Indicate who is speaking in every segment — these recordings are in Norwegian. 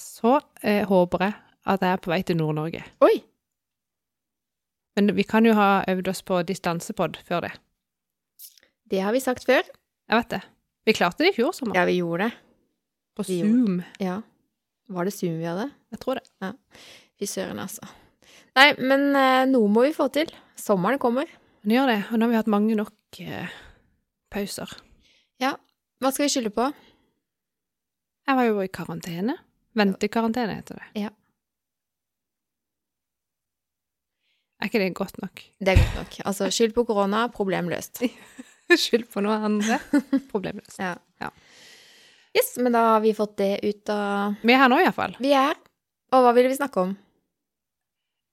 Speaker 1: så eh, håper jeg at jeg er på vei til Nord-Norge.
Speaker 2: Oi!
Speaker 1: Men vi kan jo ha øvd oss på distansepod før det.
Speaker 2: Det har vi sagt før.
Speaker 1: Jeg vet det. Vi klarte det i fjor sommer.
Speaker 2: Ja, vi gjorde det.
Speaker 1: på
Speaker 2: vi
Speaker 1: Zoom.
Speaker 2: Ja. Var det Zoom vi hadde?
Speaker 1: Jeg tror det.
Speaker 2: Fy søren, altså. Nei, men eh, noe må vi få til. Sommeren kommer.
Speaker 1: Men gjør det. Og nå har vi hatt mange nok eh, pauser.
Speaker 2: Hva skal vi skylde på?
Speaker 1: Jeg var jo i karantene. Ventekarantene heter det.
Speaker 2: Ja.
Speaker 1: Er ikke det godt nok?
Speaker 2: Det er godt nok. Altså, skyld på korona, problem løst.
Speaker 1: Skyld på noe andre. Problemløst.
Speaker 2: Ja.
Speaker 1: Ja.
Speaker 2: Yes, men da har vi fått det ut av
Speaker 1: Vi er her nå iallfall.
Speaker 2: Vi er Og hva ville vi snakke om?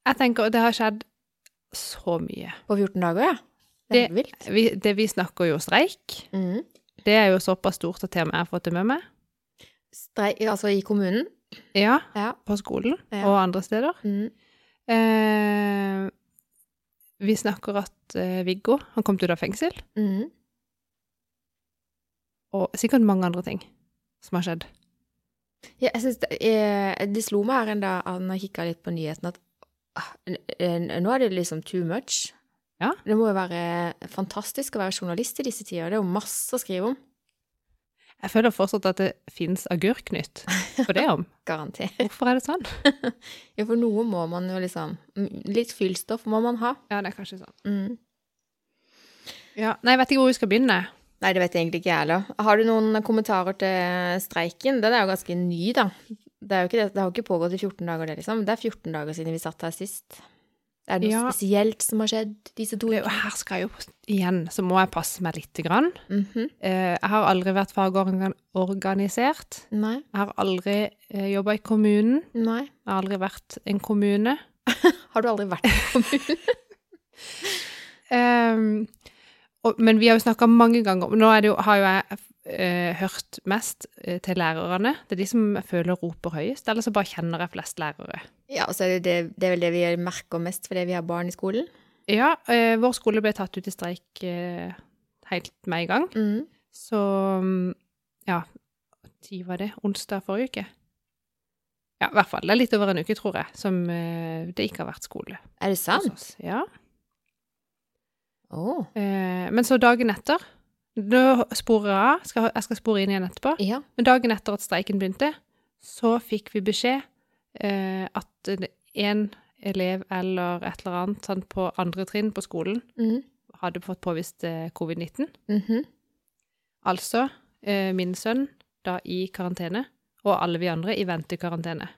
Speaker 1: Jeg tenker det har skjedd så mye.
Speaker 2: På 14 dager, ja? Det er helt vilt.
Speaker 1: Vi, det vi snakker jo streik.
Speaker 2: Mm.
Speaker 1: Det er jo såpass stort at til og med jeg har fått det med meg.
Speaker 2: Streik, altså i kommunen?
Speaker 1: Ja,
Speaker 2: Ja.
Speaker 1: på skolen
Speaker 2: Ja.
Speaker 1: og andre steder.
Speaker 2: Mm.
Speaker 1: Eh, vi snakker at eh, Viggo, han kom ut av fengsel,
Speaker 2: Mm.
Speaker 1: og sikkert mange andre ting som har skjedd.
Speaker 2: Ja, jeg synes det, eh, det slo meg her en dag ah, når jeg kikka litt på nyheten, at ah, n- n- nå er det liksom too much.
Speaker 1: Ja.
Speaker 2: Det må jo være fantastisk å være journalist i disse tider. Det er jo masse å skrive om.
Speaker 1: Jeg føler fortsatt at det fins agurknytt for det om.
Speaker 2: Garanti.
Speaker 1: Hvorfor er det sånn?
Speaker 2: Ja, for noe må man jo liksom m- Litt fyllstoff må man ha.
Speaker 1: Ja, det er kanskje sånn.
Speaker 2: Mm.
Speaker 1: Ja. Nei, jeg vet ikke hvor vi skal begynne.
Speaker 2: Nei, det vet jeg egentlig ikke jeg heller. Har du noen kommentarer til streiken? Den er jo ganske ny, da. Det, er jo ikke det, det har jo ikke pågått i 14 dager, det, liksom. Det er 14 dager siden vi satt her sist. Er det noe
Speaker 1: Ja.
Speaker 2: spesielt som har skjedd disse to
Speaker 1: Det er jo- Her skal jeg jo igjen, så må jeg passe meg lite grann.
Speaker 2: Mhm.
Speaker 1: Eh, Jeg har aldri vært fagorganisert.
Speaker 2: Nei.
Speaker 1: Jeg har aldri jobba i kommunen.
Speaker 2: Nei.
Speaker 1: Jeg har aldri vært en kommune.
Speaker 2: Har du aldri vært i kommunen?
Speaker 1: Ehm, og, men vi har jo snakka mange ganger om Nå er det jo, har jo jeg eh, hørt mest eh, til lærerne. Det er de som jeg føler roper høyest, eller så bare kjenner jeg flest lærere.
Speaker 2: ja, og så er det, det, det er vel det vi merker mest fordi vi har barn i skolen.
Speaker 1: Ja, eh, vår skole ble tatt ut i streik eh, helt med en gang.
Speaker 2: Mm.
Speaker 1: Så mm, ja, tid var det? Onsdag forrige uke? Ja, i hvert fall. Det er litt over en uke, tror jeg, som eh, det ikke har vært skole
Speaker 2: Er det
Speaker 1: hos
Speaker 2: sant?
Speaker 1: oss. Ja.
Speaker 2: Å.
Speaker 1: Eh, men så dagen etter Da sporer jeg av. Skal, jeg skal spore inn igjen etterpå.
Speaker 2: Ja.
Speaker 1: Men dagen etter at streiken begynte, så fikk vi beskjed eh, at én elev eller et eller annet sånn, på andre trinn på skolen
Speaker 2: Mm.
Speaker 1: hadde fått påvist eh, covid-19.
Speaker 2: Mhm.
Speaker 1: Altså eh, min sønn da i karantene, og alle vi andre i ventekarantene.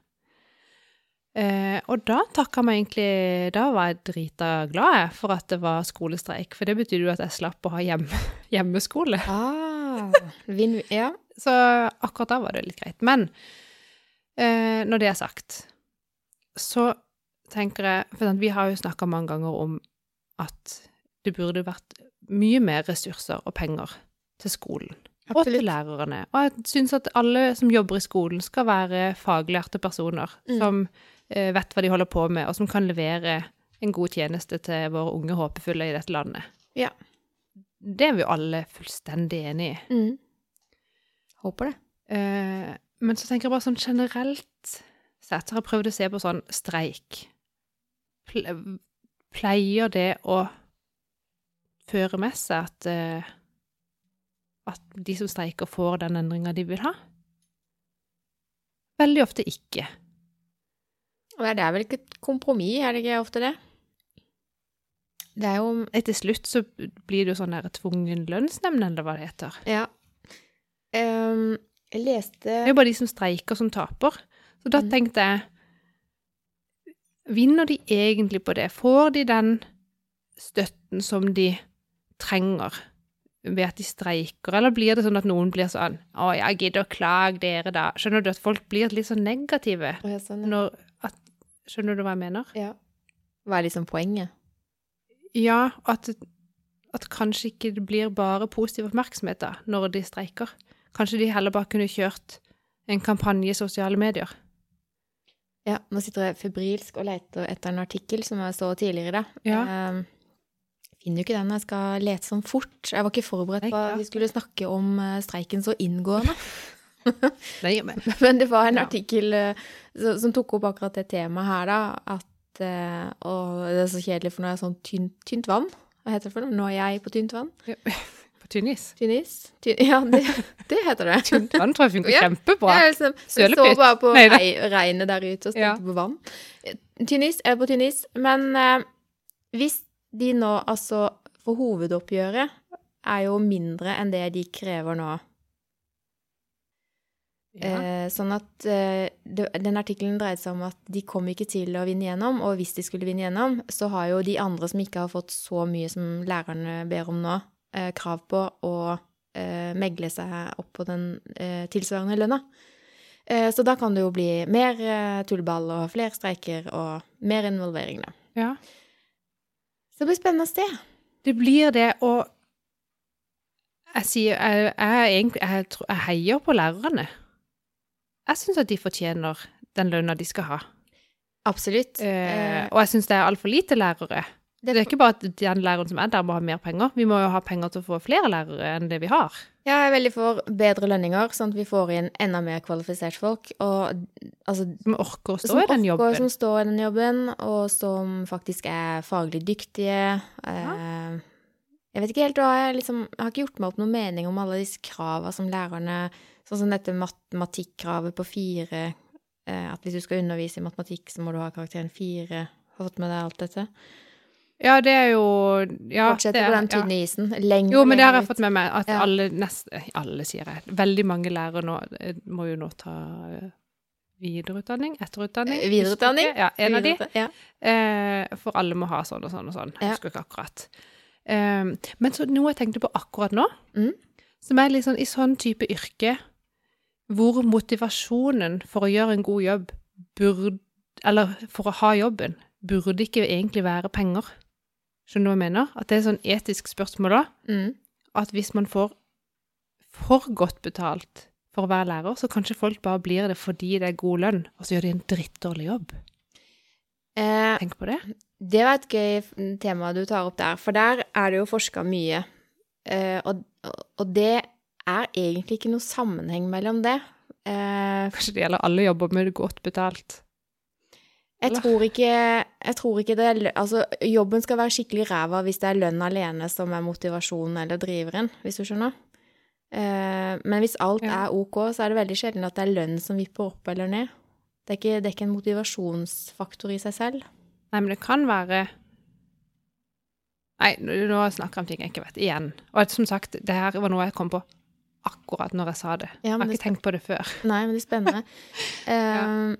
Speaker 1: Eh, og da takka meg egentlig Da var jeg drita glad jeg, for at det var skolestreik, for det betydde jo at jeg slapp å ha hjem, hjemmeskole.
Speaker 2: Ah. Vinn, ja.
Speaker 1: Så akkurat da var det litt greit. Men eh, når det er sagt, så tenker jeg For vi har jo snakka mange ganger om at det burde vært mye mer ressurser og penger til skolen. Og til lærerne. Og jeg syns at alle som jobber i skolen, skal være faglærte personer
Speaker 2: Mm.
Speaker 1: som eh, vet hva de holder på med, og som kan levere en god tjeneste til våre unge håpefulle i dette landet.
Speaker 2: Ja.
Speaker 1: Det er vi jo alle fullstendig enig i.
Speaker 2: Mm. Håper det.
Speaker 1: Eh, men så tenker jeg bare sånn generelt sett, så har jeg prøvd å se på sånn streik. Ple- Pleier det å føre med seg at, eh, at de som streiker, får den endringa de vil ha? Veldig ofte ikke.
Speaker 2: Og det er vel ikke et kompromiss, er det ikke ofte det? Det er jo
Speaker 1: Eh, Til slutt så blir det jo sånn der tvungen lønnsnemnd, eller hva det heter.
Speaker 2: Ja. Ehm, jeg leste
Speaker 1: Det er jo bare de som streiker, som taper. Så da
Speaker 2: Mm.
Speaker 1: tenkte jeg Vinner de egentlig på det? Får de den støtten som de trenger? ved at de streiker, eller blir det sånn at noen blir sånn 'Å, jeg gidder å klage dere, da.' Skjønner du at folk blir litt sånn negative?
Speaker 2: Å, ja, sånn, ja.
Speaker 1: Når at, skjønner du hva jeg mener?
Speaker 2: ja. Hva er liksom poenget?
Speaker 1: Ja, at, at kanskje ikke det blir bare positiv oppmerksomhet da, når de streiker. Kanskje de heller bare kunne kjørt en kampanje i sosiale medier.
Speaker 2: Ja, nå sitter jeg febrilsk og leter etter en artikkel som jeg så tidligere, da.
Speaker 1: Ja.
Speaker 2: Ehm, finner jo ikke den når jeg skal lete sånn fort. Jeg var ikke forberedt
Speaker 1: Nei,
Speaker 2: på
Speaker 1: klart.
Speaker 2: at vi skulle snakke om eh, streiken så inngående.
Speaker 1: Nei, men
Speaker 2: Men det var en
Speaker 1: Ja.
Speaker 2: artikkel eh, som- som tok opp akkurat det temaet her, da. At eh, Å, det er så kjedelig, for nå er jeg sånn tynt, tynt vann. Hva heter det for noe? Nå er jeg på tynt vann?
Speaker 1: På tynnis.
Speaker 2: Tynn is? Tynn, ja, det, det heter det.
Speaker 1: Tynt vann tror jeg funker
Speaker 2: Ja,
Speaker 1: kjempebra.
Speaker 2: Jeg liksom, jeg så
Speaker 1: Sølepytt.
Speaker 2: bare på
Speaker 1: Nei da.
Speaker 2: rei, regnet der ute og
Speaker 1: Ja.
Speaker 2: stemte på vann. Tynn is er på tynn is. Men eh, hvis de nå altså For hovedoppgjøret er jo mindre enn det de krever nå.
Speaker 1: Ja.
Speaker 2: Eh, sånn at eh, det, Den artikkelen dreide seg om at de kom ikke til å vinne gjennom, og hvis de skulle vinne gjennom, så har jo de andre som ikke har fått så mye som lærerne ber om nå, eh, krav på å eh, megle seg opp på den eh, tilsvarende lønna. Eh, så da kan det jo bli mer eh, tullball og flere streiker og mer involvering, da.
Speaker 1: ja.
Speaker 2: Så det blir spennende å se.
Speaker 1: Det blir det, og jeg sier Jeg, jeg, er egentlig- jeg, tror- jeg heier på lærerne. Jeg syns at de fortjener den lønna de skal ha.
Speaker 2: Absolutt.
Speaker 1: Eh,
Speaker 2: Eh,
Speaker 1: og jeg syns det er altfor lite lærere.
Speaker 2: det-
Speaker 1: Det er ikke bare at den læreren som er der, må ha mer penger. Vi må jo ha penger til å få flere lærere enn det vi har.
Speaker 2: Ja, jeg er veldig for bedre lønninger, sånn at vi får inn enda mer kvalifisert folk. Og altså,
Speaker 1: Som orker å stå
Speaker 2: som
Speaker 1: i den
Speaker 2: oppgår-
Speaker 1: jobben.
Speaker 2: Som står i den jobben, og som faktisk er faglig dyktige. Eh, jeg vet ikke helt hva jeg liksom Jeg har ikke gjort meg opp noen mening om alle disse krava som lærerne Sånn som dette matematikkravet på fire eh, At hvis du skal undervise i matematikk, så må du ha karakteren fire. Har du fått med deg alt dette?
Speaker 1: ja, det er jo ja,
Speaker 2: Fortsette
Speaker 1: det er-
Speaker 2: på den
Speaker 1: ja.
Speaker 2: tynne isen. Lenger
Speaker 1: Jo, men det har
Speaker 2: lenger
Speaker 1: jeg
Speaker 2: ut.
Speaker 1: fått med meg, at
Speaker 2: Ja.
Speaker 1: alle, nest, eh, alle sier jeg, veldig mange lærere nå eh, må jo nå ta eh, videreutdanning, etterutdanning.
Speaker 2: Eh, videreutdanning?
Speaker 1: husker ikke. Ja, en av de.
Speaker 2: Ja.
Speaker 1: Eh, for alle må ha sånn og sånn og sånn.
Speaker 2: Ja.
Speaker 1: Jeg husker ikke akkurat. Eh, men så noe jeg tenkte på akkurat nå,
Speaker 2: Mm.
Speaker 1: som er litt sånn i sånn type yrke, hvor motivasjonen for å gjøre en god jobb burde, eller for å ha jobben, burde ikke egentlig være penger. Skjønner du hva jeg mener? At det er sånn etisk spørsmål da,
Speaker 2: Mm.
Speaker 1: at hvis man får for godt betalt for å være lærer, så kanskje folk bare blir det fordi det er god lønn, og så gjør de en drittdårlig jobb.
Speaker 2: Eh,
Speaker 1: Tenk på det.
Speaker 2: Det var et gøy f- tema du tar opp der, for der er det jo forska mye. Eh, og, og det er egentlig ikke noe sammenheng mellom det. Eh,
Speaker 1: Kanskje det gjelder alle jobber med godt betalt.
Speaker 2: jeg, tror ikke, jeg tror ikke det er lø- Altså, jobben skal være skikkelig ræva hvis det er lønn alene som er motivasjonen eller driveren, hvis du skjønner. Eh, men hvis alt
Speaker 1: Ja.
Speaker 2: er ok, så er det veldig sjelden at det er lønn som vipper opp eller ned. Det er ikke, det er ikke en motivasjonsfaktor i seg selv.
Speaker 1: Nei, men det kan være Nei, nå nå snakker jeg om ting jeg ikke vet. Igjen. Og at, som sagt, det her var noe jeg kom på akkurat når jeg sa det.
Speaker 2: Ja,
Speaker 1: jeg
Speaker 2: men
Speaker 1: har
Speaker 2: det
Speaker 1: ikke tenkt på det før.
Speaker 2: Nei, men det er spennende. Eh,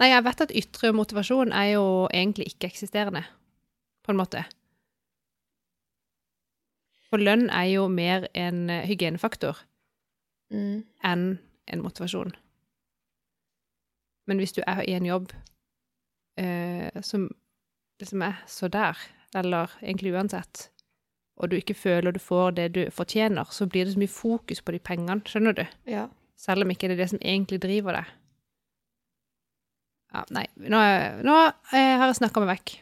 Speaker 1: Nei, jeg vet at ytre motivasjon er jo egentlig ikke-eksisterende, på en måte. For lønn er jo mer en eh, hygienefaktor
Speaker 2: mm.
Speaker 1: enn en motivasjon. Men hvis du er i en jobb eh, som, som er så der, eller egentlig uansett, og du ikke føler du får det du fortjener, så blir det så mye fokus på de pengene, skjønner du?
Speaker 2: Ja.
Speaker 1: Selv om ikke det er det som egentlig driver deg. Ja, nei, nå, er- nå eh, har jeg snakka meg vekk.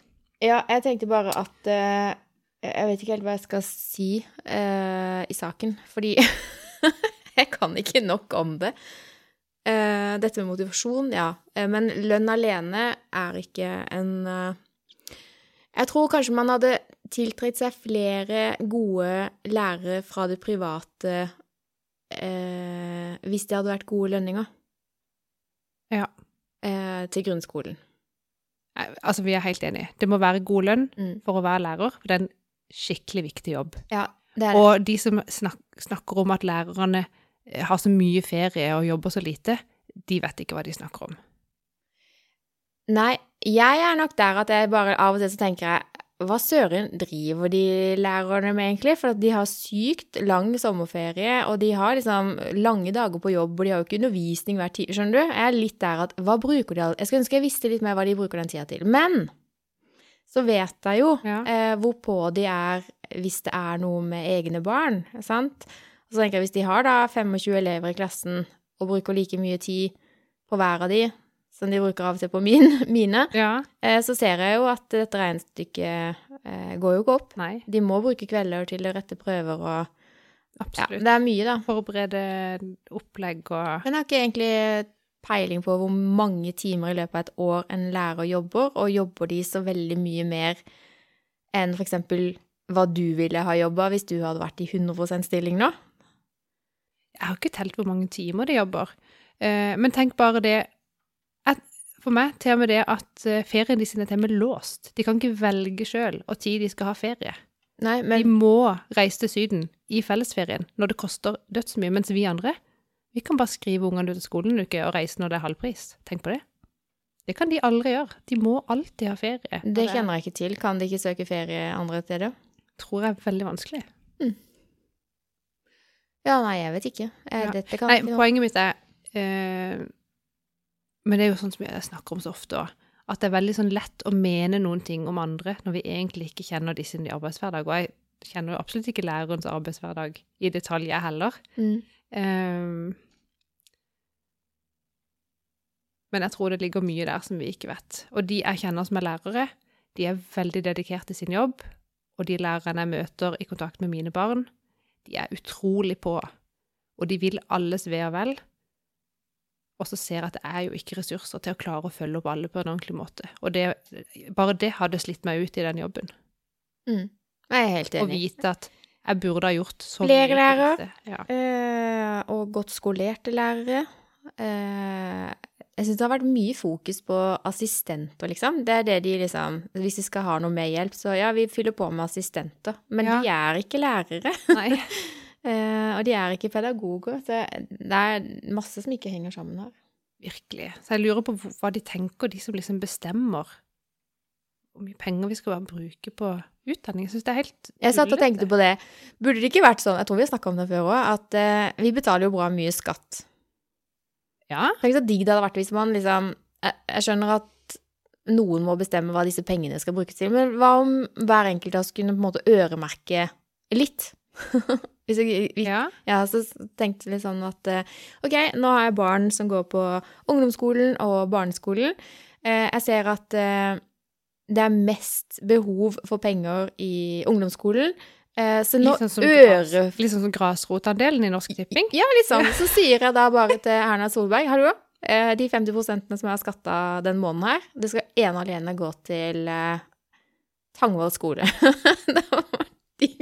Speaker 2: Ja, jeg tenkte bare at eh, Jeg vet ikke helt hva jeg skal si eh, i saken, fordi jeg kan ikke nok om det. Eh, dette med motivasjon, ja. Eh, men lønn alene er ikke en eh, Jeg tror kanskje man hadde tiltrekt seg flere gode lærere fra det private eh, hvis det hadde vært gode lønninger.
Speaker 1: Ja.
Speaker 2: Eh, til grunnskolen.
Speaker 1: Nei, Altså, vi er helt enige. Det må være god lønn
Speaker 2: Mm.
Speaker 1: for å være lærer, for det er en skikkelig viktig jobb.
Speaker 2: Ja, det er det.
Speaker 1: Og de som snak snakker om at lærerne eh, har så mye ferie og jobber så lite, de vet ikke hva de snakker om.
Speaker 2: Nei, jeg er nok der at jeg bare av og til så tenker jeg hva søren driver de lærerne med, egentlig? For at de har sykt lang sommerferie, og de har liksom lange dager på jobb, og de har jo ikke undervisning hver time, skjønner du? Jeg er litt der at hva bruker de all Jeg skulle ønske jeg visste litt mer hva de bruker den tida til. Men så vet jeg jo
Speaker 1: Ja.
Speaker 2: eh, hvorpå de er hvis det er noe med egne barn, sant? Og så tenker jeg hvis de har da 25 elever i klassen, og bruker like mye tid på hver av de, som de bruker av og til på min, mine,
Speaker 1: Ja.
Speaker 2: Eh, Så ser jeg jo at dette regnestykket eh, går jo ikke opp.
Speaker 1: Nei.
Speaker 2: De må bruke kvelder til å rette prøver og Ja,
Speaker 1: Absolutt.
Speaker 2: det er mye, da.
Speaker 1: Forberede opplegg og
Speaker 2: Men jeg har ikke egentlig peiling på hvor mange timer i løpet av et år en lærer jobber, og jobber de så veldig mye mer enn for eksempel hva du ville ha jobba hvis du hadde vært i 100 stilling nå?
Speaker 1: Jeg har ikke telt hvor mange timer de jobber. Eh, men tenk bare det at, For meg til og med det at eh, ferien de sin er til og med låst. De kan ikke velge sjøl og tid de skal ha ferie.
Speaker 2: Nei,
Speaker 1: De
Speaker 2: men
Speaker 1: må reise til Syden i fellesferien når det koster dødsmye. Mens vi andre, vi kan bare skrive ungene ut av skolen en uke og reise når det er halvpris. Tenk på det. Det kan de aldri gjøre. De må alltid ha ferie.
Speaker 2: det kjenner jeg ikke til. Kan de ikke søke ferie andre steder?
Speaker 1: tror jeg er veldig vanskelig.
Speaker 2: Ja, nei, jeg vet ikke. Eh,
Speaker 1: Ja.
Speaker 2: Dette kan
Speaker 1: Nei,
Speaker 2: jeg ikke noe.
Speaker 1: poenget mitt er eh, Men det er jo sånn som jeg snakker om så ofte òg, at det er veldig sånn lett å mene noen ting om andre når vi egentlig ikke kjenner de sin arbeidshverdag. Og jeg kjenner jo absolutt ikke lærerens arbeidshverdag i detalj, jeg heller.
Speaker 2: Mm.
Speaker 1: Eh, men jeg tror det ligger mye der som vi ikke vet. Og de jeg kjenner som er lærere, de er veldig dedikert til sin jobb. Og de lærerne jeg møter i kontakt med mine barn, de er utrolig på. Og de vil alles ve og vel. Og så ser jeg at det er jo ikke ressurser til å klare å følge opp alle på en ordentlig måte. Og det, bare det hadde slitt meg ut i den jobben.
Speaker 2: Mm. Jeg er helt
Speaker 1: Å
Speaker 2: enig.
Speaker 1: vite at jeg burde ha gjort så
Speaker 2: Flere
Speaker 1: for
Speaker 2: lærere.
Speaker 1: disse. Ja.
Speaker 2: Eh, og godt skolerte lærere. Eh, jeg syns det har vært mye fokus på assistenter, liksom. Det er det de liksom Hvis de skal ha noe medhjelp, så ja, vi fyller på med assistenter. Men
Speaker 1: Ja.
Speaker 2: de er ikke lærere.
Speaker 1: Nei.
Speaker 2: Eh, og de er ikke pedagoger. Så det er masse som ikke henger sammen her.
Speaker 1: Virkelig. Så jeg lurer på hvor- hva de tenker, de som liksom bestemmer hvor mye penger vi skal bare bruke på utdanning. Jeg syns det er helt
Speaker 2: Jeg satt og
Speaker 1: tullete.
Speaker 2: tenkte på det. Burde det ikke vært sånn, jeg tror vi har snakka om det før òg, at eh, vi betaler jo bra mye skatt.
Speaker 1: Ja.
Speaker 2: Tenk så digg det hadde vært hvis man liksom jeg, jeg skjønner at noen må bestemme hva disse pengene skal brukes til, men hva om hver enkelt av oss kunne på en måte øremerke litt? hvis jeg, vi, ja.
Speaker 1: ja.
Speaker 2: så tenkte jeg litt sånn at eh, ok, nå har jeg barn som går på ungdomsskolen og barneskolen. Eh, Jeg ser at eh, det er mest behov for penger i ungdomsskolen, eh, så nå
Speaker 1: Litt sånn som,
Speaker 2: øre...
Speaker 1: gras, litt sånn som grasrotandelen i Norsk Tipping.
Speaker 2: Ja, litt sånn. Så sier jeg da bare til Erna Solberg Hallo, eh, de 50 som jeg har skatta den måneden her, det skal ene og alene gå til eh, Tangvoll skole. det var digg.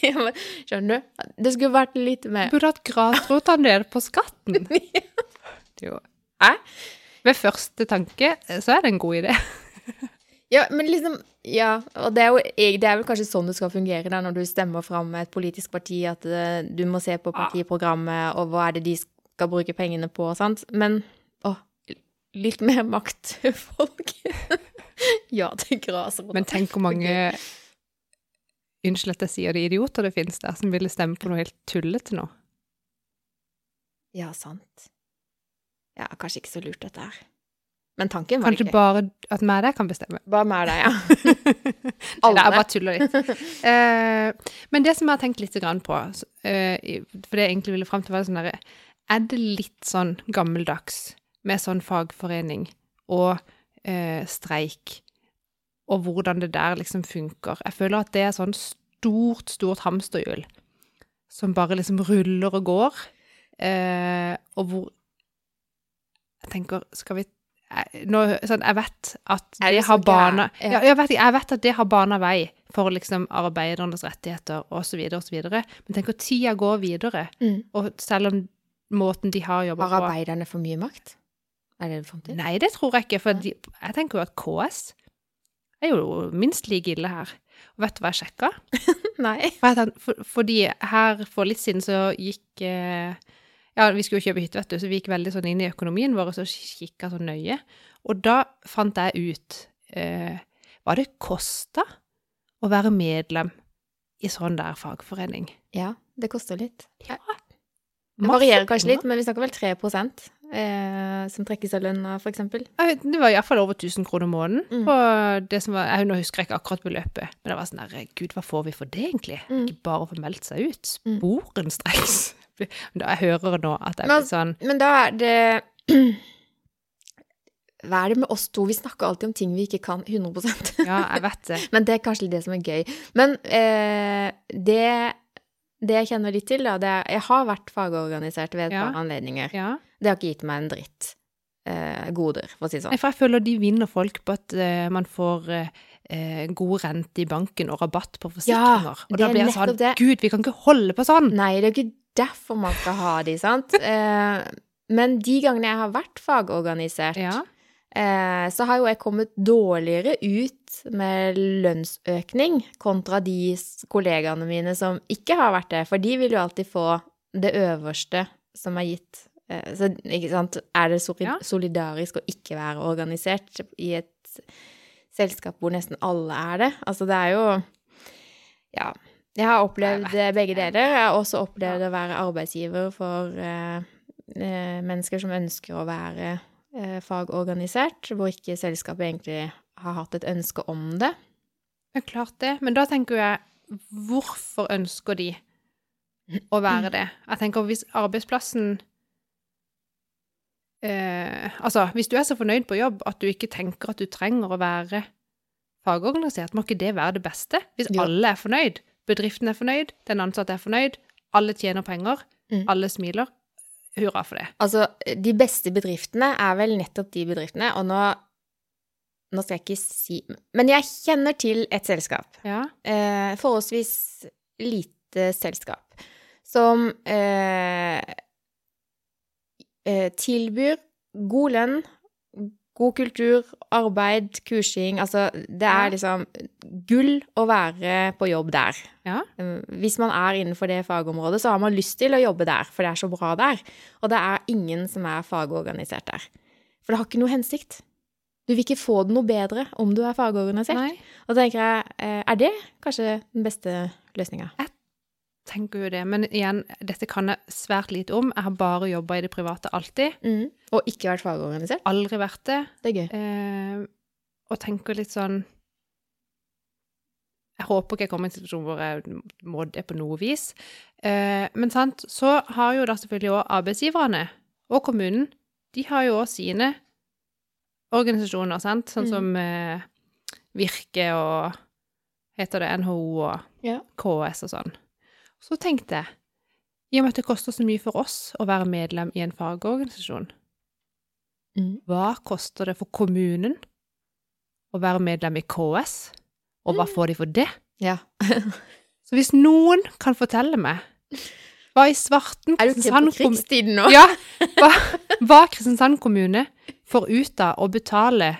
Speaker 2: Jeg bare, Skjønner du? Det skulle vært litt
Speaker 1: Du
Speaker 2: mer
Speaker 1: burde hatt grasrotandel på skatten!
Speaker 2: Ja.
Speaker 1: Det er Jo.
Speaker 2: Hæ?
Speaker 1: Ved første tanke eh, så er det en god idé.
Speaker 2: Ja, men liksom Ja, og det er jo eg- det er vel kanskje sånn det skal fungere da, når du stemmer fram et politisk parti, at eh, du må se på partiprogrammet, og hva er det de skal bruke pengene på, sant? Men å, litt mer makt, folk. ja, til grasrota.
Speaker 1: Men tenk hvor mange Unnskyld at jeg sier det, idioter det finnes der som ville stemme på noe helt tullete nå.
Speaker 2: Ja, sant. Ja, kanskje ikke så lurt dette her. Men tanken var
Speaker 1: Kanskje
Speaker 2: ikke.
Speaker 1: bare at meg og deg kan bestemme.
Speaker 2: Bare meg og deg, ja.
Speaker 1: Nei,
Speaker 2: Alle.
Speaker 1: Jeg bare tuller litt. Eh, men det som jeg har tenkt litt grann på, s- eh, i- for det jeg egentlig ville fram til, var det sånn derre Er det litt sånn gammeldags med sånn fagforening og eh, streik, og hvordan det der liksom funker? Jeg føler at det er sånn stort, stort hamsterhjul som bare liksom ruller og går, eh, og hvor Jeg tenker, skal vi jeg- nå, sånn, jeg vet at
Speaker 2: Er det
Speaker 1: det har
Speaker 2: så gæ-
Speaker 1: bana
Speaker 2: Ja.
Speaker 1: ja, jeg, vet, ikke, jeg vet at det har bana vei for liksom arbeidernes rettigheter osv. osv. Men tenk at tida går videre,
Speaker 2: Mm.
Speaker 1: og selv om måten de har jobba
Speaker 2: Har
Speaker 1: på
Speaker 2: arbeiderne for mye makt? Er det det du fant til?
Speaker 1: Nei, det tror jeg ikke. For de, jeg tenker jo at KS er jo minst like ille her. Og vet du hva jeg sjekka?
Speaker 2: Nei.
Speaker 1: For jeg tenkte- for, fordi her for litt siden så gikk eh, Ja, vi skulle jo kjøpe hytte, vet du, så vi gikk veldig sånn inn i økonomien vår og så kikka så nøye. Og da fant jeg ut eh, hva det kosta å være medlem i sånn der fagforening.
Speaker 2: Ja, det koster litt.
Speaker 1: Ja.
Speaker 2: Det varierer kanskje litt, men vi snakker vel 3 eh, som trekkes av lønna, f.eks.
Speaker 1: Jeg vet, Det var iallfall over 1000 kroner måneden.
Speaker 2: Mm.
Speaker 1: Og det som var, jeg nå husker jeg ikke akkurat beløpet, men det var sånn der Gud, hva får vi for det, egentlig?
Speaker 2: Mm.
Speaker 1: Ikke bare for meldt seg ut.
Speaker 2: Mm.
Speaker 1: Sporenstreks. Men da Jeg hører nå at jeg
Speaker 2: Men-
Speaker 1: blir sånn
Speaker 2: Men da er det Hva er det med oss to? Vi snakker alltid om ting vi ikke kan 100
Speaker 1: Ja, jeg vet det.
Speaker 2: Men det er kanskje litt det som er gøy. Men eh, det, det jeg kjenner litt til, da, det er Jeg har vært fagorganisert ved et
Speaker 1: Ja.
Speaker 2: par anledninger.
Speaker 1: Ja.
Speaker 2: Det har ikke gitt meg en dritt eh, goder, for å si det
Speaker 1: Nei,
Speaker 2: sånn.
Speaker 1: for jeg føler de vinner folk på at eh, man får eh, eh, god rente i banken og rabatt på forsikringer. og
Speaker 2: det
Speaker 1: da
Speaker 2: er
Speaker 1: blir jeg
Speaker 2: nettopp
Speaker 1: sånn
Speaker 2: det.
Speaker 1: Gud, vi kan ikke holde på sånn!
Speaker 2: Nei, det er jo ikke derfor man skal ha de, sant? Eh, men de gangene jeg har vært fagorganisert,
Speaker 1: Ja.
Speaker 2: eh, så har jo jeg kommet dårligere ut med lønnsøkning kontra de s- kollegaene mine som ikke har vært det, for de vil jo alltid få det øverste som er gitt. Eh, så ikke sant, er det sori-
Speaker 1: Ja.
Speaker 2: solidarisk å ikke være organisert i et selskap hvor nesten alle er det? Altså det er jo Ja. Jeg har opplevd begge deler. Jeg har også opplevd å være arbeidsgiver for eh, eh, mennesker som ønsker å være eh, fagorganisert, hvor ikke selskapet egentlig har hatt et ønske om det.
Speaker 1: Det er klart det. Men da tenker jeg, hvorfor ønsker de å være det? Jeg tenker hvis arbeidsplassen eh, Altså, hvis du er så fornøyd på jobb at du ikke tenker at du trenger å være fagorganisert, må ikke det være det beste? Hvis
Speaker 2: Jo.
Speaker 1: alle er fornøyd, bedriften er fornøyd, den ansatte er fornøyd, alle tjener penger,
Speaker 2: Mm.
Speaker 1: alle smiler, hurra for det.
Speaker 2: Altså, de beste bedriftene er vel nettopp de bedriftene, og nå nå skal jeg ikke si Men jeg kjenner til et selskap,
Speaker 1: Ja.
Speaker 2: eh, forholdsvis lite selskap, som eh, eh, tilbyr god lønn, god kultur, arbeid, kursing Altså, det
Speaker 1: Ja.
Speaker 2: er liksom gull å være på jobb der.
Speaker 1: Ja.
Speaker 2: Eh, Hvis man er innenfor det fagområdet, så har man lyst til å jobbe der, for det er så bra der. Og det er ingen som er fagorganisert der. For det har ikke noe hensikt. Du vil ikke få det noe bedre om du er fagorganisert.
Speaker 1: Nei.
Speaker 2: Og da tenker jeg, eh, er det kanskje den beste løsninga?
Speaker 1: Tenker jo det. Men igjen, dette kan jeg svært lite om. Jeg har bare jobba i det private alltid.
Speaker 2: Mm. Og ikke vært fagorganisert?
Speaker 1: Aldri vært det.
Speaker 2: Det er gøy.
Speaker 1: Eh, og tenker litt sånn Jeg håper ikke jeg kommer i en situasjon hvor jeg må det på noe vis. Eh, men sant, så har jo da selvfølgelig òg arbeidsgiverne og kommunen De har jo òg sine organisasjoner, sant, sånn
Speaker 2: Mm.
Speaker 1: som eh, Virke og Heter det NHO og
Speaker 2: Ja.
Speaker 1: KS og sånn. Så tenkte jeg, i og med at det koster så mye for oss å være medlem i en fagorganisasjon,
Speaker 2: Mm.
Speaker 1: hva koster det for kommunen å være medlem i KS, og hva får de for det?
Speaker 2: Ja.
Speaker 1: Så hvis noen kan fortelle meg hva i svarten
Speaker 2: Er du ikke på
Speaker 1: kommune
Speaker 2: krigstiden nå?
Speaker 1: ja, hva, hva Kristiansand kommune får ut av å betale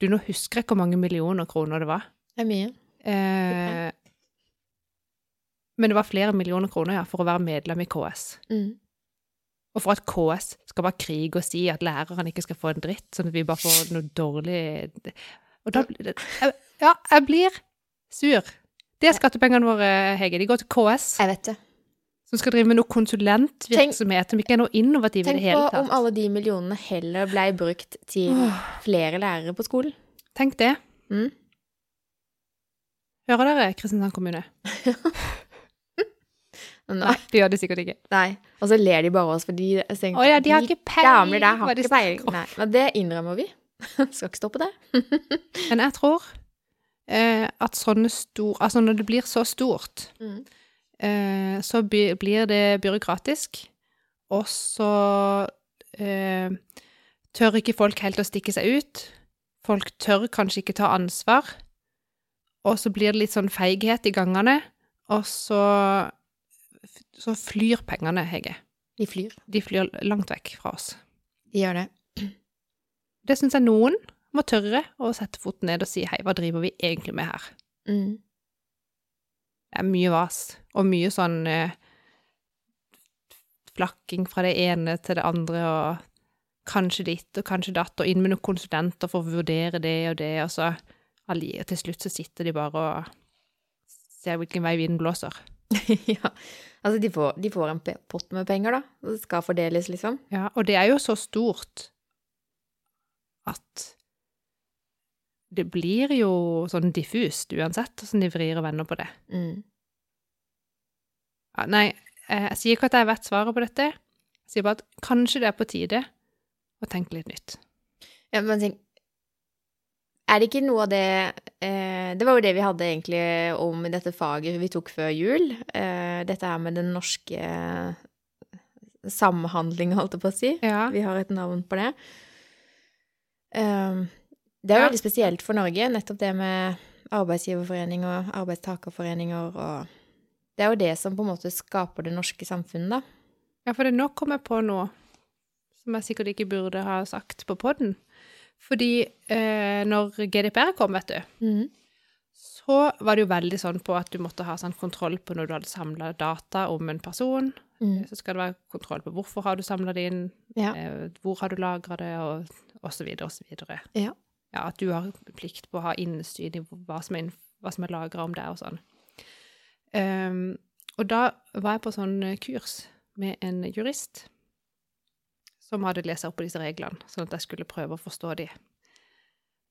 Speaker 1: Du, nå husker jeg ikke hvor mange millioner kroner det var.
Speaker 2: Det er mye.
Speaker 1: Eh, men det var flere millioner kroner, ja, for å være medlem i KS.
Speaker 2: Mm.
Speaker 1: Og for at KS skal bare krige og si at læreren ikke skal få en dritt, sånn at vi bare får noe dårlig Og da blir det jeg, Ja, jeg blir sur. Det er skattepengene våre, Hege. De går til KS,
Speaker 2: Jeg vet det.
Speaker 1: som skal drive med noe konsulentvirksomhet som ikke er noe innovativ i
Speaker 2: Tenk
Speaker 1: det
Speaker 2: på
Speaker 1: hele
Speaker 2: om
Speaker 1: tatt.
Speaker 2: alle de millionene heller blei brukt til
Speaker 1: Åh,
Speaker 2: flere lærere på skolen.
Speaker 1: Tenk det.
Speaker 2: Mm.
Speaker 1: Hører dere, Kristiansand kommune?
Speaker 2: Nå,
Speaker 1: Nei, de gjør det sikkert ikke.
Speaker 2: nei. Og så ler de bare oss, for de tenker
Speaker 1: Å ja, de har ikke peiling
Speaker 2: Damer der har
Speaker 1: hva de
Speaker 2: ikke peiling.
Speaker 1: snakker om.
Speaker 2: Nei, men det innrømmer vi. Skal ikke stoppe det.
Speaker 1: Men jeg tror eh, at sånne store Altså, når det blir så stort
Speaker 2: Mm.
Speaker 1: eh, så by, blir det byråkratisk, og så eh, tør ikke folk helt å stikke seg ut. Folk tør kanskje ikke ta ansvar, og så blir det litt sånn feighet i gangene, og så, så flyr pengene, Hege.
Speaker 2: De flyr.
Speaker 1: De flyr langt vekk fra oss.
Speaker 2: De gjør det.
Speaker 1: Det syns jeg noen må tørre å sette foten ned og si hei, hva driver vi egentlig med her?
Speaker 2: Mm.
Speaker 1: Det er mye vas, og mye sånn eh, flakking fra det ene til det andre, og kanskje ditt og kanskje datt, og inn med noen konsulenter for å vurdere det og det, og så allier. Til slutt så sitter de bare og ser hvilken vei vinden blåser.
Speaker 2: ja. Altså, de får, de får en pe- pott med penger, da. Det skal fordeles, liksom.
Speaker 1: Ja, og det er jo så stort at det blir jo sånn diffust uansett, hvordan de vrir og vender på det.
Speaker 2: Mm.
Speaker 1: Ja, nei, eh, jeg sier ikke at jeg vet svaret på dette. Jeg sier bare at kanskje det er på tide å tenke litt nytt.
Speaker 2: Ja, men tenk Er det ikke noe av det eh, Det var jo det vi hadde egentlig om dette faget vi tok før jul. Eh, dette her med den norske samhandling, holdt jeg på å si.
Speaker 1: Ja.
Speaker 2: Vi har et navn på det. Eh, det er jo
Speaker 1: Ja.
Speaker 2: veldig spesielt for Norge, nettopp det med arbeidsgiverforening og arbeidstakerforeninger og Det er jo det som på en måte skaper det norske samfunnet, da.
Speaker 1: Ja, for det nå kom jeg på noe som jeg sikkert ikke burde ha sagt på podden. Fordi eh, når GDPR kom, vet du, så var det jo veldig sånn på at du måtte ha sånn kontroll på når du hadde samla data om en person.
Speaker 2: Mm.
Speaker 1: Så skal det være kontroll på hvorfor har du samla det inn,
Speaker 2: Ja.
Speaker 1: eh, hvor har du lagra det, og og så videre og så videre.
Speaker 2: Ja.
Speaker 1: Ja, at du har plikt på å ha innsyn i hva som er, inn- hva som er lagra om deg og sånn. Ehm, og da var jeg på sånn kurs med en jurist som hadde lest opp på disse reglene, sånn at jeg skulle prøve å forstå de.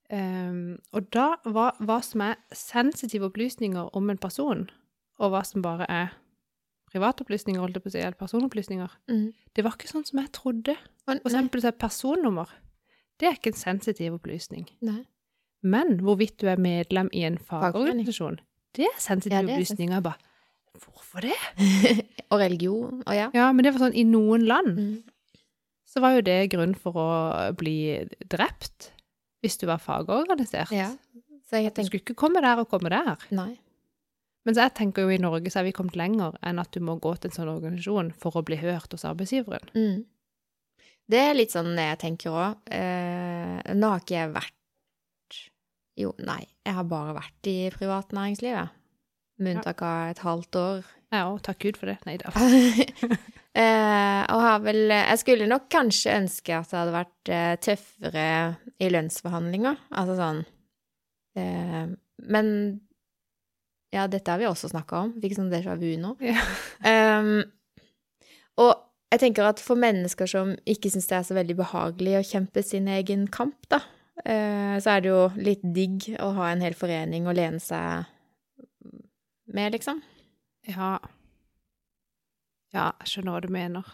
Speaker 1: Ehm, og da var hva som er sensitive opplysninger om en person, og hva som bare er privatopplysninger, holdt jeg på å si, eller personopplysninger,
Speaker 2: Mm.
Speaker 1: det var ikke sånn som jeg trodde.
Speaker 2: Og,
Speaker 1: For eksempel så er personnummer, det er ikke en sensitiv opplysning.
Speaker 2: nei.
Speaker 1: Men hvorvidt du er medlem i en
Speaker 2: Fagforening.
Speaker 1: fagorganisasjon, det er sensitive
Speaker 2: Ja, det er
Speaker 1: opplysninger. Jeg bare, hvorfor det?
Speaker 2: og religion og ja.
Speaker 1: Ja, men det var sånn, i noen land
Speaker 2: Mm.
Speaker 1: så var jo det grunn for å bli drept hvis du var fagorganisert.
Speaker 2: Ja, Så jeg
Speaker 1: Du
Speaker 2: tenker
Speaker 1: skulle ikke komme der og komme der.
Speaker 2: Nei.
Speaker 1: Men så jeg tenker jo i Norge så er vi kommet lenger enn at du må gå til en sånn organisasjon for å bli hørt hos arbeidsgiveren.
Speaker 2: Mm. Det er litt sånn jeg tenker òg. Eh, nå har ikke jeg vært Jo, nei. Jeg har bare vært i privat næringsliv, jeg. Med
Speaker 1: Ja.
Speaker 2: unntak av et halvt år.
Speaker 1: Ja, og takk Gud for det. Nei da.
Speaker 2: eh, og har vel Jeg skulle nok kanskje ønske at det hadde vært eh, tøffere i lønnsforhandlinger. Altså sånn eh, Men ja, dette har vi også snakka om. Fikk sånn déjà vu nå.
Speaker 1: Ja.
Speaker 2: Ehm, og jeg tenker at for mennesker som ikke syns det er så veldig behagelig å kjempe sin egen kamp, da, eh, så er det jo litt digg å ha en hel forening å lene seg med, liksom.
Speaker 1: Ja. Ja, jeg skjønner hva du mener.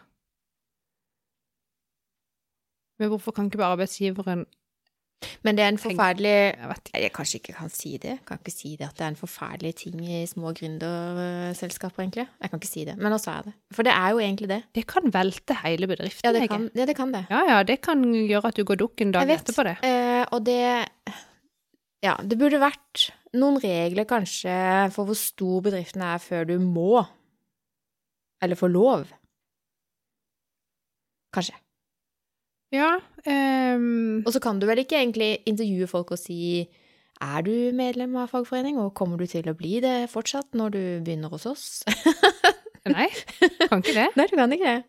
Speaker 1: Men hvorfor kan ikke bare arbeidsgiveren
Speaker 2: Men det er en
Speaker 1: Tenk-
Speaker 2: forferdelig
Speaker 1: Jeg vet ikke.
Speaker 2: Nei, Jeg kanskje ikke kan si det. Jeg kan ikke si det at det er en forferdelig ting i små gründerselskaper, egentlig. Jeg kan ikke si det, men også er det. For det er jo egentlig det.
Speaker 1: Det kan velte hele bedriften.
Speaker 2: Ja, det
Speaker 1: Hege.
Speaker 2: kan ja, det. Kan det.
Speaker 1: ja, ja, det kan gjøre at du går dukken dagen
Speaker 2: Jeg vet.
Speaker 1: etterpå, det.
Speaker 2: Eh, og det Ja, det burde vært noen regler kanskje for hvor stor bedriften er før du må. Eller får lov. Kanskje.
Speaker 1: Ja. ehm,
Speaker 2: Og så kan du vel ikke egentlig intervjue folk og si er du medlem av fagforening, og kommer du til å bli det fortsatt når du begynner hos oss?
Speaker 1: nei, kan ikke det.
Speaker 2: Nei, du kan ikke det.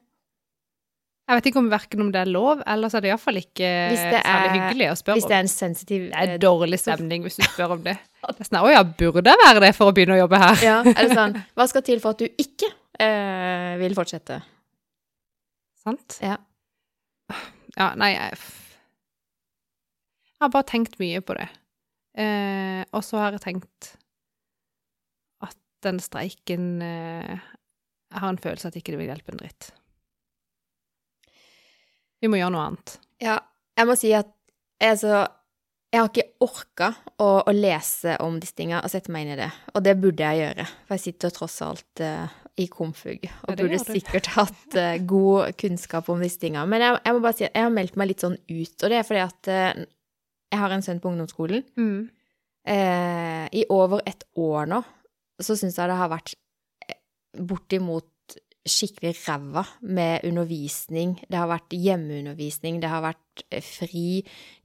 Speaker 1: Jeg vet ikke om verken om det er lov, eller så er det iallfall ikke
Speaker 2: Hvis det
Speaker 1: særlig
Speaker 2: er-
Speaker 1: hyggelig å spørre
Speaker 2: Hvis
Speaker 1: om.
Speaker 2: det er en sensitiv
Speaker 1: Det er
Speaker 2: eh,
Speaker 1: dårlig stemning hvis du spør om det. Det er sånn, Å ja, burde jeg være det for å begynne å jobbe her?
Speaker 2: Ja, er det sånn Hva skal til for at du ikke eh, vil fortsette?
Speaker 1: Sant?
Speaker 2: Ja.
Speaker 1: Ja, nei, jeg f- Jeg har bare tenkt mye på det. Eh, og så har jeg tenkt at den streiken eh, Jeg har en følelse at ikke det vil hjelpe en dritt. Vi må gjøre noe annet.
Speaker 2: Ja, jeg må si at jeg, så, jeg har ikke orka å, å lese om disse tinga og sette meg inn i det. Og det burde jeg gjøre, for jeg sitter tross alt eh, i komfug og
Speaker 1: Ja, det
Speaker 2: burde
Speaker 1: gjør du.
Speaker 2: sikkert hatt eh, god kunnskap om disse tinga. Men jeg, jeg må bare si at jeg har meldt meg litt sånn ut, og det er fordi at eh, jeg har en sønn på ungdomsskolen. Eh, I over et år nå så syns jeg det har vært eh, bortimot skikkelig ræva med undervisning. Det har vært hjemmeundervisning, det har vært eh, fri.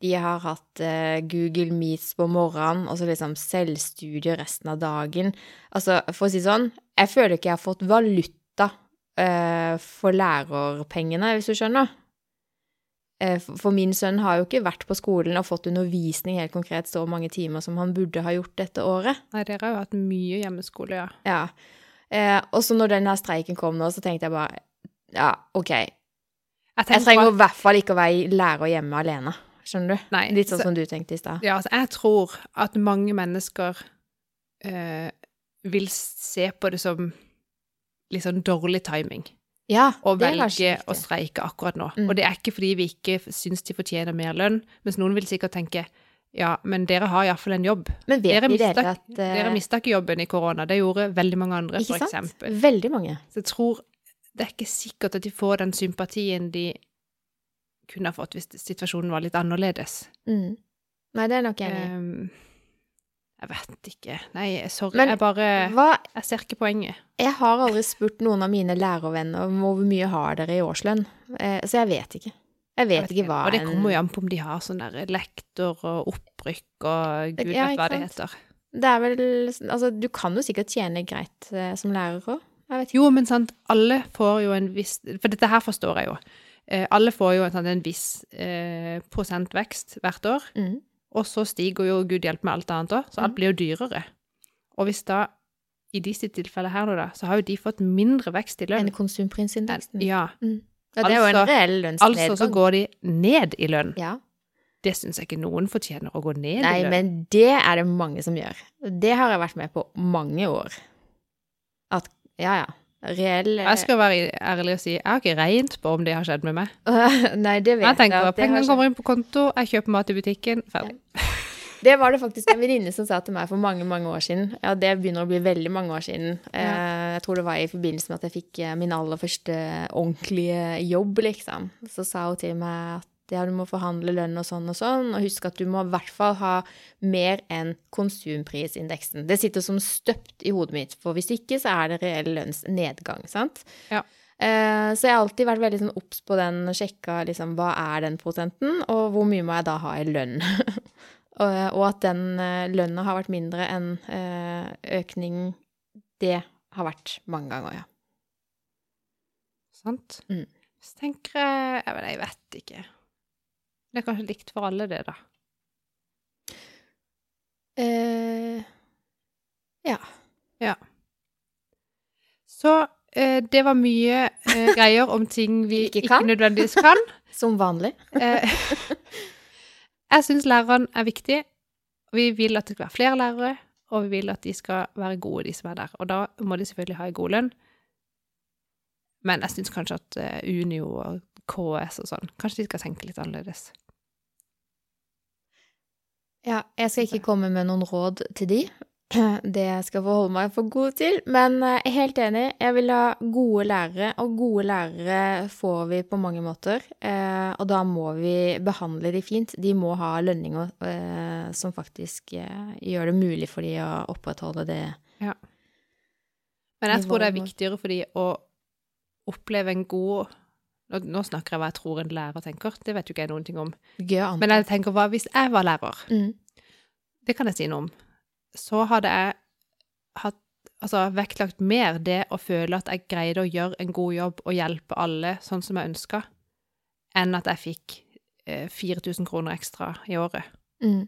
Speaker 2: De har hatt eh, Google Meets på morgenen, og så liksom selvstudie resten av dagen. Altså, for å si det sånn, jeg føler ikke jeg har fått valuta eh, for lærerpengene, hvis du skjønner. eh, for- For min sønn har jo ikke vært på skolen og fått undervisning helt konkret så mange timer som han burde ha gjort dette året.
Speaker 1: Nei, dere har jo hatt mye hjemmeskole, ja.
Speaker 2: Ja. Eh, og så når den her streiken kom nå, så tenkte jeg bare Ja, OK. Jeg trenger
Speaker 1: tenker
Speaker 2: i hvert fall ikke å være lærer hjemme alene. Skjønner du?
Speaker 1: bare- Nei,
Speaker 2: Litt sånn
Speaker 1: så-
Speaker 2: som du tenkte i stad.
Speaker 1: Ja, altså, jeg tror at mange mennesker eh, vil se på det som litt sånn dårlig timing
Speaker 2: Ja,
Speaker 1: å
Speaker 2: det er kanskje
Speaker 1: velge å
Speaker 2: riktig.
Speaker 1: streike akkurat nå.
Speaker 2: Mm.
Speaker 1: Og det er ikke fordi vi ikke syns de fortjener mer lønn, mens noen vil sikkert tenke ja, men dere har iallfall en jobb.
Speaker 2: Men vet
Speaker 1: Dere
Speaker 2: vi i det
Speaker 1: mista,
Speaker 2: hele tatt eh,
Speaker 1: dere mista ikke jobben i korona, det gjorde veldig mange andre,
Speaker 2: Ikke
Speaker 1: for
Speaker 2: sant?
Speaker 1: eksempel.
Speaker 2: Veldig mange.
Speaker 1: Så jeg tror det er ikke sikkert at de får den sympatien de kunne ha fått hvis situasjonen var litt annerledes.
Speaker 2: Mm. Nei, det er nok jeg enig i.
Speaker 1: Ehm, jeg vet ikke. Nei, sorry.
Speaker 2: Men-
Speaker 1: jeg bare
Speaker 2: Hva
Speaker 1: Jeg ser ikke poenget.
Speaker 2: Jeg har aldri spurt noen av mine lærervenner om hvor mye har dere i årslønn, eh, så jeg vet ikke. Jeg vet ikke hva
Speaker 1: Og det kommer jo an på om de har sånn der lektor og opprykk og gud
Speaker 2: Ja,
Speaker 1: vet
Speaker 2: ikke
Speaker 1: hva det
Speaker 2: sant?
Speaker 1: heter.
Speaker 2: Det er vel Altså, du kan jo sikkert tjene greit eh, som lærer òg. Jeg vet ikke.
Speaker 1: Jo, men sant, alle får jo en viss For dette her forstår jeg jo. Eh, alle får jo en, sånn, en viss eh, prosentvekst hvert år.
Speaker 2: Mm.
Speaker 1: Og så stiger jo gud hjelpe meg alt annet òg, så alt
Speaker 2: Mhm.
Speaker 1: blir jo dyrere. Og hvis da, i de sitt tilfelle her nå, da, så har jo de fått mindre vekst i lønn.
Speaker 2: En konsumprisindeks. Ja,
Speaker 1: Ja,
Speaker 2: det er jo en
Speaker 1: altså-
Speaker 2: reell
Speaker 1: altså så
Speaker 2: lønnsnedgang.
Speaker 1: går de ned i lønn.
Speaker 2: Ja.
Speaker 1: Det syns jeg ikke noen fortjener, å gå ned
Speaker 2: Nei,
Speaker 1: i lønn.
Speaker 2: men det er det mange som gjør. Det har jeg vært med på mange år. At ja, ja. Reell eh,
Speaker 1: Jeg skal være ærlig og si, jeg har ikke regnet på om det har skjedd med meg.
Speaker 2: eh, Nei, det vet
Speaker 1: Jeg tenker
Speaker 2: at
Speaker 1: at
Speaker 2: det har
Speaker 1: pengene
Speaker 2: skjedd.
Speaker 1: kommer inn på konto, jeg kjøper mat i butikken, ferdig.
Speaker 2: Det var det faktisk en venninne som sa til meg for mange mange år siden. Ja, det begynner å bli veldig mange år siden. Eh, Jeg tror det var i forbindelse med at jeg fikk eh, min aller første ordentlige jobb, liksom. Så sa hun til meg at ja, du må forhandle lønn og sånn og sånn, og husk at du må i hvert fall ha mer enn konsumprisindeksen. Det sitter som støpt i hodet mitt, for hvis ikke så er det reell lønnsnedgang, sant?
Speaker 1: Ja.
Speaker 2: Eh, Så jeg har alltid vært veldig sånn obs på den og sjekka liksom, hva er den prosenten, og hvor mye må jeg da ha i lønn. og, og at den eh, lønna har vært mindre enn eh, økning Det har vært mange ganger, ja.
Speaker 1: Sant?
Speaker 2: Mm.
Speaker 1: Så tenker jeg Jeg vet, jeg vet ikke. Det er kanskje likt for alle, det, da.
Speaker 2: Eh,
Speaker 1: Så eh, det var mye eh, greier om ting vi
Speaker 2: Ikke
Speaker 1: ikke,
Speaker 2: kan.
Speaker 1: nødvendigvis kan.
Speaker 2: som vanlig.
Speaker 1: Eh, jeg syns læreren er viktig. Vi vil at det skal være flere lærere, og vi vil at de skal være gode, de som er der. Og da må de selvfølgelig ha en god lønn. Men jeg syns kanskje at eh, Unio og KS og sånn, kanskje de skal tenke litt annerledes.
Speaker 2: Ja, jeg skal ikke komme med noen råd til de. Det skal jeg få holde meg for god til. Men eh, jeg er helt enig. Jeg vil ha gode lærere, og gode lærere får vi på mange måter. eh, Og da må vi behandle de fint. De må ha lønninger eh, som faktisk eh, gjør det mulig for de å opprettholde det.
Speaker 1: Men jeg
Speaker 2: Nivå
Speaker 1: tror det er
Speaker 2: må-
Speaker 1: viktigere for de å oppleve en god nå- Nå snakker jeg hva jeg tror en lærer tenker, det vet jo ikke jeg noen ting om.
Speaker 2: Gøy å
Speaker 1: Men
Speaker 2: anta.
Speaker 1: jeg tenker hva hvis jeg var lærer?
Speaker 2: Mm.
Speaker 1: det kan jeg si noe om, så hadde jeg hatt, altså, vektlagt mer det å føle at jeg greide å gjøre en god jobb og hjelpe alle sånn som jeg ønska, enn at jeg fikk eh, 4000 kroner ekstra i året.
Speaker 2: Mm.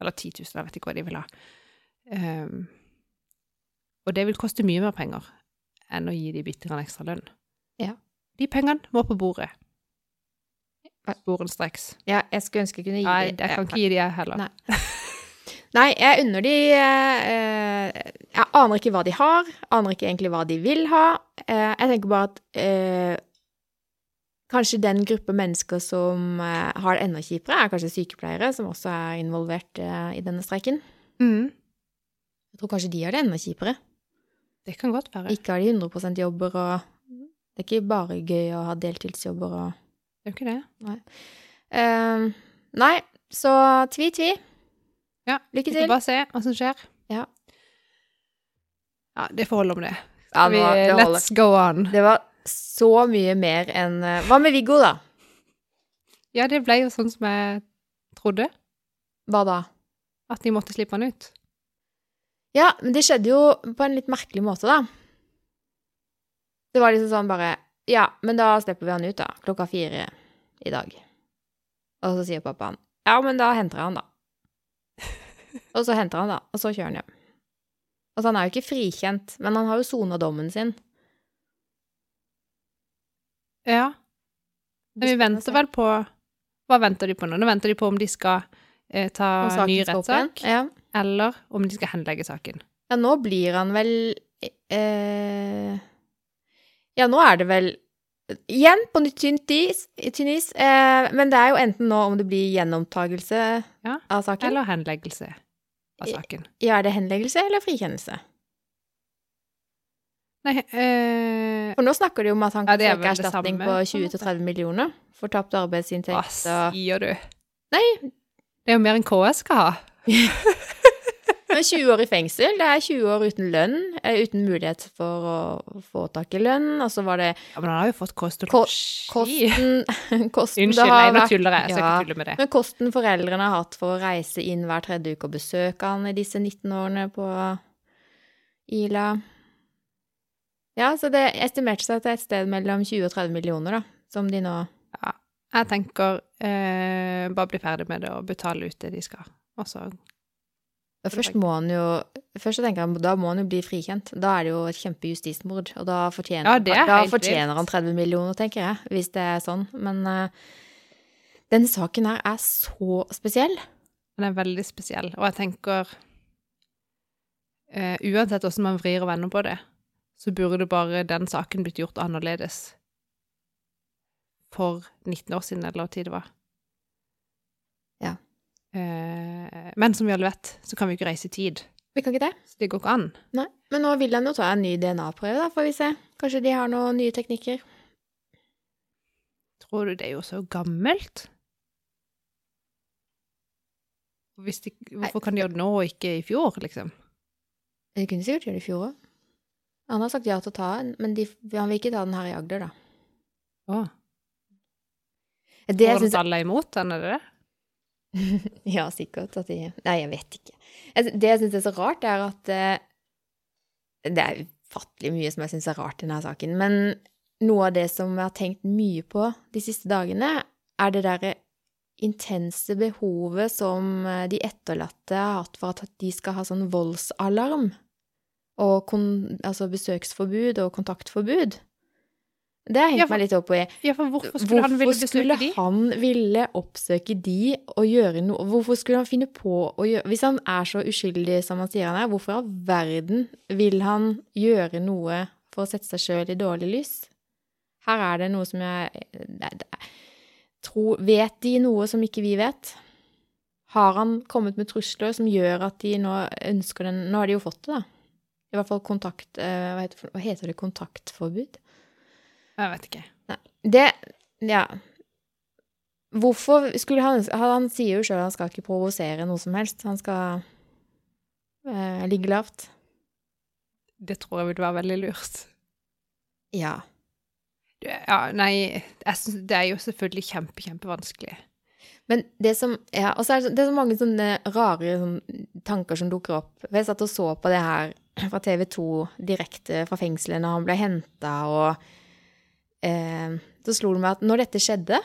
Speaker 1: Eller 10 000, jeg vet ikke hva de vil ha. Ehm, og det vil koste mye mer penger enn å gi de bitte grann ekstra lønn.
Speaker 2: Ja.
Speaker 1: De pengene må på bordet.
Speaker 2: Hva-
Speaker 1: Sporenstreks.
Speaker 2: Ja, jeg skulle ønske jeg kunne gi
Speaker 1: Nei,
Speaker 2: de-
Speaker 1: jeg kan ikke gi de, jeg heller.
Speaker 2: Nei. Nei, jeg unner de eh, eh, Jeg aner ikke hva de har, aner ikke egentlig hva de vil ha. Eh, jeg tenker bare at eh, kanskje den gruppe mennesker som eh, har det enda kjipere, er kanskje sykepleiere, som også er involvert eh, i denne streiken.
Speaker 1: Mm,
Speaker 2: Jeg tror kanskje de har det enda kjipere.
Speaker 1: det kan godt være.
Speaker 2: Ikke har de 100 jobber, og det er ikke bare gøy å ha deltidsjobber og
Speaker 1: Det er jo ikke det.
Speaker 2: Eh, Nei, så tvi-tvi.
Speaker 1: Ja, Vi
Speaker 2: Lykke
Speaker 1: får
Speaker 2: til.
Speaker 1: bare se hva som skjer.
Speaker 2: Ja.
Speaker 1: Ja, det får holde om det.
Speaker 2: Ja, nå-
Speaker 1: vi,
Speaker 2: det holder.
Speaker 1: let's go on.
Speaker 2: Det var så mye mer enn eh, Hva med Viggo, da?
Speaker 1: Ja, det ble jo sånn som jeg trodde,
Speaker 2: Hva da?
Speaker 1: at de måtte slippe han ut.
Speaker 2: Ja, men det skjedde jo på en litt merkelig måte, da. Det var liksom sånn bare Ja, men da slipper vi han ut, da. Klokka fire i dag. Og så sier pappaen ja, men da henter jeg han, da. Og så henter han, da, og så kjører han hjem. Altså, han er jo ikke frikjent, men han har jo sona dommen sin.
Speaker 1: Ja. Men vi venter vel på Hva venter de på nå? Nå venter de på om de skal eh,
Speaker 2: Om
Speaker 1: ta
Speaker 2: saken
Speaker 1: ny
Speaker 2: skal opp igjen.
Speaker 1: rettssak,
Speaker 2: Ja.
Speaker 1: eller om de skal henlegge saken.
Speaker 2: ja, nå blir han vel eh, Ja, nå er det vel Igjen på nytt tynt is, tynn is eh, men det er jo enten nå om det blir gjennomtagelse
Speaker 1: Ja,
Speaker 2: av saken.
Speaker 1: Eller henleggelse av saken.
Speaker 2: Ja, er det henleggelse eller frikjennelse?
Speaker 1: Nei, eh,
Speaker 2: For nå snakker de om at han
Speaker 1: Ja,
Speaker 2: kan
Speaker 1: det er vel
Speaker 2: søke
Speaker 1: det
Speaker 2: erstatning
Speaker 1: samme,
Speaker 2: på
Speaker 1: på en
Speaker 2: 20-30 millioner for tapt
Speaker 1: hva
Speaker 2: arbeidsinntekt og
Speaker 1: sier du?
Speaker 2: Nei.
Speaker 1: Det er jo mer enn KS skal ha.
Speaker 2: Men 20 år i fengsel, det er 20 år uten lønn, eh, uten mulighet for å få tak i lønn, og så var det
Speaker 1: Ja, men han har jo fått kost og
Speaker 2: Ko-
Speaker 1: losji.
Speaker 2: kosten, kosten det
Speaker 1: Unnskyld, nei,
Speaker 2: har
Speaker 1: nå
Speaker 2: vært-
Speaker 1: tuller jeg. Jeg skal
Speaker 2: Ja.
Speaker 1: ikke tulle med det.
Speaker 2: Men kosten foreldrene har hatt for å reise inn hver tredje uke og besøke han i disse 19 årene på Ila. Ja, så det estimerte seg til et sted mellom 20 og 30 millioner, da, som de nå
Speaker 1: Jeg tenker eh, bare bli ferdig med det og betale ut det de skal. Og så
Speaker 2: Ja,
Speaker 1: Eller
Speaker 2: Først
Speaker 1: begge.
Speaker 2: må han jo Først så tenker jeg, Da må han jo bli frikjent. Da er det jo et kjempejustismord, og da fortjener,
Speaker 1: Ja, det er
Speaker 2: da
Speaker 1: helt
Speaker 2: fortjener han
Speaker 1: vilt.
Speaker 2: 30 millioner, tenker jeg, hvis det er sånn. Men eh, denne saken her er så spesiell.
Speaker 1: Den er veldig spesiell, og jeg tenker eh, Uansett hvordan man vrir og vender på det, så burde bare den saken blitt gjort annerledes for 19 år siden, eller hva tid det var.
Speaker 2: Ja.
Speaker 1: Eh, men som vi alle vet, så kan vi ikke reise i tid.
Speaker 2: Vi kan ikke det?
Speaker 1: Så det går ikke an.
Speaker 2: Nei. Men nå vil han jo ta en ny DNA-prøve, da, får vi se. Kanskje de har noen nye teknikker.
Speaker 1: Tror du det er jo så gammelt? Hvis de, hvorfor kan de gjøre det nå og ikke i fjor, liksom?
Speaker 2: De kunne sikkert gjøre det i fjor òg. Han har sagt ja til å ta en, men de, han vil ikke ta den her i Agder, da.
Speaker 1: Åh,
Speaker 2: Det
Speaker 1: Hvordan
Speaker 2: synes jeg-
Speaker 1: alle er imot den, er det det?
Speaker 2: Ja, sikkert. At de Nei, jeg vet ikke. Altså, Det jeg syns er så rart, er at eh, Det er ufattelig mye som jeg syns er rart i denne saken. Men noe av det som jeg har tenkt mye på de siste dagene, er det derre intense behovet som eh, de etterlatte har hatt for at de skal ha sånn voldsalarm. Og kon, altså besøksforbud og kontaktforbud. Det har jeg
Speaker 1: Ja,
Speaker 2: hengt
Speaker 1: for-
Speaker 2: meg litt opp i.
Speaker 1: Ja, for hvorfor skulle han ville
Speaker 2: Hvorfor skulle
Speaker 1: besøke de?
Speaker 2: han ville oppsøke de og gjøre noe Hvorfor skulle han finne på å gjøre Hvis han er så uskyldig som han sier han er, hvorfor i all verden vil han gjøre noe for å sette seg sjøl i dårlig lys? Her er det noe som jeg det, det, tror, Vet de noe som ikke vi vet? Har han kommet med trusler som gjør at de nå ønsker den Nå har de jo fått det, da. I hvert fall kontakt... eh, Hva heter, hva heter det? Kontaktforbud?
Speaker 1: Jeg vet ikke.
Speaker 2: Det Ja. Hvorfor skulle han Han, han sier jo sjøl han skal ikke provosere noe som helst. Han skal eh, ligge lavt.
Speaker 1: Det tror jeg ville være veldig lurt.
Speaker 2: Ja.
Speaker 1: Du, Ja, nei, jeg synes, det er jo selvfølgelig kjempe, kjempevanskelig.
Speaker 2: Men det som ja, Og så er det, så- det er så mange sånne rare sånn, tanker som dukker opp. For Jeg satt og så på det her fra TV 2 direkte fra fengselet når han ble henta, og eh, så slo det meg at når dette skjedde,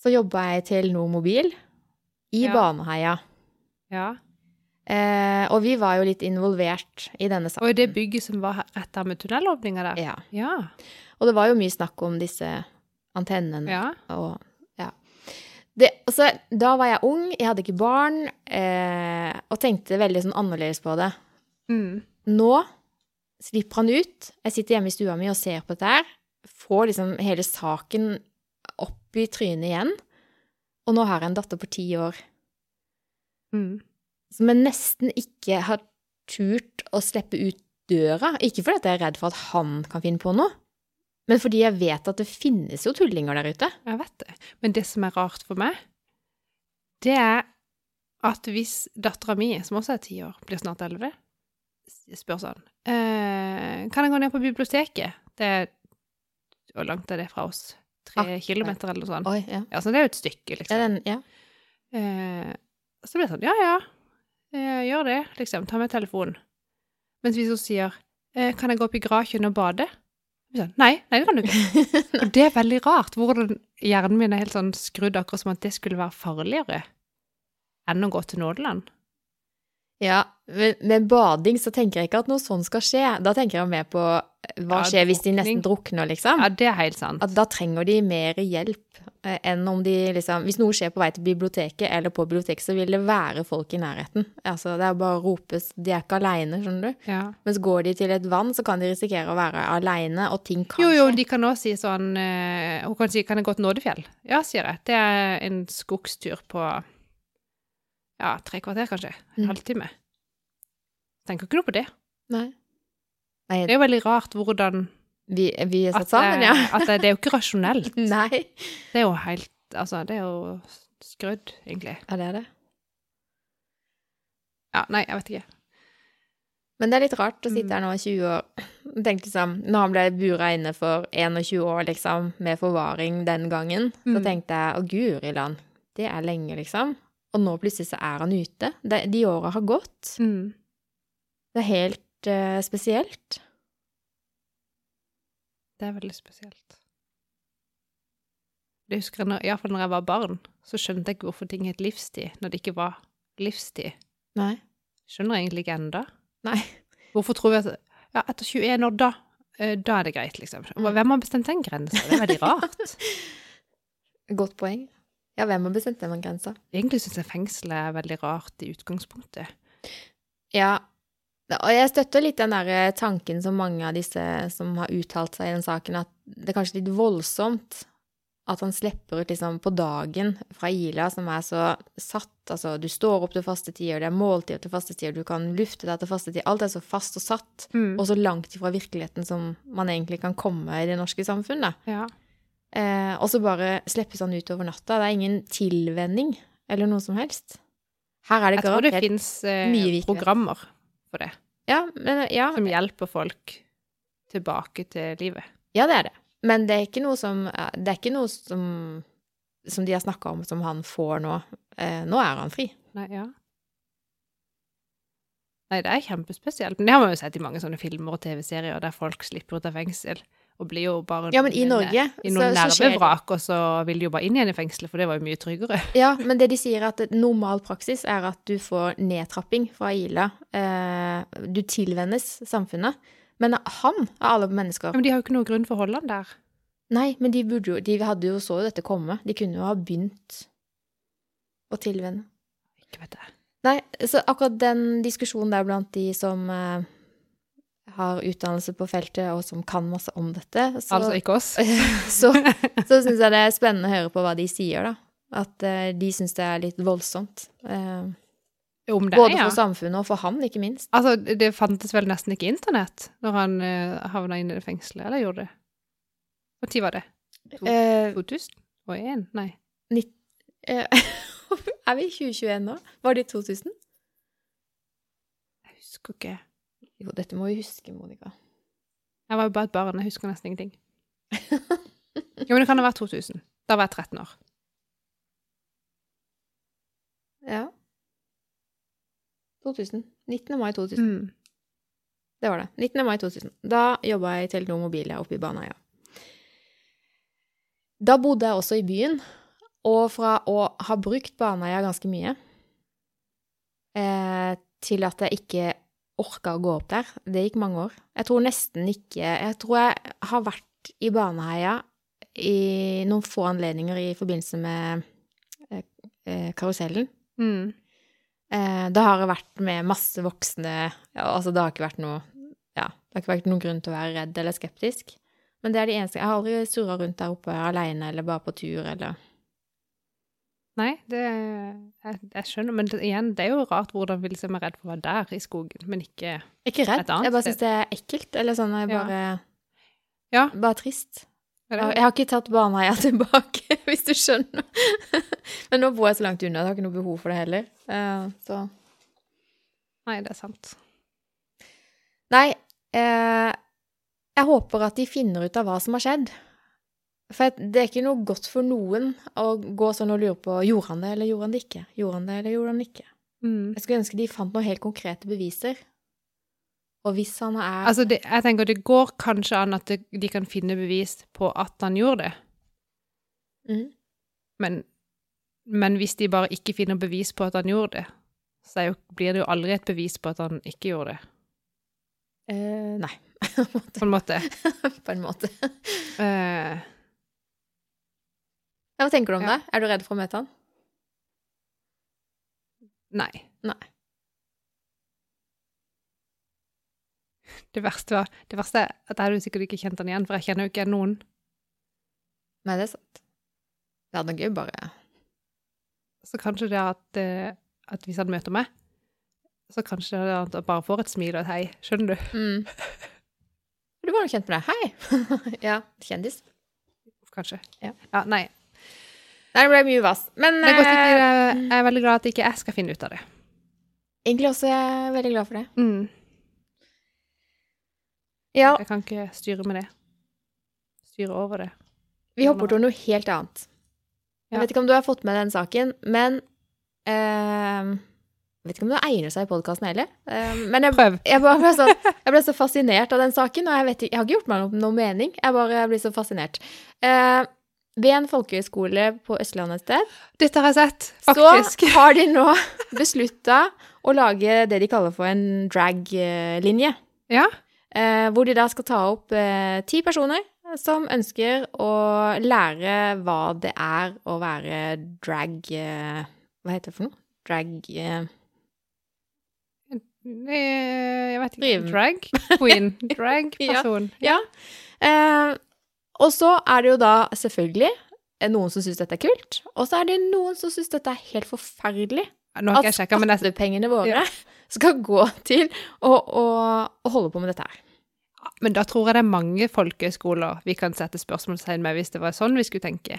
Speaker 2: så jobba jeg i Telenor Mobil i
Speaker 1: Ja.
Speaker 2: Baneheia.
Speaker 1: Ja.
Speaker 2: Eh, og vi var jo litt involvert i denne
Speaker 1: Og
Speaker 2: saken.
Speaker 1: i det bygget som var her- rett der med tunnelåpninga der.
Speaker 2: Ja.
Speaker 1: Ja.
Speaker 2: Og det var jo mye snakk om disse antennene.
Speaker 1: Ja.
Speaker 2: Og, ja. det, altså, da var jeg ung, jeg hadde ikke barn, eh, og tenkte veldig sånn annerledes på det.
Speaker 1: Mm.
Speaker 2: Nå slipper han ut. Jeg sitter hjemme i stua mi og ser på dette her. Får liksom hele saken opp i trynet igjen. Og nå har jeg en datter på ti år.
Speaker 1: Mm.
Speaker 2: som jeg nesten ikke har turt å slippe ut døra. Ikke fordi at jeg er redd for at han kan finne på noe, men fordi jeg vet at det finnes jo tullinger der ute.
Speaker 1: Jeg vet det. Men det som er rart for meg, det er at hvis dattera mi, som også er ti år, blir snart elleve, spør sånn eh, Kan jeg gå ned på biblioteket? Det er Hvor langt er det fra oss? Tre
Speaker 2: Ah, nei.
Speaker 1: kilometer, eller noe sånt?
Speaker 2: Oi, ja.
Speaker 1: Ja, så det er jo et stykke,
Speaker 2: Ja,
Speaker 1: liksom.
Speaker 2: den, ja.
Speaker 1: Eh, så blir det sånn, ja, ja, eh, gjør det, liksom, ta med telefonen. Mens hvis hun sier, eh, kan jeg gå opp i grakjen og bade? Sånn, nei, nei, det kan du ikke. Og det er veldig rart hvordan hjernen min er helt sånn skrudd akkurat som at det skulle være farligere enn å gå til nådeland.
Speaker 2: Ja, men med bading så tenker jeg ikke at noe sånt skal skje. Da tenker jeg mer på eh, hva
Speaker 1: Ja,
Speaker 2: skjer hvis de nesten
Speaker 1: drukning.
Speaker 2: drukner, liksom.
Speaker 1: Ja, det er helt sant.
Speaker 2: At da trenger de mer hjelp eh, enn om de liksom Hvis noe skjer på vei til biblioteket eller på biblioteket, så vil det være folk i nærheten. Altså, det er bare å ropes. De er ikke aleine, skjønner du.
Speaker 1: Ja.
Speaker 2: Mens går de til et vann, så kan de risikere å være aleine, og ting kan
Speaker 1: Jo, jo,
Speaker 2: skje.
Speaker 1: de kan også si sånn eh, Hun kan si 'Kan jeg gå til Nådefjell?' Ja, sier jeg. Det er en skogstur på ja, tre kvarter, kanskje. En
Speaker 2: Mm.
Speaker 1: halvtime. Tenker ikke noe på det.
Speaker 2: Nei. Nei,
Speaker 1: Det er jo veldig rart hvordan
Speaker 2: vi, vi er
Speaker 1: at,
Speaker 2: satt sammen, ja.
Speaker 1: det- at det, det er jo ikke rasjonelt.
Speaker 2: Nei.
Speaker 1: Det er jo helt Altså, det er jo skrudd, egentlig.
Speaker 2: Ja, det er det.
Speaker 1: Ja, nei, jeg vet ikke.
Speaker 2: Men det er litt rart å
Speaker 1: Mm.
Speaker 2: sitte her nå i 20 år og tenke liksom Når han ble bura inne for 21 år, liksom, med forvaring den gangen, så
Speaker 1: Mm.
Speaker 2: tenkte jeg å guri land, det er lenge, liksom. Og nå plutselig så er han ute. De, de åra har gått.
Speaker 1: Mm.
Speaker 2: Det er helt eh, spesielt.
Speaker 1: Det er veldig spesielt. Jeg husker når, i hvert fall når jeg var barn, så skjønte jeg ikke hvorfor ting het livstid når det ikke var livstid.
Speaker 2: Nei.
Speaker 1: Skjønner jeg egentlig ikke enda.
Speaker 2: Nei.
Speaker 1: Hvorfor tror vi at ja, etter 21 år, da, eh, da er det greit, liksom. Hva- Hvem har bestemt den grensa? Det er veldig rart.
Speaker 2: Godt poeng. Ja, hvem har bestemt den grensa?
Speaker 1: Egentlig syns jeg fengselet er veldig rart i utgangspunktet.
Speaker 2: Ja. Og jeg støtter litt den der eh, tanken som mange av disse som har uttalt seg i den saken, at det er kanskje litt voldsomt at han slipper ut liksom på dagen fra Ila, som er så satt. Altså, du står opp til faste tider, det er måltider til faste tider, du kan lufte deg til faste tider. Alt er så fast og satt,
Speaker 1: Mm.
Speaker 2: og så langt ifra virkeligheten som man egentlig kan komme i det norske samfunnet.
Speaker 1: Ja.
Speaker 2: Eh, og så bare slippes han ut over natta. Det er ingen tilvenning eller noe som helst. Her er det
Speaker 1: Jeg tror det
Speaker 2: garantert-
Speaker 1: fins
Speaker 2: mye
Speaker 1: eh,
Speaker 2: virkelighet.
Speaker 1: programmer for det,
Speaker 2: Ja, men, ja,
Speaker 1: som hjelper folk tilbake til livet.
Speaker 2: Ja, det er det. Men det er ikke noe som, det er ikke noe som, som de har snakka om som han får nå. Eh, nå er han fri.
Speaker 1: Nei, ja. Nei, det er kjempespesielt. Men det har man jo sett i mange sånne filmer og TV-serier der folk slipper ut av fengsel og blir jo bare
Speaker 2: Ja, men i
Speaker 1: noen- eh,
Speaker 2: Norge
Speaker 1: I noen
Speaker 2: så, så skjer det.
Speaker 1: nervevrak, og så vil de jo bare inn igjen i fengselet, for det var jo mye tryggere.
Speaker 2: Ja, men det de sier er at et normal praksis er at du får nedtrapping fra Ila. Eh, du tilvennes samfunnet. Men han, av alle mennesker
Speaker 1: Men de har jo ikke noen grunn for å holde han der.
Speaker 2: Nei, men de, burde jo, de hadde jo så jo dette komme. De kunne jo ha begynt å tilvenne.
Speaker 1: Ikke vet jeg.
Speaker 2: Nei, så akkurat den diskusjonen der blant de som eh, har utdannelse på feltet, og som kan masse om dette, så,
Speaker 1: Altså ikke oss.
Speaker 2: så, så syns jeg det er spennende å høre på hva de sier, da. At eh, de syns det er litt voldsomt. Eh,
Speaker 1: Om det,
Speaker 2: både
Speaker 1: ja.
Speaker 2: for samfunnet og for han, ikke minst.
Speaker 1: Altså, det fantes vel nesten ikke internett når han uh, havna inne i det fengselet, eller gjorde det? Når var det? To-
Speaker 2: Eh,
Speaker 1: 2001? Nei.
Speaker 2: eh, er vi i 2021 nå? Var det i 2000?
Speaker 1: Jeg husker ikke.
Speaker 2: Jo, dette må vi huske, Monica.
Speaker 1: Jeg var jo bare et barn, jeg husker nesten ingenting. Jo, men det kan ha vært 2000. Da var jeg 13 år.
Speaker 2: Ja. 2000. 19. mai 2000.
Speaker 1: Mm.
Speaker 2: Det var det. 19. mai 2000. Da jobba jeg i Telenor Mobilia oppe i Baneheia. Da bodde jeg også i byen, og fra å ha brukt Baneheia ganske mye eh, til at jeg ikke orka å gå opp der, det gikk mange år. Jeg tror nesten ikke Jeg tror jeg har vært i Baneheia i noen få anledninger i forbindelse med eh, eh, karusellen.
Speaker 1: Mm.
Speaker 2: Eh, det har jeg vært med masse voksne ja, Altså, det har ikke vært noe Ja, det har ikke vært noen grunn til å være redd eller skeptisk. Men det er det eneste Jeg har aldri surra rundt der oppe aleine eller bare på tur eller
Speaker 1: Nei, det jeg, jeg skjønner, men det, igjen, det er jo rart hvordan vil seg meg redd for å være der i skogen, men ikke
Speaker 2: Jeg er Ikke
Speaker 1: Et
Speaker 2: redd.
Speaker 1: annet
Speaker 2: Jeg bare syns det er ekkelt. Eller sånn jeg
Speaker 1: Ja.
Speaker 2: bare
Speaker 1: Ja.
Speaker 2: Bare trist.
Speaker 1: Eller-
Speaker 2: Jeg jeg har ikke tatt barneheia tilbake, hvis du skjønner. Men nå bor jeg så langt unna, jeg har ikke noe behov for det heller. Eh, så
Speaker 1: Nei, det er sant.
Speaker 2: Nei, eh, jeg håper at de finner ut av hva som har skjedd. For at det er ikke noe godt for noen å gå sånn og lure på gjorde han det eller gjorde han det ikke. Gjorde han det eller gjorde han det ikke.
Speaker 1: Mm.
Speaker 2: Jeg skulle ønske de fant noen helt konkrete beviser. Og hvis han er
Speaker 1: Altså, det, jeg tenker det går kanskje an at det, de kan finne bevis på at han gjorde det,
Speaker 2: Mhm.
Speaker 1: men, men hvis de bare ikke finner bevis på at han gjorde det, så er jo, blir det jo aldri et bevis på at han ikke gjorde det,
Speaker 2: Eh, Nei. På en måte.
Speaker 1: på en måte.
Speaker 2: På en måte.
Speaker 1: Eh,
Speaker 2: Ja, hva tenker du om
Speaker 1: Ja.
Speaker 2: det? Er du redd for å møte han?
Speaker 1: nei.
Speaker 2: Nei.
Speaker 1: Det verste, var, det verste er at jeg hadde jo sikkert ikke kjent han igjen, for jeg kjenner jo ikke noen.
Speaker 2: Nei, det er sant. Det hadde vært gøy, bare
Speaker 1: Så kanskje det er at, eh, at hvis han møter meg, så kanskje det er at han bare får et smil og et hei. Skjønner du?
Speaker 2: mm. Du var jo kjent med det. Hei! ja, kjendis.
Speaker 1: Kanskje.
Speaker 2: Ja.
Speaker 1: nei.
Speaker 2: Nei, det ble mye vas. Men
Speaker 1: Det er godt ikke,
Speaker 2: eh,
Speaker 1: jeg er veldig glad at ikke jeg skal finne ut av det.
Speaker 2: egentlig også er jeg veldig glad for det.
Speaker 1: Mm.
Speaker 2: Ja,
Speaker 1: Jeg kan ikke styre med det. Styre over det.
Speaker 2: vi hopper til noe helt annet. Jeg
Speaker 1: Ja.
Speaker 2: vet ikke om du har fått med den saken, men eh, Jeg vet ikke om det egner seg i podkasten heller. Eh, men jeg,
Speaker 1: Prøv.
Speaker 2: jeg, bare ble så, jeg ble så fascinert av den saken, og jeg, vet, ikke- jeg har ikke gjort meg noe, noe mening. Jeg bare blir så fascinert. Eh, ved en folkehøyskole på Østlandet et sted
Speaker 1: Dette har jeg sett, faktisk.
Speaker 2: så har de nå beslutta å lage det de kaller for en drag-linje.
Speaker 1: Ja.
Speaker 2: Eh, hvor de da skal ta opp eh, ti personer som ønsker å lære hva det er å være drag eh, Hva heter det for noe? Drag eh,
Speaker 1: Eh, Jeg vet ikke.
Speaker 2: Driv.
Speaker 1: Drag queen. Drag person.
Speaker 2: Ja. Eh, og så er det jo da selvfølgelig eh, noen som syns dette er kult, og så er det noen som syns dette er helt forferdelig.
Speaker 1: Nå har ikke jeg sjekka, men jeg,
Speaker 2: skattepengene våre
Speaker 1: Ja.
Speaker 2: skal gå til å, å, å holde på med dette her.
Speaker 1: men da tror jeg det er mange folkehøyskoler vi kan sette spørsmålstegn med hvis det var sånn vi skulle tenke.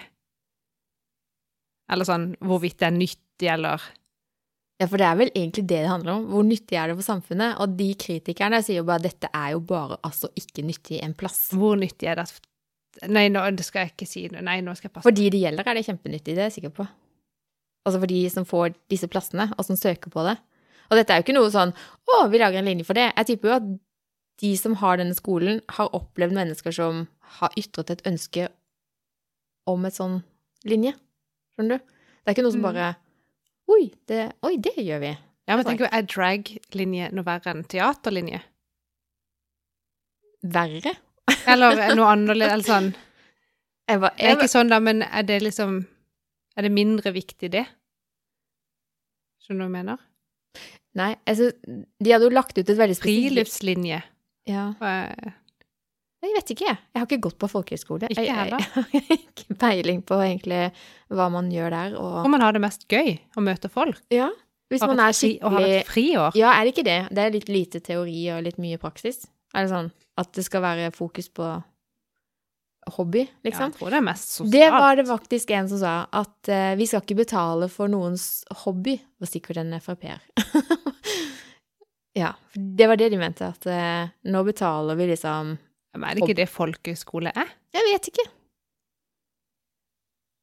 Speaker 1: Eller sånn hvorvidt det er nyttig, eller
Speaker 2: Ja, For det er vel egentlig det det handler om. Hvor nyttig er det for samfunnet? Og de kritikerne sier jo bare dette er jo bare altså ikke nyttig en plass.
Speaker 1: hvor nyttig er det at Nei, nå det skal jeg ikke si noe. Nei, nå skal jeg passe
Speaker 2: For de det gjelder, er det kjempenyttig, det er jeg sikker på. Altså for de som får disse plassene, og som søker på det. Og dette er jo ikke noe sånn 'Å, vi lager en linje for det'. Jeg tipper jo at de som har denne skolen, har opplevd mennesker som har ytret et ønske om et sånn linje. Skjønner du? Det er ikke noe som
Speaker 1: Mm.
Speaker 2: bare Oi, det, oi, det gjør vi.
Speaker 1: Ja, men tenk, er drag-linje noe verre enn teaterlinje?
Speaker 2: Verre.
Speaker 1: Eller er noe annerledes, eller sånn.
Speaker 2: Jeg var,
Speaker 1: Det er
Speaker 2: jeg,
Speaker 1: ikke sånn da, men er det liksom Er det mindre viktig det? Skjønner du hva jeg mener?
Speaker 2: nei, jeg synes, de hadde jo lagt ut et veldig spesielt
Speaker 1: Friluftslinje.
Speaker 2: ja.
Speaker 1: Eh,
Speaker 2: Jeg vet ikke, jeg. Jeg har ikke gått på folkehøyskole.
Speaker 1: Ikke
Speaker 2: jeg
Speaker 1: heller.
Speaker 2: Jeg har ikke peiling på egentlig hva man gjør der.
Speaker 1: Hvor
Speaker 2: Og,
Speaker 1: man har det mest gøy å møte folk.
Speaker 2: ja, hvis
Speaker 1: Har
Speaker 2: man
Speaker 1: et
Speaker 2: er
Speaker 1: fri- Og har
Speaker 2: skikkelig
Speaker 1: et friår.
Speaker 2: Ja, er det ikke det? Det er litt lite teori og litt mye praksis. Er det sånn at det skal være fokus på hobby,
Speaker 1: Ja,
Speaker 2: liksom?
Speaker 1: jeg tror det er mest sosialt.
Speaker 2: Det var det faktisk en som sa, at eh, vi skal ikke betale for noens hobby. Det var sikkert en Frp-er. ja, for det var det de mente, at eh, nå betaler vi liksom
Speaker 1: Men er det ikke det folkehøyskole er?
Speaker 2: Jeg vet ikke.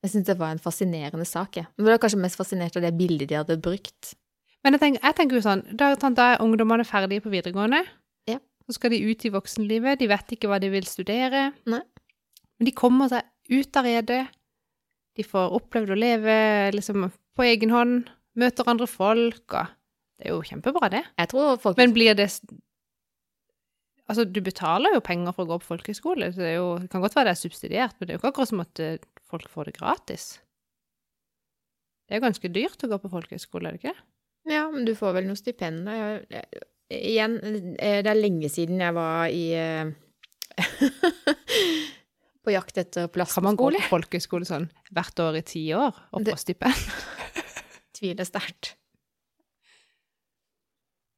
Speaker 2: Jeg syns det var en fascinerende sak. Jeg. Men jeg var kanskje mest fascinert av det bildet de hadde brukt.
Speaker 1: Men jeg tenker, jeg tenker jo sånn, da, sånn, da er ungdommene ferdige på videregående.
Speaker 2: Ja.
Speaker 1: Så skal de ut i voksenlivet, de vet ikke hva de vil studere.
Speaker 2: Nei.
Speaker 1: Men de kommer seg ut av redet, de får opplevd å leve liksom, på egen hånd, møter andre folk, og det er jo kjempebra det.
Speaker 2: Jeg tror folk
Speaker 1: Men blir det... s- Altså, du betaler jo penger for å gå på folkehøyskole, så det, er jo, det kan godt være det er subsidiert, men det er jo ikke akkurat som at eh, folk får det gratis. Det er jo ganske dyrt å gå på folkehøyskole, er det ikke?
Speaker 2: Ja, men du får vel noe stipend. da. Jeg- jeg- Igjen, eh, det er lenge siden jeg var i eh, På jakt etter
Speaker 1: Kan man gå
Speaker 2: plastskole.
Speaker 1: på folkeskole sånn hvert år i ti år og få
Speaker 2: Det-
Speaker 1: stipend?
Speaker 2: Tviler sterkt.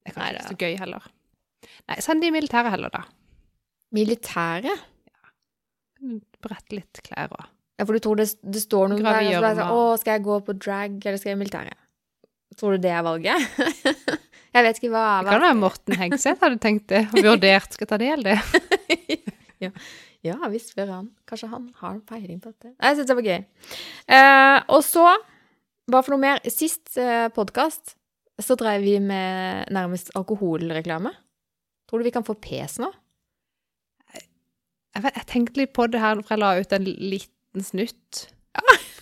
Speaker 1: Det kan ikke
Speaker 2: Neida.
Speaker 1: være så gøy heller. Nei, send de i militæret heller, da.
Speaker 2: Militæret?
Speaker 1: Brett litt klær og
Speaker 2: Ja, for du tror det, det står noen der og så bare sånn,
Speaker 1: Gravgjørma.
Speaker 2: Å, skal jeg gå på drag, eller skal jeg i militæret? Tror du det er valget? jeg vet ikke hva
Speaker 1: Det kan være Morten Hegseth hadde tenkt det, og vurdert skal ta del i det.
Speaker 2: Ja, vi spør han. Kanskje han har en peiling på dette. Nei, Jeg syns det var gøy. Eh, og så, hva for noe mer? Sist eh, podkast så drev vi med nærmest alkoholreklame. Tror du vi kan få pes nå?
Speaker 1: Jeg, vet, jeg tenkte litt på det her for jeg la ut en liten snutt.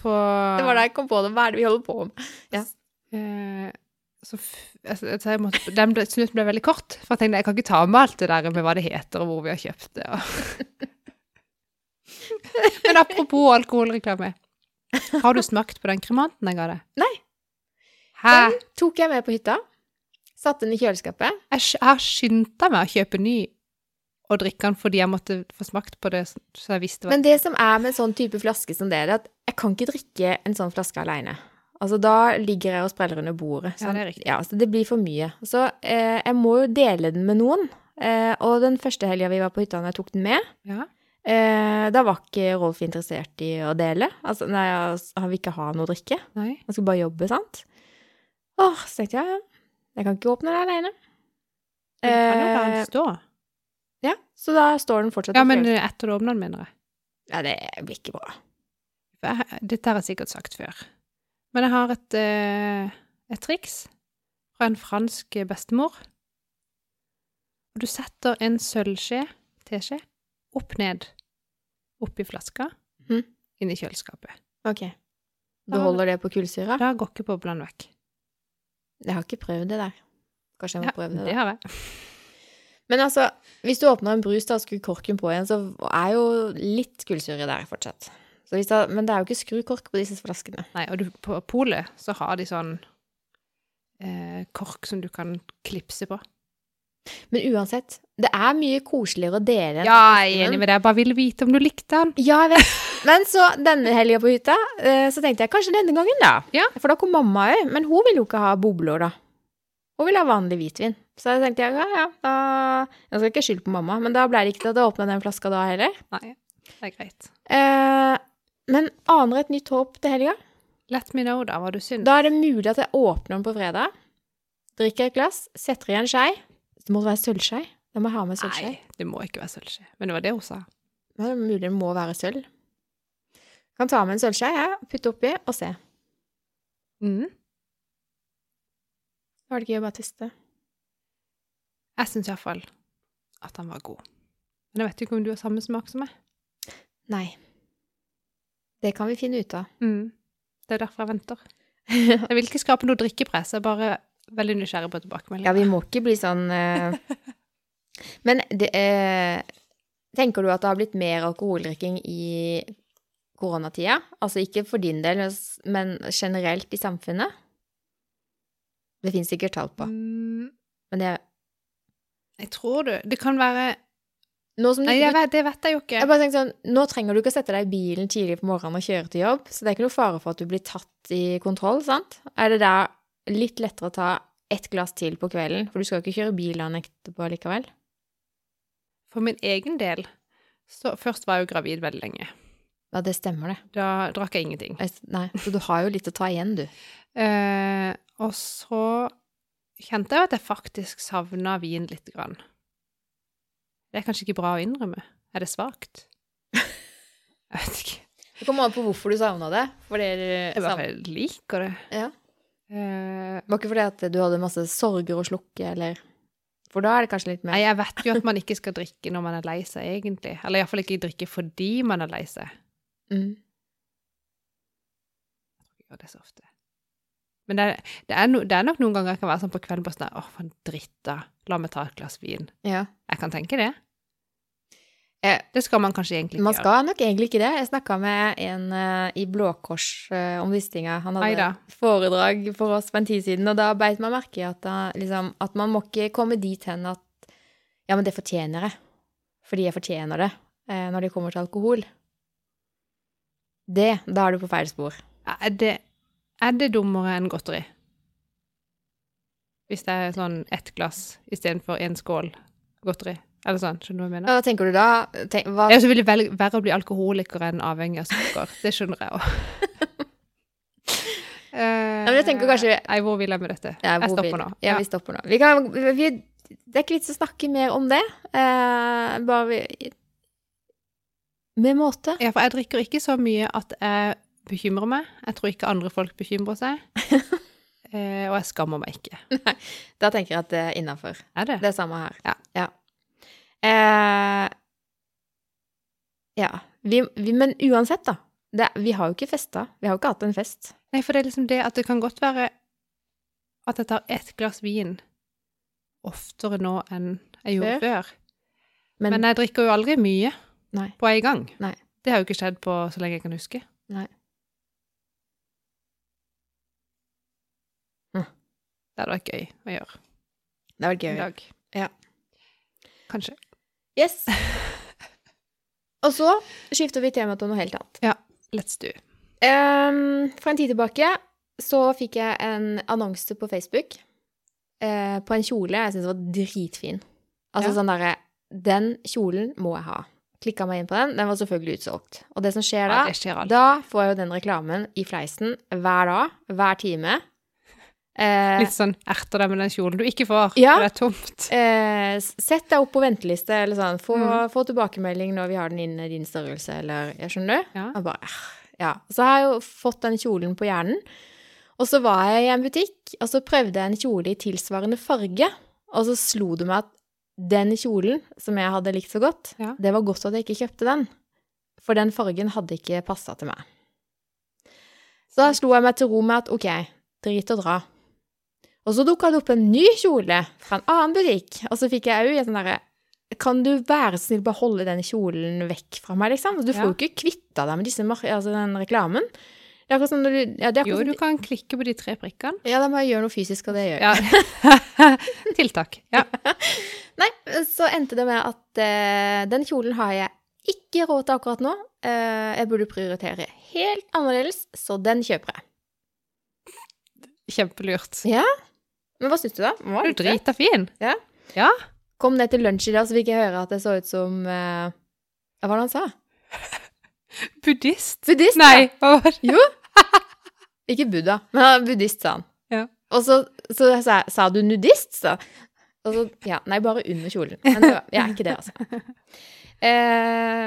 Speaker 1: På,
Speaker 2: Det var da jeg kom på det. Hva er det vi holder på med?
Speaker 1: Eh, så, f- altså, så jeg måtte, den ble, snutten ble veldig kort, for jeg tenkte jeg kan ikke ta med alt det der med hva det heter og hvor vi har kjøpt det. Og. Men apropos alkoholreklame. Har du smakt på den kremanten jeg ga deg?
Speaker 2: Nei.
Speaker 1: Hæ?
Speaker 2: Den tok jeg med på hytta. Satte den i kjøleskapet.
Speaker 1: Jeg sk- jeg har skynda meg å kjøpe ny og drikke den fordi jeg måtte få smakt på det, så jeg visste hva
Speaker 2: Men det som er med en sånn type flaske som det, er at jeg kan ikke drikke en sånn flaske alene. Altså, da ligger jeg og spreller under bordet.
Speaker 1: Ja, det er riktig.
Speaker 2: Ja, så det blir for mye. Så eh, jeg må jo dele den med noen. Eh, og den første helga vi var på hytta, når jeg tok den med,
Speaker 1: ja.
Speaker 2: eh, da var ikke Rolf interessert i å dele. Altså, nei, altså, han vil ikke ha noe å drikke.
Speaker 1: Nei.
Speaker 2: Han skulle bare jobbe, sant? Åh, så tenkte jeg, ja, jeg kan ikke åpne den alene.
Speaker 1: Men du kan jo la
Speaker 2: Eh,
Speaker 1: den stå.
Speaker 2: ja, så da står den fortsatt i
Speaker 1: Ja, men eh,
Speaker 2: kjølen.
Speaker 1: etter du åpner den, mener jeg.
Speaker 2: Ja, det blir ikke bra.
Speaker 1: For jeg- Dette har jeg sikkert sagt før. Men jeg har et, eh, et triks fra en fransk bestemor. Og Du setter en sølvskje, teskje, opp ned, oppi flaska,
Speaker 2: Mhm.
Speaker 1: inn i kjøleskapet.
Speaker 2: Ok. Beholder det på kullsyra?
Speaker 1: Da går ikke boblene vekk.
Speaker 2: Jeg har ikke prøvd det der. Kanskje jeg må
Speaker 1: Ja,
Speaker 2: prøve det
Speaker 1: det
Speaker 2: da.
Speaker 1: har jeg.
Speaker 2: Men altså, hvis du åpner en brus da og skrur korken på igjen, så er jo litt kullsyre der fortsatt. Så hvis da, men det er jo ikke skrukork på disse flaskene.
Speaker 1: Nei, og du, på polet så har de sånn eh, kork som du kan klipse på.
Speaker 2: Men uansett, det er mye koseligere å dele. enn-
Speaker 1: Ja, jeg er enig med deg. Jeg bare ville vite om du likte den.
Speaker 2: Ja, jeg vet. Men så denne helga på hytta, eh, så tenkte jeg kanskje denne gangen, da.
Speaker 1: Ja.
Speaker 2: For da kom mamma òg, men hun ville jo ikke ha bobler, da. Hun ville ha vanlig hvitvin. Så da tenkte jeg ja, ja, da Jeg skal ikke skylde på mamma, men da ble det ikke til at jeg åpna den flaska da heller.
Speaker 1: Nei, det er greit.
Speaker 2: Eh, men aner et nytt håp til helga.
Speaker 1: Let me know, da, hva du syns.
Speaker 2: Da er det mulig at jeg åpner den på fredag, drikker et glass, setter i en skei. Det må være sølvskei. Jeg må ha med sølvskei.
Speaker 1: Nei, det må ikke være sølvskje. Men det var det hun sa.
Speaker 2: Det er mulig det må være sølv. Kan ta med en sølvskei, jeg, putte oppi og se. Mm. Var det gøy å bare teste?
Speaker 1: Jeg syns iallfall at han var god. Men jeg vet ikke om du har samme smak som meg.
Speaker 2: Nei. Det kan vi finne ut av.
Speaker 1: Det er derfor jeg venter. Jeg vil ikke skape noe drikkepress, jeg er bare veldig nysgjerrig på
Speaker 2: Ja,
Speaker 1: tilbakemeldinger.
Speaker 2: vi må ikke bli sånn eh, Men det, eh, tenker du at det har blitt mer alkoholdrikking i koronatida? Altså ikke for din del, men s- men generelt i samfunnet? Det fins sikkert tall på.
Speaker 1: Mm,
Speaker 2: Men det,
Speaker 1: jeg tror du Det kan være
Speaker 2: nå som du,
Speaker 1: Nei, jeg
Speaker 2: jeg,
Speaker 1: vet, det vet jeg jo ikke.
Speaker 2: bare tenker sånn, nå trenger du ikke å sette deg i bilen tidlig på morgenen og kjøre til jobb, så det er ikke noe fare for at du blir tatt i kontroll, sant? Er det da litt lettere å ta ett glass til på kvelden, for du skal jo ikke kjøre bil dagen etterpå likevel?
Speaker 1: For min egen del så Først var jeg jo gravid veldig lenge.
Speaker 2: Ja, det stemmer det.
Speaker 1: Da drakk jeg ingenting.
Speaker 2: Jeg s- Nei, så du har jo litt å ta igjen, du.
Speaker 1: Eh, og så kjente jeg jo at jeg faktisk savna vin litt. Grann. Det er kanskje ikke bra å innrømme. Er det svakt? Jeg vet ikke.
Speaker 2: Det kommer an på hvorfor du savna det. For det
Speaker 1: Jeg bare liker det.
Speaker 2: Ja.
Speaker 1: Eh,
Speaker 2: Var ikke fordi at du hadde masse sorger å slukke, eller For da er det kanskje litt
Speaker 1: nei,
Speaker 2: mer
Speaker 1: jeg vet jo at man ikke skal drikke når man er lei seg, egentlig. Eller iallfall ikke drikke fordi man er lei seg.
Speaker 2: mm.
Speaker 1: Jeg gjør det så ofte. Men det er, det, er no, det er nok noen ganger jeg kan være sånn på kvelden bare sånn Å, for en dritt, da. La meg ta et glass vin.
Speaker 2: Ja.
Speaker 1: Jeg kan tenke det.
Speaker 2: Eh,
Speaker 1: Det skal man kanskje egentlig
Speaker 2: Man
Speaker 1: ikke
Speaker 2: skal nok egentlig ikke det. Jeg snakka med en eh, i Blå Kors eh, om disse tinga. Han hadde
Speaker 1: Neida.
Speaker 2: foredrag for oss for en tid siden, og da beit meg merke i at, da, liksom, at man må ikke komme dit hen at Ja, men det fortjener jeg. Fordi jeg fortjener det. eh, når det kommer til alkohol. Det, da er du på feil spor.
Speaker 1: Er det, er det dummere enn godteri? Hvis det er sånn ett glass istedenfor én skål godteri? Eller sånn, skjønner du hva jeg mener?
Speaker 2: Ja, Hva tenker du da? Tenk, hva,
Speaker 1: Det er jo selvfølgelig vel- verre å bli alkoholiker enn avhengig av sukker. Det skjønner jeg òg.
Speaker 2: men jeg tenker kanskje-
Speaker 1: Nei, hvor vil jeg med dette?
Speaker 2: Ja,
Speaker 1: jeg
Speaker 2: hvor
Speaker 1: stopper
Speaker 2: vil-
Speaker 1: nå.
Speaker 2: Ja, vi stopper nå. Vi kan, vi, det er ikke vits å snakke mer om det. Eh, bare vi, Med måte.
Speaker 1: Ja, for jeg drikker ikke så mye at jeg bekymrer meg. Jeg tror ikke andre folk bekymrer seg. Eh, og jeg skammer meg ikke.
Speaker 2: Da tenker jeg at det er innafor.
Speaker 1: Er det?
Speaker 2: Det er samme her.
Speaker 1: Ja.
Speaker 2: Eh, ja. Vi, vi, men uansett, da. Det, vi har jo ikke festa. Vi har jo ikke hatt en fest.
Speaker 1: Nei, for det er liksom det at det kan godt være at jeg tar ett glass vin oftere nå enn jeg gjorde før. Men,
Speaker 2: Men,
Speaker 1: jeg drikker jo aldri mye
Speaker 2: nei.
Speaker 1: på en gang.
Speaker 2: Nei.
Speaker 1: Det har jo ikke skjedd på så lenge jeg kan huske.
Speaker 2: Nei. Hm.
Speaker 1: Det hadde vært gøy å gjøre
Speaker 2: Det var gøy.
Speaker 1: en dag.
Speaker 2: Ja.
Speaker 1: Kanskje.
Speaker 2: Yes. Og så skifter vi tema til noe helt annet.
Speaker 1: Let's do.
Speaker 2: Ehm, for en tid tilbake så fikk jeg en annonse på Facebook eh, på en kjole jeg syntes var dritfin. Altså
Speaker 1: Ja.
Speaker 2: sånn derre Den kjolen må jeg ha. Klikka meg inn på den. Den var selvfølgelig utsolgt. Og det som skjer da,
Speaker 1: Ja, det skjer alltid.
Speaker 2: da får jeg jo den reklamen i fleisen hver dag, hver time. Eh,
Speaker 1: Litt sånn erter deg med den kjolen du ikke får,
Speaker 2: Ja.
Speaker 1: for det er tomt.
Speaker 2: Eh, s- sett deg opp på venteliste, eller sånn. Få,
Speaker 1: Mm.
Speaker 2: få tilbakemelding når vi har den innen din størrelse, eller jeg skjønner du?
Speaker 1: Ja.
Speaker 2: Og bare, eh, ja. Så har jeg jo fått den kjolen på hjernen. Og så var jeg i en butikk, og så prøvde jeg en kjole i tilsvarende farge. Og så slo det meg at den kjolen, som jeg hadde likt så godt,
Speaker 1: Ja.
Speaker 2: det var godt at jeg ikke kjøpte den. For den fargen hadde ikke passa til meg. Så da slo jeg meg til ro med at ok, drit og dra. Og så dukka det opp en ny kjole fra en annen butikk. Og så fikk jeg òg en sånn derre Kan du være så snill bare holde den kjolen vekk fra meg, liksom? Du får
Speaker 1: Ja.
Speaker 2: jo ikke kvitta deg med disse, mar- altså den reklamen. Det er akkurat som når du ja, det er akkurat
Speaker 1: Jo,
Speaker 2: som-
Speaker 1: du kan klikke på de tre prikkene.
Speaker 2: ja, da må jeg gjøre noe fysisk, og det gjør jeg.
Speaker 1: Ja. Tiltak. Ja.
Speaker 2: Nei, så endte det med at eh, den kjolen har jeg ikke råd til akkurat nå. Eh, jeg burde prioritere helt annerledes, så den kjøper jeg.
Speaker 1: Kjempelurt.
Speaker 2: Men hva syns du, da? Den var
Speaker 1: Du
Speaker 2: litt
Speaker 1: drita fin.
Speaker 2: fet. Kom ned til lunsj i dag, så fikk jeg høre at jeg så ut som eh, Hva var det han sa?
Speaker 1: Buddhist.
Speaker 2: Buddhist?
Speaker 1: Nei, hva var det?
Speaker 2: Ja. Ikke Buddha, men han er buddhist, sa han.
Speaker 1: Ja.
Speaker 2: Og så, så sa jeg Sa du nudist, sa Og så Ja, nei, bare under kjolen. Men det var, jeg er ikke det, altså. Eh,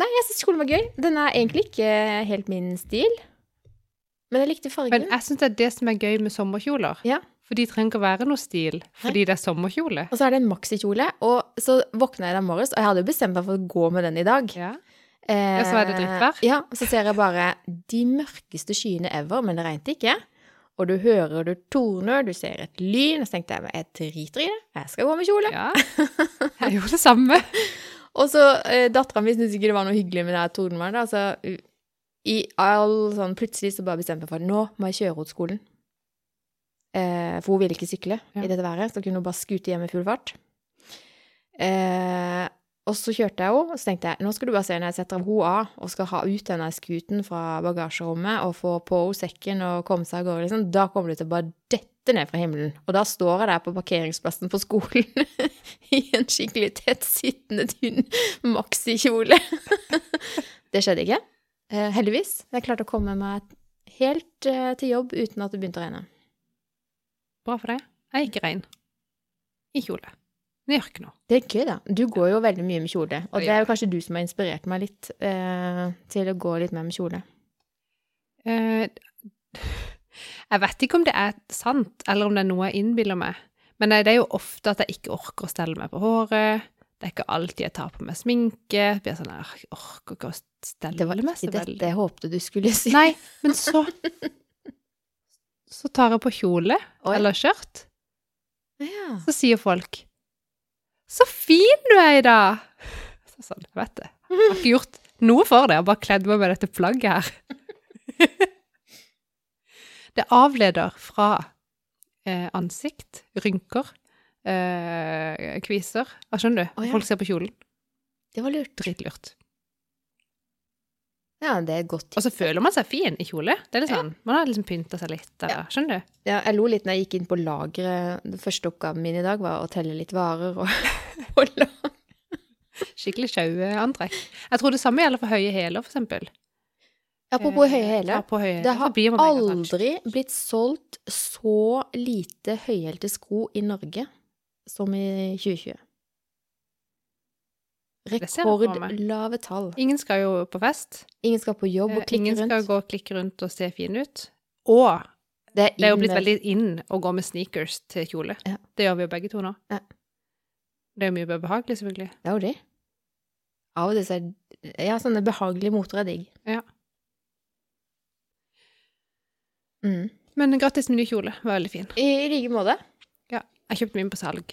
Speaker 2: nei, jeg syns kjolen var gøy. Den er egentlig ikke helt min stil. Men jeg likte fargen.
Speaker 1: Men jeg syns det er det som er gøy med sommerkjoler.
Speaker 2: Ja.
Speaker 1: For de trenger ikke å være noe stil, fordi det er sommerkjole.
Speaker 2: Og så er det en maxikjole. Og så våkna jeg da morges, og jeg hadde jo bestemt meg for å gå med den i dag.
Speaker 1: Ja.
Speaker 2: Eh,
Speaker 1: så er det drittvær.
Speaker 2: Ja, så ser jeg bare de mørkeste skyene ever, men det regnet ikke. Og du hører du torner, du ser et lyn, og så tenkte jeg men jeg driter i det, jeg skal gå med kjole.
Speaker 1: ja. Jeg gjorde det samme.
Speaker 2: Og så eh, dattera mi syntes ikke det var noe hyggelig med det her tordenværet, da, så u- i all sånn plutselig så bare bestemte jeg meg for at nå må jeg kjøre henne til skolen. Eh, for hun ville ikke sykle
Speaker 1: Ja.
Speaker 2: i dette været, så kunne hun bare skute hjem i full fart. Eh, og så kjørte jeg henne, og så tenkte jeg nå skal du bare se når jeg setter av henne av og skal ha ut denne skuten fra bagasjerommet og få på henne sekken og komme seg av gårde, liksom, da kommer du til å bare dette ned fra himmelen. Og da står jeg der på parkeringsplassen på skolen i en skikkelig tettsittende, tynn maxikjole. det skjedde ikke, eh, heldigvis. Jeg klarte å komme meg helt eh, til jobb uten at det begynte å regne.
Speaker 1: Bra for deg. Jeg gikk rein. I kjole. Men jeg gjør ikke noe.
Speaker 2: Det er gøy, da. Du går jo veldig mye med kjole. Og
Speaker 1: Jeg
Speaker 2: det er jo kanskje du som har inspirert meg litt eh, til å gå litt mer med kjole.
Speaker 1: Eh, Jeg vet ikke om det er sant, eller om det er noe jeg innbiller meg. Men det er jo ofte at jeg ikke orker å stelle meg på håret. Det er ikke alltid jeg tar på meg sminke. Jeg blir sånn, «Åh, jeg orker ikke å
Speaker 2: Det var
Speaker 1: stelle meg
Speaker 2: ikke
Speaker 1: så veldig.
Speaker 2: dette jeg håpte du skulle si.
Speaker 1: Nei, men så Så tar jeg på kjole
Speaker 2: Oi.
Speaker 1: eller skjørt,
Speaker 2: Ja.
Speaker 1: så sier folk 'Så fin du er i dag!' Så sånn, jeg vet det. Jeg har ikke gjort noe for det, jeg har bare kledd meg med dette plagget her. Det avleder fra eh, ansikt, rynker, eh, kviser Hva skjønner du?
Speaker 2: Å, ja.
Speaker 1: Folk ser på kjolen.
Speaker 2: Det var lurt.
Speaker 1: Dritlurt.
Speaker 2: Ja, det er et godt
Speaker 1: Og
Speaker 2: tips.
Speaker 1: så føler man seg fin i kjole. Det er litt sånn, Man har liksom pynta seg litt. Eller, skjønner du?
Speaker 2: Ja, jeg lo litt når jeg gikk inn på lageret. Den første oppgaven min i dag var å telle litt varer og, og la
Speaker 1: Skikkelig sjaue antrekk. Jeg tror det samme gjelder for høye hæler, for eksempel.
Speaker 2: Apropos
Speaker 1: Eh,
Speaker 2: høye hæler.
Speaker 1: ja, på høye hæler,
Speaker 2: Det
Speaker 1: så
Speaker 2: har
Speaker 1: blir man megatansk.
Speaker 2: aldri blitt solgt så lite høyhælte sko i Norge som i 2020.
Speaker 1: ser jeg for meg.
Speaker 2: Rekordlave tall.
Speaker 1: Ingen skal jo på fest.
Speaker 2: Ingen skal på jobb og
Speaker 1: Eh, Ingen
Speaker 2: klikke
Speaker 1: skal
Speaker 2: rundt.
Speaker 1: gå og klikke rundt og se fin ut. Og det er jo
Speaker 2: inn
Speaker 1: blitt
Speaker 2: med-
Speaker 1: veldig in å gå med sneakers til kjole.
Speaker 2: Ja.
Speaker 1: Det gjør vi jo begge to nå.
Speaker 2: Ja.
Speaker 1: Det er jo mye mer behagelig, selvfølgelig.
Speaker 2: Det er jo det. Av og til så er Ja, sånne behagelige moter er digg.
Speaker 1: Ja.
Speaker 2: Mm.
Speaker 1: Men grattis med ny kjole. Var veldig fin.
Speaker 2: I i like måte.
Speaker 1: Ja. Jeg kjøpte min på salg.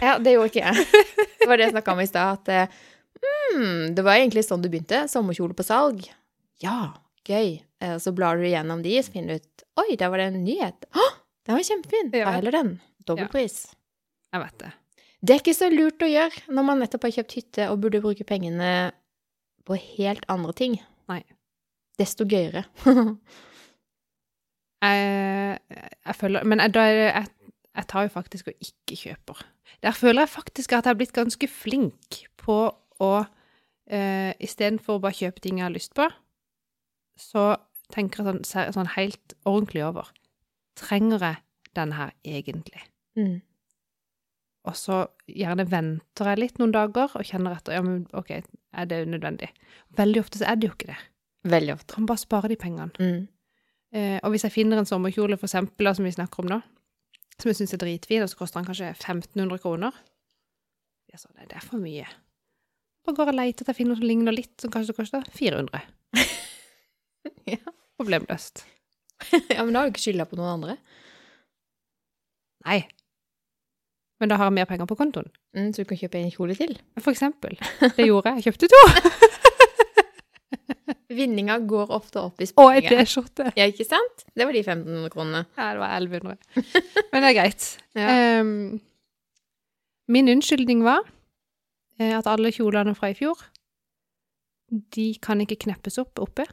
Speaker 2: Ja, det gjorde ikke jeg. Det var det jeg snakka om i stad, at eh, mm, det var egentlig sånn du begynte. Sommerkjole på salg. Ja, gøy. Eh, Så blar du gjennom de, så finner du ut Oi, der var det en nyhet. Å, den var kjempefin.
Speaker 1: Ja.
Speaker 2: Ta heller den.
Speaker 1: Ja.
Speaker 2: Dobbeltpris.
Speaker 1: Jeg vet det.
Speaker 2: Det er ikke så lurt å gjøre når man nettopp har kjøpt hytte og burde bruke pengene på helt andre ting.
Speaker 1: Nei.
Speaker 2: Desto gøyere.
Speaker 1: Jeg, jeg føler Men jeg, da er det jeg, jeg tar jo faktisk og ikke kjøper. Der føler jeg faktisk at jeg har blitt ganske flink på å eh, Istedenfor å bare kjøpe ting jeg har lyst på, så tenker jeg sånn, ser- sånn helt ordentlig over. Trenger jeg den her egentlig?
Speaker 2: Mm.
Speaker 1: Og så gjerne venter jeg litt noen dager og kjenner etter. Ja, men OK, er det nødvendig? Veldig ofte så er det jo ikke det.
Speaker 2: Veldig ofte.
Speaker 1: Kan bare spare de pengene.
Speaker 2: Mm.
Speaker 1: Eh, og hvis jeg finner en sommerkjole, for eksempel, da, som vi snakker om nå, som jeg syns er dritfin, og så koster den kanskje 1500 kroner Ja, sånn, nei, det er for mye. Da går jeg og leter etter jeg finner noe som ligner litt, som kanskje koster 400.
Speaker 2: Ja.
Speaker 1: Problemløst.
Speaker 2: ja, men da har du ikke skylda på noen andre.
Speaker 1: Nei. Men da har jeg mer penger på kontoen.
Speaker 2: Mm, så du kan kjøpe en kjole til.
Speaker 1: For eksempel. Det gjorde jeg. Jeg kjøpte to,
Speaker 2: Vinninga går ofte opp i
Speaker 1: og ei
Speaker 2: spinninga.
Speaker 1: T-skjorte.
Speaker 2: Ja, ikke sant? Det var de 1500 kronene.
Speaker 1: Ja, det var 1100. Men det er greit.
Speaker 2: Ja.
Speaker 1: Ehm, min unnskyldning var eh, at alle kjolene fra i fjor, de kan ikke kneppes opp oppe.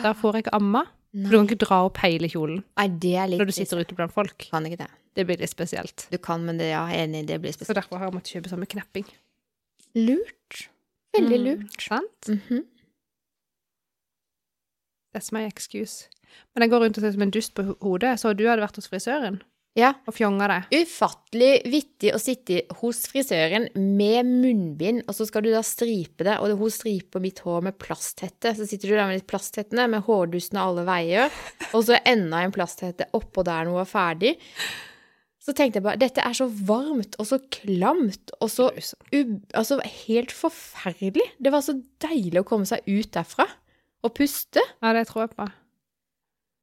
Speaker 1: Da får jeg ikke amma. For du
Speaker 2: Nei,
Speaker 1: kan ikke dra opp hele kjolen
Speaker 2: Nei, det er litt
Speaker 1: når du sitter ute blant folk.
Speaker 2: Du kan ikke det.
Speaker 1: Det blir litt spesielt.
Speaker 2: Du kan, men det, ja, jeg er enig, det blir
Speaker 1: Så
Speaker 2: spesielt.
Speaker 1: derfor har jeg måttet kjøpe sånn med knepping.
Speaker 2: Lurt. Veldig
Speaker 1: Mm,
Speaker 2: lurt.
Speaker 1: Sant?
Speaker 2: Mhm.
Speaker 1: That's my excuse. Men jeg går rundt og ser ut som en dust på ho- hodet. Jeg Så du hadde vært hos frisøren
Speaker 2: Ja.
Speaker 1: og fjonga deg.
Speaker 2: Ufattelig vittig å sitte hos frisøren med munnbind, og så skal du da stripe det, og hun striper mitt hår med plasthette. Så sitter du der med litt plasthettene, med hårdusene alle veier, og så enda en plasthette oppå der når hun er ferdig. Så tenkte jeg bare, dette er så varmt, og så klamt, og så
Speaker 1: Grusomt.
Speaker 2: u altså, helt forferdelig. Det var så deilig å komme seg ut derfra og puste.
Speaker 1: Ja, det tror jeg på.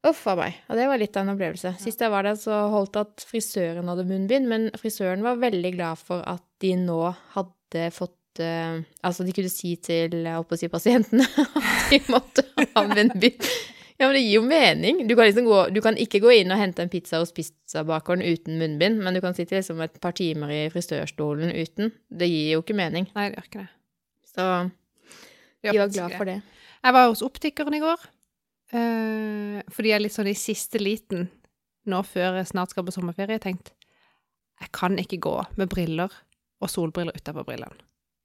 Speaker 2: Uff a meg. Ja, det var litt av en opplevelse. Sist jeg var der, så holdt det at frisøren hadde munnbind, men frisøren var veldig glad for at de nå hadde fått eh, Altså, de kunne si til jeg holdt på å si pasientene at de måtte ha munnbind. Ja, men det gir jo mening. Du kan, liksom gå, du kan ikke gå inn og hente en pizza hos pizzabakeren uten munnbind, men du kan sitte liksom et par timer i frisørstolen uten. Det gir jo ikke mening.
Speaker 1: Nei, det gjør ikke det.
Speaker 2: Så
Speaker 1: Det gjør
Speaker 2: de var
Speaker 1: faktisk ikke
Speaker 2: glad
Speaker 1: det.
Speaker 2: for det.
Speaker 1: Jeg var hos optikeren i går, eh, fordi jeg er litt sånn i siste liten, nå før jeg snart skal på sommerferie, tenkt, jeg kan ikke gå med briller og solbriller utenpå brillene.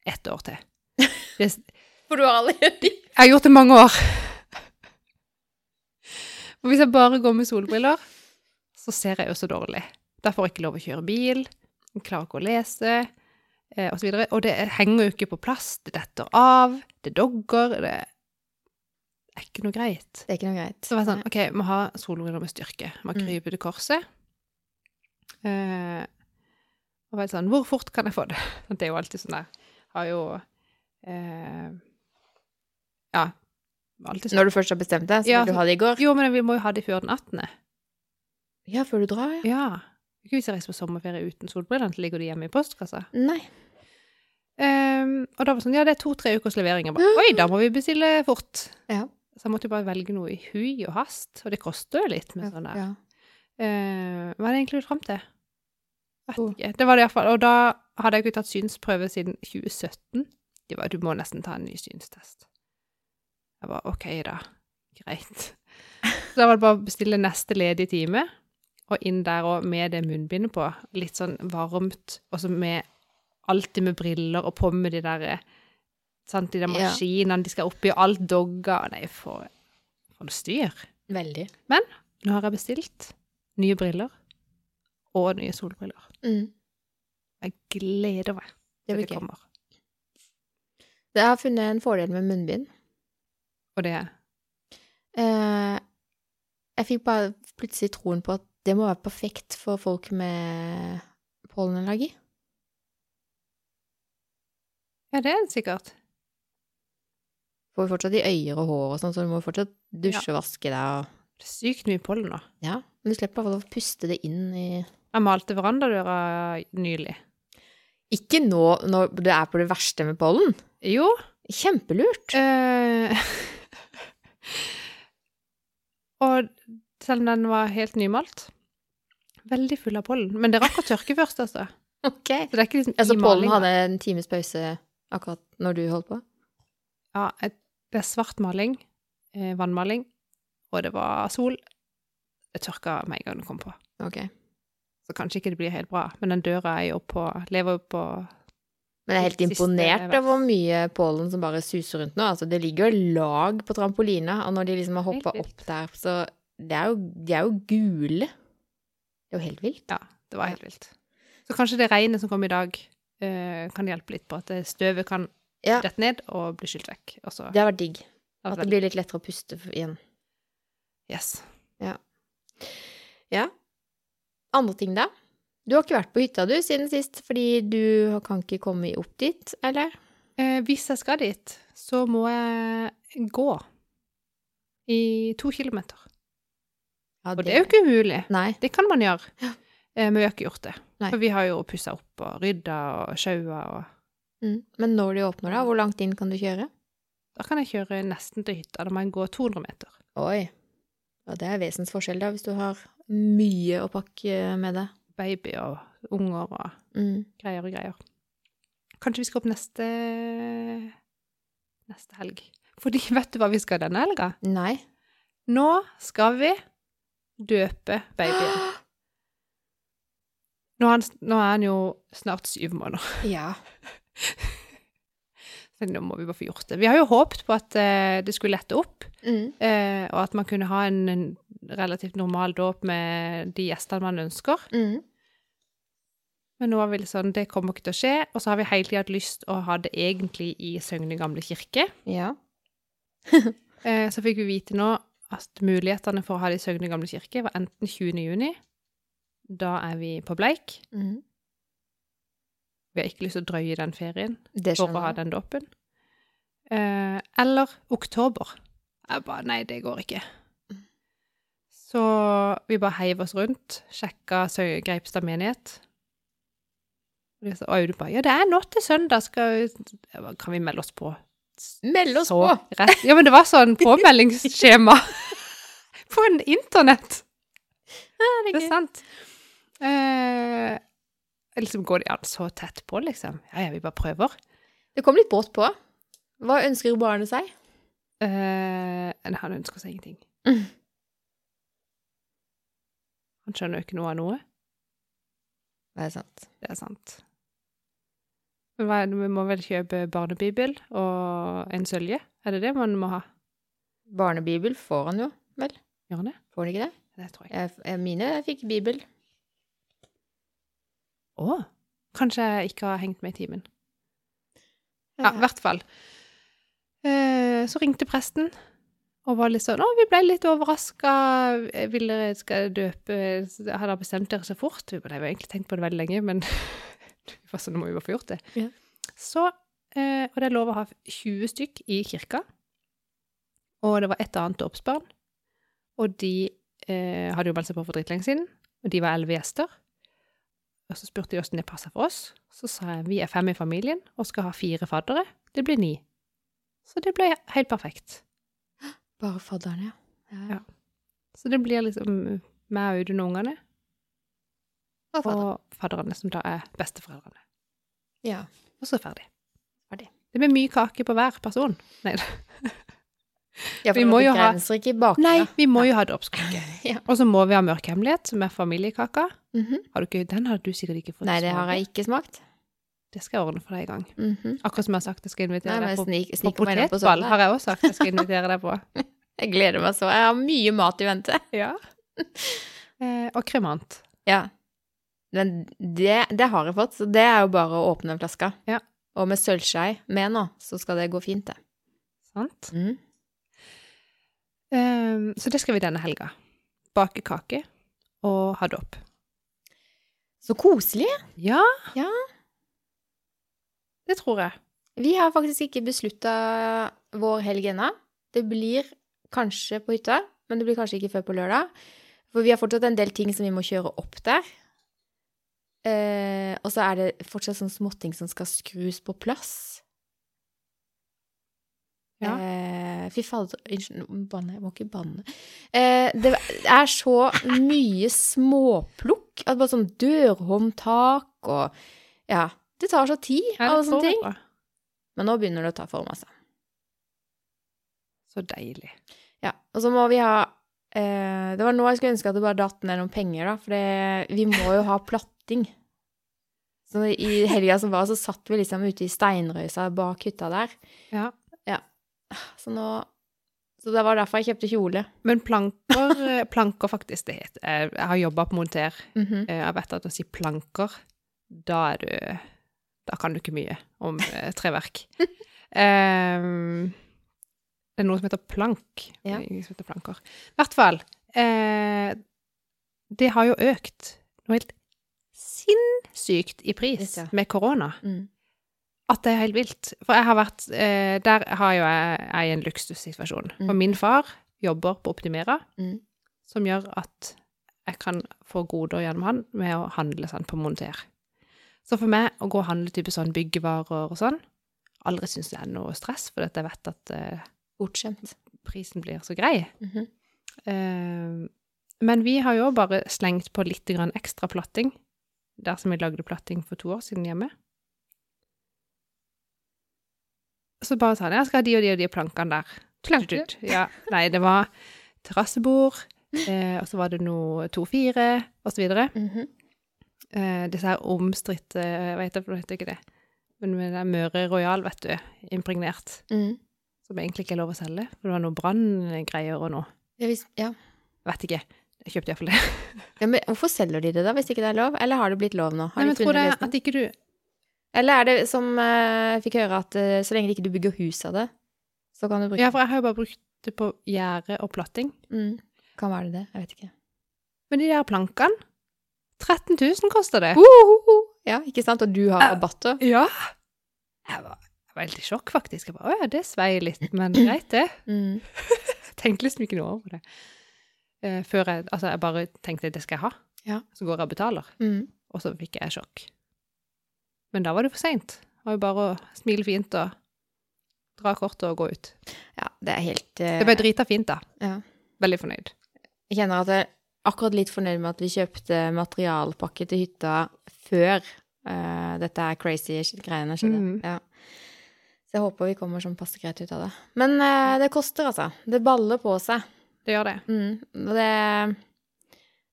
Speaker 1: Ett år til. Det, jeg
Speaker 2: For du har allerede
Speaker 1: har gjort det mange år. For hvis jeg bare går med solbriller, så ser jeg jo så dårlig. Da får jeg ikke lov å kjøre bil, jeg klarer ikke å lese, eh, og så videre. Og det henger jo ikke på plass, det detter av, det dogger, det er ikke noe greit.
Speaker 2: Det er ikke noe greit.
Speaker 1: Så var jeg sånn, ok, vi må ha solbriller med styrke. Vi må
Speaker 2: Mm.
Speaker 1: krype til korset. Eh, og var litt sånn, hvor fort kan jeg få det? Det er jo alltid sånn der. Har jo, eh, ja, alltid sånn.
Speaker 2: Når du først har bestemt deg, så
Speaker 1: Ja,
Speaker 2: vil du ha det i går?
Speaker 1: Jo, men vi må jo ha det før den 18.
Speaker 2: Ja, før du drar, ja.
Speaker 1: Ja. Ikke hvis jeg reiser på sommerferie uten solbrillene, så ligger de hjemme i postkassa.
Speaker 2: Nei.
Speaker 1: Ehm, og da var det sånn, ja, det er to-tre ukers levering. Jeg bare, oi, da må vi bestille fort.
Speaker 2: Ja.
Speaker 1: Så jeg måtte jo bare velge noe i hui og hast, og det koster jo litt med sånn der.
Speaker 2: Ja.
Speaker 1: Eh, hva er det egentlig du fram til? Vet
Speaker 2: Oh.
Speaker 1: ikke. Det var det iallfall. Og da hadde jeg ikke tatt synsprøve siden 2017. De var, du må nesten ta en ny synstest. Jeg var OK, da. Greit. Så da var det bare å bestille neste ledige time, og inn der òg med det munnbindet på. Litt sånn varmt, og så med alltid med briller og på med de der Sant, de der
Speaker 2: Ja.
Speaker 1: maskinene de skal oppi, og alt dogger Nei, for, for noe styr.
Speaker 2: Veldig.
Speaker 1: Nå har jeg bestilt nye briller og nye solbriller.
Speaker 2: Mm.
Speaker 1: Jeg gleder meg
Speaker 2: Det
Speaker 1: til
Speaker 2: blir
Speaker 1: det
Speaker 2: gøy.
Speaker 1: kommer.
Speaker 2: Jeg har funnet en fordel med munnbind.
Speaker 1: Og det
Speaker 2: Eh, jeg fikk bare plutselig troen på at det må være perfekt for folk med pollenallergi.
Speaker 1: Ja, det er det sikkert.
Speaker 2: Får jo fortsatt i øyer og hår og sånn, så du må jo fortsatt dusje og vaske deg og
Speaker 1: Det er sykt mye pollen nå.
Speaker 2: Ja. Men du slipper i hvert fall å puste det inn i
Speaker 1: Jeg malte verandadøra nylig.
Speaker 2: Ikke nå når det er på det verste med pollen.
Speaker 1: Jo,
Speaker 2: Kjempelurt.
Speaker 1: Eh, og selv om den var helt nymalt, veldig full av pollen. Men det rakk å tørke først, altså.
Speaker 2: Ok.
Speaker 1: Så det er ikke liksom
Speaker 2: Altså
Speaker 1: i
Speaker 2: pollen
Speaker 1: malinga.
Speaker 2: hadde en times pause akkurat når du holdt på?
Speaker 1: Ja, et, det er svart maling, eh, vannmaling, og det var sol. Det tørka med en gang det kom på.
Speaker 2: Ok.
Speaker 1: Så kanskje ikke det blir helt bra. Men den døra er jo på Lever jo på
Speaker 2: Men jeg er helt
Speaker 1: Siste
Speaker 2: imponert
Speaker 1: vers.
Speaker 2: over hvor mye pollen som bare suser rundt nå. Altså, det ligger jo lag på trampolina, og når de liksom har
Speaker 1: Helt
Speaker 2: hoppa
Speaker 1: vilt.
Speaker 2: opp der, så det er jo, De er jo gule. Det er jo helt vilt.
Speaker 1: Ja, det var helt vilt. Så kanskje det regnet som kom i dag, eh, kan hjelpe litt på at det støvet kan
Speaker 2: Ja.
Speaker 1: dette ned og bli skylt vekk. Og så
Speaker 2: Det har vært digg.
Speaker 1: var
Speaker 2: At det blir litt lettere å puste f- igjen.
Speaker 1: Yes.
Speaker 2: Ja. Andre ting, da? Du har ikke vært på hytta, du, siden sist, fordi du kan ikke komme opp dit, eller?
Speaker 1: Eh, hvis jeg skal dit, så må jeg gå i to kilometer.
Speaker 2: Ja,
Speaker 1: Og det er jo ikke umulig.
Speaker 2: Nei.
Speaker 1: Det kan man gjøre. Eh, men vi har ikke gjort det.
Speaker 2: Nei.
Speaker 1: For vi har jo pussa opp og rydda og sjaua, og
Speaker 2: Mm. Men når de åpner, da? Hvor langt inn kan du kjøre?
Speaker 1: da kan jeg kjøre nesten til hytta. Da må jeg gå 200 meter.
Speaker 2: Oi. Og det er vesensforskjell, da, hvis du har mye å pakke med deg.
Speaker 1: Baby og unger og
Speaker 2: Mm.
Speaker 1: greier og greier. Kanskje vi skal opp neste neste helg. Fordi vet du hva vi skal denne helga?
Speaker 2: Nei.
Speaker 1: Nå skal vi døpe babyen. Nå er, han, nå er han jo snart syv måneder,
Speaker 2: Ja.
Speaker 1: så nå må vi bare få gjort det. Vi har jo håpet på at eh, det skulle lette opp,
Speaker 2: Mm.
Speaker 1: eh, og at man kunne ha en, en relativt normal dåp med de gjestene man ønsker.
Speaker 2: Mm.
Speaker 1: Men nå er vi litt sånn, det kommer ikke til å skje, og så har vi hele tiden hatt lyst å ha det egentlig i Søgne gamle kirke.
Speaker 2: Ja.
Speaker 1: Eh, så fikk vi vite nå at mulighetene for å ha det i Søgne gamle kirke var enten 20. juni, da er vi på Bleik,
Speaker 2: Mm.
Speaker 1: vi har ikke lyst til å drøye den ferien,
Speaker 2: Det
Speaker 1: for å ha
Speaker 2: skjønner jeg.
Speaker 1: den dåpen. Eh, eller oktober. Jeg bare Nei, det går ikke.
Speaker 2: Mm.
Speaker 1: Så vi bare heiv oss rundt, sjekka Sø- Greipstad menighet. Og de sa- Og Audun bare Ja, det er nå til søndag, skal vi Jeg bare, Kan vi melde oss på?
Speaker 2: Meld oss
Speaker 1: Så
Speaker 2: på!
Speaker 1: rett. Ja, men det var sånn påmeldingsskjema på en internett. Det er sant. Eh, liksom går de an så tett på, liksom? Ja, ja, vi bare prøver.
Speaker 2: Det kom litt brått på. Hva ønsker barnet seg?
Speaker 1: Eh, nei, han ønsker seg ingenting.
Speaker 2: Mm.
Speaker 1: Han skjønner jo ikke noe av noe.
Speaker 2: Det er sant.
Speaker 1: Det er sant. Men hva, er det- vi må vel kjøpe barnebibel og en sølje? Er det det man må ha?
Speaker 2: Barnebibel får han jo, vel?
Speaker 1: Gjør han det?
Speaker 2: Får han ikke det?
Speaker 1: Det tror jeg.
Speaker 2: Jeg, jeg, mine fikk bibel.
Speaker 1: Å! Kanskje jeg ikke har hengt med i timen. Ja, i hvert fall. Eh, så ringte presten og var litt sånn Å, vi ble litt overraska. Vil dere skal jeg døpe Har dere bestemt dere så fort? Vi bare, «Nei, vi har egentlig tenkt på det veldig lenge, men vi var sånn, nå må vi bare få gjort det.
Speaker 2: Ja.
Speaker 1: Så eh, Og det er lov å ha 20 stykk i kirka. Og det var et annet dåpsbarn. Og de eh, hadde jo meldt seg på for dritlenge siden. Og de var elleve gjester. Og så spurte de åssen det passa for oss. Så sa jeg vi er fem i familien og skal ha fire faddere. Det blir ni. Så det ble helt perfekt.
Speaker 2: Bare fadderen, ja. Ja,
Speaker 1: Ja. Så det blir liksom meg og Audun og ungene,
Speaker 2: Og fadderen.
Speaker 1: og fadderne, som da er besteforeldrene.
Speaker 2: Ja.
Speaker 1: Og så ferdig.
Speaker 2: Ferdig.
Speaker 1: Det blir mye kake på hver person. Nei,
Speaker 2: ja for
Speaker 1: Vi
Speaker 2: det
Speaker 1: må
Speaker 2: var
Speaker 1: jo ha-
Speaker 2: begrenser ikke bakgrunnen.
Speaker 1: Nei vi må jo ha dåpskake.
Speaker 2: Ja.
Speaker 1: Og så må vi ha mørk hemmelighet, som er familiekaka.
Speaker 2: Mhm.
Speaker 1: Har du ikke, den har du sikkert ikke fått
Speaker 2: Nei, det har jeg ikke smakt.
Speaker 1: Det skal jeg ordne for deg en gang.
Speaker 2: Mhm.
Speaker 1: Akkurat som jeg har sagt jeg skal invitere
Speaker 2: Nei, men jeg
Speaker 1: deg på,
Speaker 2: snik,
Speaker 1: på
Speaker 2: sniker meg inn på
Speaker 1: potetball,
Speaker 2: søndag.
Speaker 1: har jeg også sagt jeg skal invitere deg på.
Speaker 2: Jeg gleder meg så. Jeg har mye mat i vente.
Speaker 1: Ja. Eh, og kremant.
Speaker 2: Ja. Men det, det har jeg fått, så det er jo bare å åpne flaska.
Speaker 1: Ja.
Speaker 2: Og med sølvskei med nå, så skal det gå fint, det.
Speaker 1: Sant?
Speaker 2: Mm.
Speaker 1: Ehm, så det skal vi denne helga. Bake kake og ha dåp.
Speaker 2: Så koselig!
Speaker 1: Ja.
Speaker 2: Ja.
Speaker 1: Det tror jeg.
Speaker 2: Vi har faktisk ikke beslutta vår helg ennå. Det blir kanskje på hytta, men det blir kanskje ikke før på lørdag. For vi har fortsatt en del ting som vi må kjøre opp der. Eh, og så er det fortsatt sånn småting som skal skrus på plass.
Speaker 1: Ja.
Speaker 2: Eh, fy fader Unnskyld, nå banner jeg. jeg må ikke banne. Eh, det er så mye småplukk. At bare sånn dørhåndtak og Ja. Det tar så tid,
Speaker 1: Ja,
Speaker 2: alle
Speaker 1: det
Speaker 2: sånne
Speaker 1: får jeg
Speaker 2: ting.
Speaker 1: på.
Speaker 2: Men nå begynner det å ta form, altså.
Speaker 1: Så deilig.
Speaker 2: Ja, og så må vi ha eh, Det var nå jeg skulle ønske at det bare datt ned noen penger, da, for det, vi må jo ha platting. Så i helga som var, så satt vi liksom ute i steinrøysa bak hytta der.
Speaker 1: Ja.
Speaker 2: Så nå Så det var derfor jeg kjøpte kjole.
Speaker 1: Men planker, eh, planker faktisk det heter. Jeg jeg har jobba på monter.
Speaker 2: Mhm.
Speaker 1: Eh, Jeg vet at å si planker, da er du Da kan du ikke mye om eh, treverk. Ehm, det er noe som heter plank.
Speaker 2: Ja.
Speaker 1: Det er Ingen som heter planker. I hvert fall. Eh, det har jo økt noe helt sinnssykt i pris
Speaker 2: Ja.
Speaker 1: med korona.
Speaker 2: Mm.
Speaker 1: At det er helt vilt. For jeg har vært eh, Der har jo jeg, jeg er i en luksussituasjon.
Speaker 2: Mm.
Speaker 1: For min far jobber på Optimera,
Speaker 2: Mm.
Speaker 1: som gjør at jeg kan få goder gjennom han med å handle sånn på monter. Så for meg å gå og handle type sånn byggevarer og sånn, aldri syns det er noe stress, for at jeg vet at eh,
Speaker 2: Bortskjemt.
Speaker 1: prisen blir så grei.
Speaker 2: Mhm.
Speaker 1: Eh, men vi har jo bare slengt på litt grann ekstra platting, dersom vi lagde platting for to år siden hjemme. Så bare sa han, jeg skal ha de og de og de plankene der.
Speaker 2: Planker?
Speaker 1: Ja, nei, det var terrassebord, eh, og så var det noe 2-4, og så videre.
Speaker 2: Mhm.
Speaker 1: Eh, disse her omstridte, jeg vet ikke, det heter ikke det, men med den Møre Royal, vet du, impregnert,
Speaker 2: mm.
Speaker 1: som egentlig ikke er lov å selge, for det var noe branngreier og noe.
Speaker 2: Ja, hvis, ja.
Speaker 1: Vet ikke, jeg kjøpte i hvert fall det.
Speaker 2: ja, men hvorfor selger de det da, hvis ikke det er lov? Eller har det blitt lov nå? Har
Speaker 1: Nei,
Speaker 2: de
Speaker 1: men tror det
Speaker 2: funnet løsning?
Speaker 1: at ikke du
Speaker 2: Eller er det som eh, jeg fikk høre, at eh, så lenge ikke du bygger hus av det, så kan du bruke
Speaker 1: Ja,
Speaker 2: det?
Speaker 1: for jeg har jo bare brukt det på gjerde og platting.
Speaker 2: Mm. Kan være det det. Jeg vet ikke.
Speaker 1: Men de der plankene 13 000 koster det.
Speaker 2: Uhuhu. Ja, ikke sant? Og du har
Speaker 1: Ja.
Speaker 2: rabatter.
Speaker 1: Ja! Jeg var, jeg var helt i sjokk, faktisk. Jeg bare, Å ja, det svei litt, men greit, det.
Speaker 2: Mm.
Speaker 1: Tenkte liksom ikke noe over det. Eh, før jeg Altså, jeg bare tenkte det skal jeg ha.
Speaker 2: Ja.
Speaker 1: Så går jeg og betaler.
Speaker 2: Mm.
Speaker 1: Og så fikk jeg sjokk. Men da var det for seint. Var jo bare å smile fint og dra kortet og gå ut.
Speaker 2: Ja, det er helt eh,
Speaker 1: Det ble drita fint, da.
Speaker 2: Ja.
Speaker 1: Veldig fornøyd.
Speaker 2: Jeg kjenner at jeg er akkurat litt fornøyd med at vi kjøpte materialpakke til hytta før eh, dette er crazy shit- greiene skjedde.
Speaker 1: Mm.
Speaker 2: Ja. Så jeg håper vi kommer sånn passe greit ut av det. Men eh, det koster, altså. Det baller på seg.
Speaker 1: Det gjør det.
Speaker 2: Mm. Og det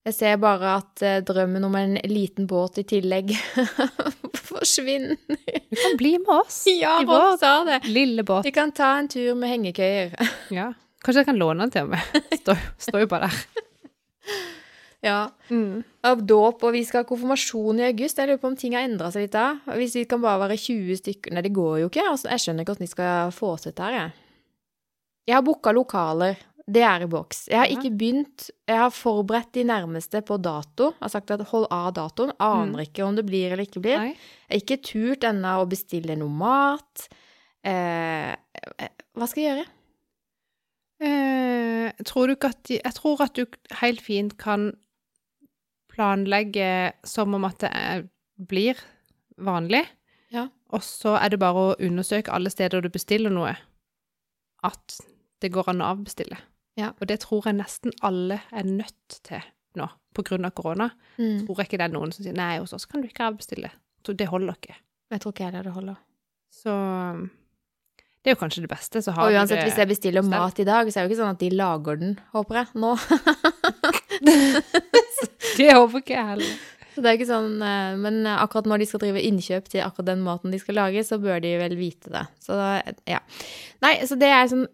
Speaker 2: Jeg ser bare at eh, drømmen om en liten båt i tillegg forsvinner.
Speaker 1: Du kan bli med oss
Speaker 2: Ja,
Speaker 1: i
Speaker 2: hva
Speaker 1: vår
Speaker 2: sa det?
Speaker 1: lille båt.
Speaker 2: Vi kan ta en tur med hengekøyer.
Speaker 1: Ja. Kanskje jeg kan låne den til meg. Står, står jo bare der.
Speaker 2: Ja.
Speaker 1: Mm.
Speaker 2: Av dåp, og vi skal ha konfirmasjon i august. Jeg lurer på om ting har endra seg litt da. Og Hvis vi kan bare være 20 stykker Nei, det går jo ikke. Altså, jeg skjønner ikke hvordan de skal få til dette her, jeg. Jeg har booka lokaler. Det er i boks. Jeg har
Speaker 1: Ja.
Speaker 2: ikke begynt. Jeg har forberedt de nærmeste på dato. Jeg har sagt at hold av datoen. Aner ikke om det blir eller ikke blir.
Speaker 1: Nei.
Speaker 2: Jeg har ikke turt ennå å bestille noe mat. Eh, eh, hva skal jeg gjøre?
Speaker 1: Eh, tror du ikke at de Jeg tror at du helt fint kan planlegge som om at det er, blir vanlig.
Speaker 2: Ja.
Speaker 1: Og så er det bare å undersøke alle steder du bestiller noe, at det går an å avbestille.
Speaker 2: Ja.
Speaker 1: Og det tror jeg nesten alle er nødt til nå, på grunn av korona.
Speaker 2: Mm.
Speaker 1: Tror jeg ikke det er noen som sier nei, hos oss kan du ikke avbestille. Så Det holder ikke.
Speaker 2: Jeg tror ikke jeg lar det holde.
Speaker 1: Så um, det er jo kanskje det beste. Så har
Speaker 2: Og
Speaker 1: du
Speaker 2: uansett,
Speaker 1: det.
Speaker 2: hvis jeg bestiller
Speaker 1: Stemt.
Speaker 2: mat i dag, så er det jo ikke sånn at de lager den, håper jeg, nå.
Speaker 1: Det håper ikke jeg heller.
Speaker 2: Så det er ikke sånn, eh, Men akkurat når de skal drive innkjøp til akkurat den maten de skal lage, så bør de vel vite det. Så da, ja. Nei, så det er sånn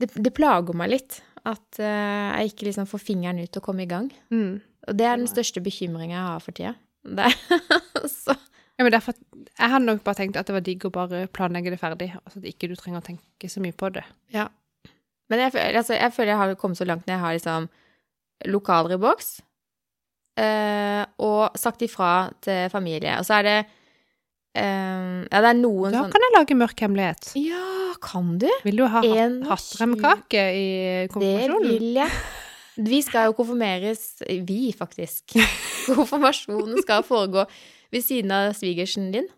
Speaker 2: Det, det plager meg litt at eh, jeg ikke liksom får fingeren ut og kommer i gang.
Speaker 1: Mm.
Speaker 2: Og det er den største bekymringa jeg har for tida. Det er, så,
Speaker 1: Ja, men derfor, jeg hadde nok bare tenkt at det var digg å bare planlegge det ferdig, altså at ikke du trenger å tenke så mye på det.
Speaker 2: ja. Men jeg, føler- altså, jeg føler jeg har kommet så langt når jeg har liksom lokaler i boks, eh, og sagt ifra til familie. Og så er det eh, Ja, det er noen
Speaker 1: Da
Speaker 2: sånn
Speaker 1: kan jeg lage mørk hemmelighet.
Speaker 2: Ja, kan du?
Speaker 1: Vil du ha hat-
Speaker 2: 21.
Speaker 1: hattremkake i
Speaker 2: Det
Speaker 1: konfirmasjonen?
Speaker 2: vil jeg. Vi skal jo konfirmeres Vi, faktisk. Konfirmasjonen skal foregå ved siden av svigersen din.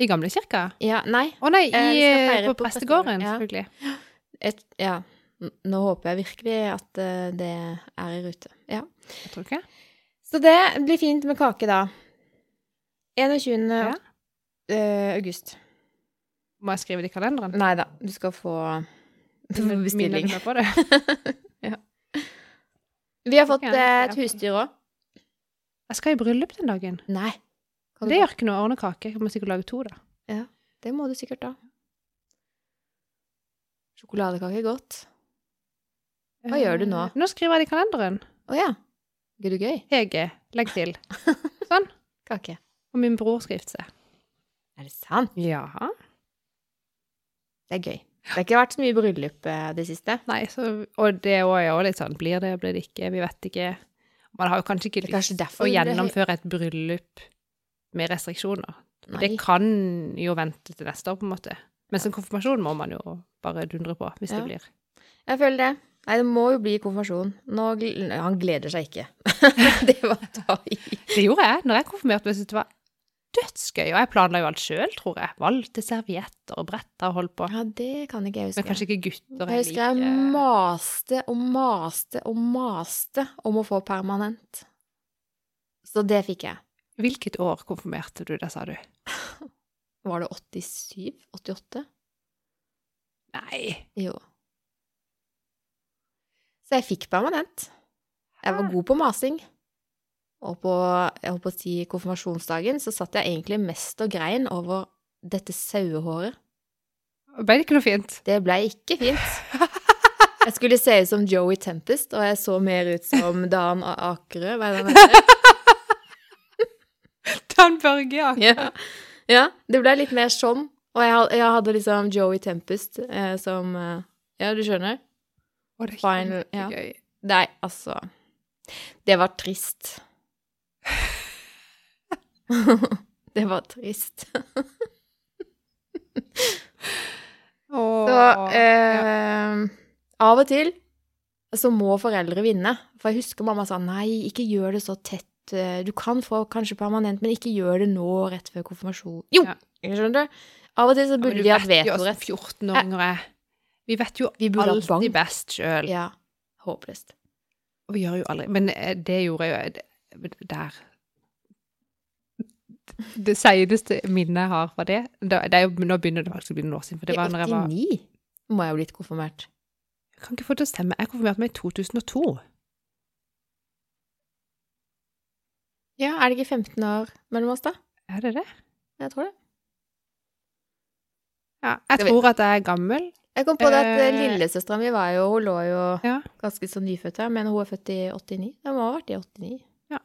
Speaker 1: I gamlekirka?
Speaker 2: Ja, nei
Speaker 1: Å nei,
Speaker 2: Eh,
Speaker 1: i,
Speaker 2: vi skal feire
Speaker 1: på
Speaker 2: på prestegården,
Speaker 1: prestegården,
Speaker 2: ja.
Speaker 1: selvfølgelig.
Speaker 2: et, Ja. N- Nå håper jeg virkelig at eh, det er i rute. Ja.
Speaker 1: Jeg tror ikke.
Speaker 2: Så det blir fint med kake, da. 21.
Speaker 1: Ja.
Speaker 2: eh, august.
Speaker 1: Må jeg skrive det i kalenderen?
Speaker 2: Nei da, du skal få du får
Speaker 1: Minner
Speaker 2: Mm, bestilling.
Speaker 1: du meg på det?
Speaker 2: Vi har fått
Speaker 1: Ok,
Speaker 2: eh,
Speaker 1: ja.
Speaker 2: et husdyr òg.
Speaker 1: Jeg skal i bryllup den dagen.
Speaker 2: Nei. Kan du-
Speaker 1: Det gjør ikke noe å ordne kake. Jeg må sikkert lage to, da.
Speaker 2: det må du sikkert da. Sjokoladekake er godt. Hva gjør du nå?
Speaker 1: Eh, Nå skriver jeg det i kalenderen.
Speaker 2: Å ja. Gud, du gøy.
Speaker 1: Hege, legg til.
Speaker 2: Kake.
Speaker 1: Og min bror skal gifte seg.
Speaker 2: Er det sant?
Speaker 1: Ja.
Speaker 2: Det er gøy. Det har ikke vært så mye bryllup eh, det siste.
Speaker 1: Nei, så, og det er jo litt sånn Blir det, blir det ikke? Vi vet ikke. Man har jo kanskje ikke
Speaker 2: Det er
Speaker 1: lyst
Speaker 2: kanskje
Speaker 1: å
Speaker 2: derfor det ble-
Speaker 1: gjennomføre et bryllup med restriksjoner.
Speaker 2: Nei.
Speaker 1: Det kan jo vente til neste år, på en måte. Mens en konfirmasjon må man jo bare dundre på, hvis
Speaker 2: Ja.
Speaker 1: det blir.
Speaker 2: Jeg føler det. Nei, det må jo bli konfirmasjon. Nå, gl- Nei, han gleder seg ikke. det var da i.
Speaker 1: Det gjorde jeg når jeg konfirmerte meg. Jeg syntes det var dødsgøy. Og jeg planla jo alt sjøl, tror jeg. Valgte servietter og bretter og holdt på.
Speaker 2: Ja, det kan ikke jeg huske.
Speaker 1: Men kanskje ikke gutter
Speaker 2: jeg husker jeg maste og maste og maste om å få permanent. Så det fikk jeg.
Speaker 1: Hvilket år konfirmerte du deg, sa du?
Speaker 2: Var det 87? 88?
Speaker 1: Nei.
Speaker 2: Jo. Så jeg fikk permanent. Jeg var god på masing. Og på jeg holdt på å si, konfirmasjonsdagen så satt jeg egentlig mest og grein over dette sauehåret.
Speaker 1: Ble det ikke noe fint?
Speaker 2: Det ble ikke fint. Jeg skulle se ut som Joey Tempest, og jeg så mer ut som Dan A- Akerø. Hva er det han heter?
Speaker 1: Dan Børge, ja.
Speaker 2: Ja. ja, det ble litt mer sånn. Og jeg, had- jeg hadde liksom Joey Tempest eh, som eh, Ja, du skjønner?
Speaker 1: Og det er
Speaker 2: Final, ja.
Speaker 1: kjempegøy.
Speaker 2: Nei, altså Det var trist. det var trist.
Speaker 1: Åh,
Speaker 2: Så eh, av og til så må foreldre vinne. For jeg husker mamma sa nei, ikke gjør det så tett. eh, Du kan få kanskje permanent, men ikke gjør det nå rett før konfirmasjon. Jo!
Speaker 1: Ja.
Speaker 2: Skjønner du? Av og til så
Speaker 1: Ja, men
Speaker 2: burde
Speaker 1: du
Speaker 2: vi hatt
Speaker 1: vet jo oss
Speaker 2: vetorett.
Speaker 1: 14-åringer er. Vi vet jo
Speaker 2: Vi burde ha
Speaker 1: alltid
Speaker 2: bank.
Speaker 1: best sjøl.
Speaker 2: Ja. Håpløst.
Speaker 1: Og vi gjør jo aldri Men eh, det gjorde jeg jo det- der. Det seneste minnet jeg har fra det, da- det er jo, Nå begynner det faktisk å bli noen år siden, for det
Speaker 2: I
Speaker 1: var når jeg var
Speaker 2: 89 må jeg ha blitt konfirmert.
Speaker 1: Jeg kan ikke få det til å stemme. Jeg konfirmerte meg i 2002.
Speaker 2: Ja, er det ikke 15 år mellom oss, da?
Speaker 1: Er det det?
Speaker 2: Jeg tror det.
Speaker 1: Ja, jeg
Speaker 2: Skal vi-
Speaker 1: tror at jeg er gammel.
Speaker 2: Jeg kom på det at eh,
Speaker 1: Eh,
Speaker 2: lillesøstera mi var jo Hun lå jo
Speaker 1: Ja.
Speaker 2: ganske så nyfødt her, men hun er født i 89. Hun må ha vært i 89.
Speaker 1: Ja.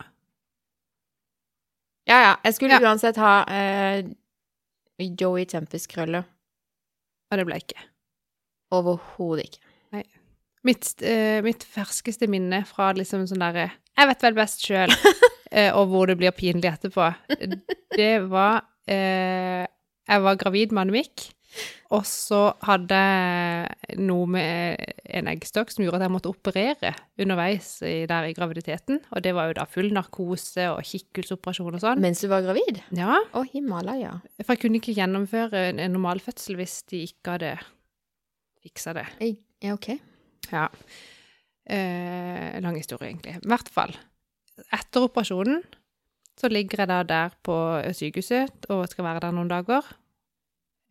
Speaker 2: Ja, ja. Jeg skulle
Speaker 1: Ja.
Speaker 2: uansett ha eh, Joey Tempest-krøller.
Speaker 1: Og det ble jeg ikke.
Speaker 2: Overhodet ikke.
Speaker 1: Mitt, eh, mitt ferskeste minne fra liksom sånn derre Jeg vet vel best sjøl, eh, og hvor det blir pinlig etterpå, det var eh, Jeg var gravid med Annemik, og så hadde jeg noe med en eggstokk som gjorde at jeg måtte operere underveis i, der i graviditeten. Og det var jo da full narkose og kikkhullsoperasjon og sånn.
Speaker 2: Mens du var gravid?
Speaker 1: Ja,
Speaker 2: Å, Himalaya.
Speaker 1: For jeg kunne ikke gjennomføre en, en normal fødsel hvis de ikke hadde fiksa det.
Speaker 2: Jeg, ja, ok.
Speaker 1: Ja. Eh, lang historie, egentlig. I hvert fall. Etter operasjonen så ligger jeg da der på sykehuset og skal være der noen dager.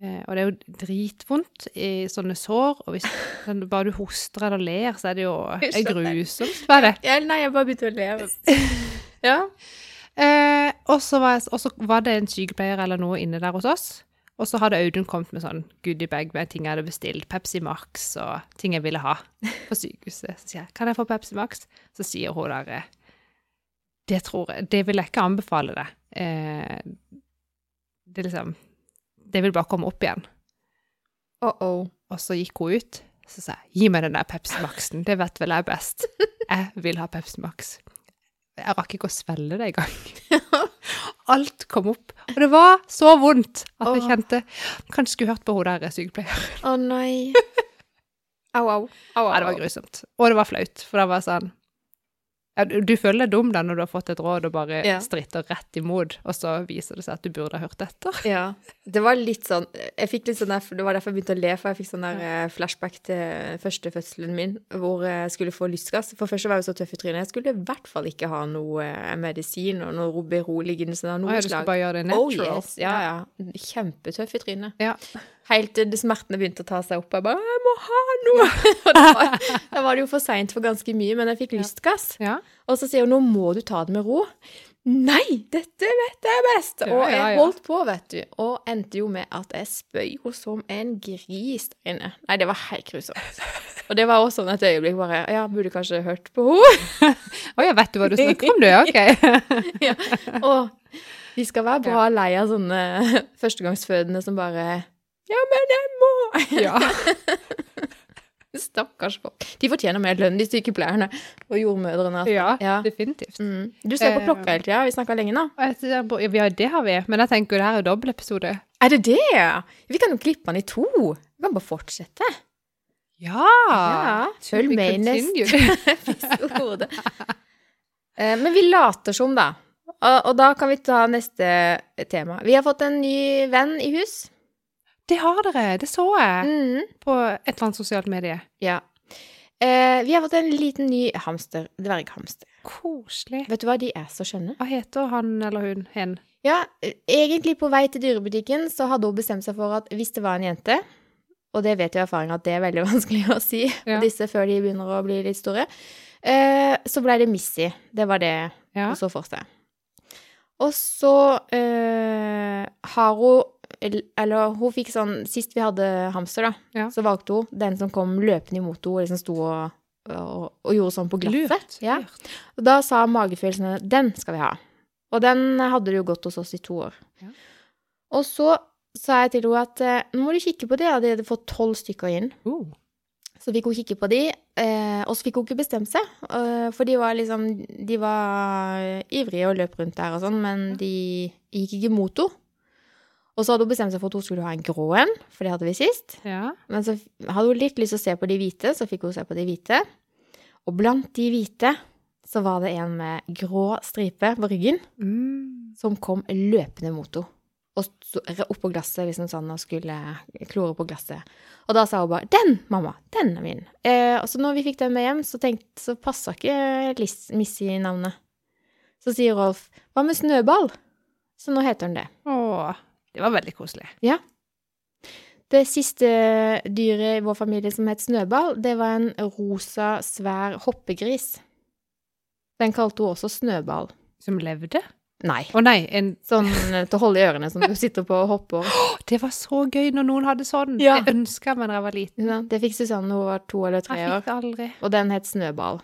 Speaker 1: Eh, og det er jo dritvondt i sånne sår, og hvis sånn, bare du hoster eller ler, så er det jo
Speaker 2: Jeg
Speaker 1: det er
Speaker 2: skjønner.
Speaker 1: grusomt. Hva er det?
Speaker 2: Ja, nei, jeg bare begynte å le. ja.
Speaker 1: Eh, og så var, jeg- og så var det en sykepleier eller noe inne der hos oss. Og så hadde Audun kommet med sånn goodiebag med ting jeg hadde bestilt. Pepsi Max og ting jeg ville ha på sykehuset. Så sier jeg, kan jeg få Pepsi Max? Så sier hun der, eh, det tror jeg, det vil jeg ikke anbefale deg. Eh, det er liksom, det vil bare komme opp igjen.
Speaker 2: Oh-oh.
Speaker 1: Og så gikk hun ut, så sa jeg, gi meg den der Pepsi Maxen, det vet vel jeg best. Jeg vil ha Pepsi Max. Jeg rakk ikke å svelle det i gang. alt kom opp. Og det var så vondt at jeg
Speaker 2: Åh.
Speaker 1: kjente Kanskje skulle hørt på hun der sykepleier.
Speaker 2: Å nei. Au, au. au, au.
Speaker 1: Nei, det var grusomt. Og det var flaut, for det var sånn ja, du, du føler deg dum da når du har fått et råd og bare
Speaker 2: Ja.
Speaker 1: stritter rett imot, og så viser det seg at du burde ha hørt etter.
Speaker 2: Ja. Det var litt sånn Jeg fikk litt sånn der, Det var derfor jeg begynte å le, for jeg fikk sånn der eh, flashback til eh, første fødselen min, hvor eh, jeg skulle få lystgass. For først så var jeg jo så tøff i trynet. Jeg skulle i hvert fall ikke ha noe eh, medisin og noe beroligende sånn av
Speaker 1: Å
Speaker 2: noe
Speaker 1: ja, du skulle
Speaker 2: slag.
Speaker 1: bare gjøre det
Speaker 2: Oh
Speaker 1: natural.
Speaker 2: yes, ja, ja. Kjempetøff i trynet.
Speaker 1: Ja.
Speaker 2: Helt til det smertene begynte å ta seg opp. Jeg bare 'Jeg må ha noe!' Og da var, da var det jo for seint for ganske mye, men jeg fikk lystgass.
Speaker 1: Ja.
Speaker 2: Og så sier hun 'nå må du ta det med ro'. Nei, dette vet jeg best!
Speaker 1: Ja,
Speaker 2: Og
Speaker 1: ja,
Speaker 2: jeg
Speaker 1: ja.
Speaker 2: holdt på, vet du. Og endte jo med at jeg spøy jo som en gris der inne. Nei, det var helt grusomt. Og det var også sånn et øyeblikk bare Ja, burde kanskje hørt på henne.
Speaker 1: Å ja, vet du hva du snakker om, du? Ok.
Speaker 2: ja. Og vi skal være bra lei av sånne førstegangsfødende som bare Ja, men jeg må!
Speaker 1: ja.
Speaker 2: Stakkars folk. De fortjener mer lønn, de sykepleierne og jordmødrene. altså.
Speaker 1: ja,
Speaker 2: Ja.
Speaker 1: definitivt.
Speaker 2: Mm. Du ser på
Speaker 1: Eh.
Speaker 2: klokka hele tida. Vi snakker lenge nå.
Speaker 1: Og jeg ser på- Ja, det har vi, men jeg tenker jo det her er dobbeltepisode.
Speaker 2: Er det det? Vi kan jo klippe den i to. Vi kan bare fortsette.
Speaker 1: Ja!
Speaker 2: Ja, følg med i neste
Speaker 1: neste.
Speaker 2: episode. Eh, Men vi later som, da. Og, og da kan vi ta neste tema. Vi har fått en ny venn i hus.
Speaker 1: Det har dere, det så jeg
Speaker 2: Mhm,
Speaker 1: på et eller annet sosialt medie.
Speaker 2: ja. Eh, Vi har fått en liten ny hamster. Dverghamster.
Speaker 1: Koselig.
Speaker 2: Vet du hva, de er så skjønne.
Speaker 1: Hva heter han eller hun? Hen?
Speaker 2: Ja, eh, egentlig på vei til dyrebutikken så hadde hun bestemt seg for at hvis det var en jente Og det vet jo erfaringa at det er veldig vanskelig å si
Speaker 1: Ja.
Speaker 2: på disse før de begynner å bli litt store. eh, Så blei det Missy. Det var det
Speaker 1: Ja.
Speaker 2: og så for seg. Og så eh, har hun el- Eller hun fikk sånn Sist vi hadde hamster, da,
Speaker 1: Ja.
Speaker 2: så valgte hun den som kom løpende imot henne og liksom sto og, og, og gjorde sånn på glasset.
Speaker 1: Lurt.
Speaker 2: Ja.
Speaker 1: lurt.
Speaker 2: Og da sa magefølelsen hennes, den skal vi ha. Og den hadde det jo gått hos oss i to år.
Speaker 1: Ja.
Speaker 2: Og så sa jeg til henne at eh, nå må du kikke på det, og de hadde fått tolv stykker inn.
Speaker 1: Oh.
Speaker 2: Så fikk hun kikke på de, eh, og så fikk hun ikke bestemt seg. eh, For de var liksom De var eh, ivrige og løp rundt der og sånn, men de gikk ikke mot henne. Og så hadde hun bestemt seg for at hun skulle ha en grå en, for det hadde vi sist.
Speaker 1: Ja.
Speaker 2: Men så hadde hun litt lyst til å se på de hvite, så fikk hun se på de hvite. Og blant de hvite så var det en med grå stripe på ryggen
Speaker 1: Mm.
Speaker 2: som kom løpende mot henne. Og så- opp på glasset liksom sånn, og skulle klore på glasset. Og da sa hun bare 'Den, mamma! Den er min!' Eh, og så når vi fikk den med hjem, så, tenkte- så passa ikke Liss, Missy navnet. Så sier Rolf 'Hva med Snøball?' Så nå heter den det.
Speaker 1: Åh, det var veldig koselig.
Speaker 2: Det siste dyret i vår familie som het Snøball, det var en rosa, svær hoppegris. Den kalte hun også Snøball.
Speaker 1: Som levde?
Speaker 2: Nei.
Speaker 1: Å nei, en,
Speaker 2: Sånn eh, til å holde i ørene, som du sitter på og hopper.
Speaker 1: det var så gøy når noen hadde sånn.
Speaker 2: Ja.
Speaker 1: Jeg ønska meg da jeg var liten.
Speaker 2: Ja, det fikk Susanne da hun var to eller tre
Speaker 1: Jeg
Speaker 2: år.
Speaker 1: fikk det aldri.
Speaker 2: Og den het Snøball.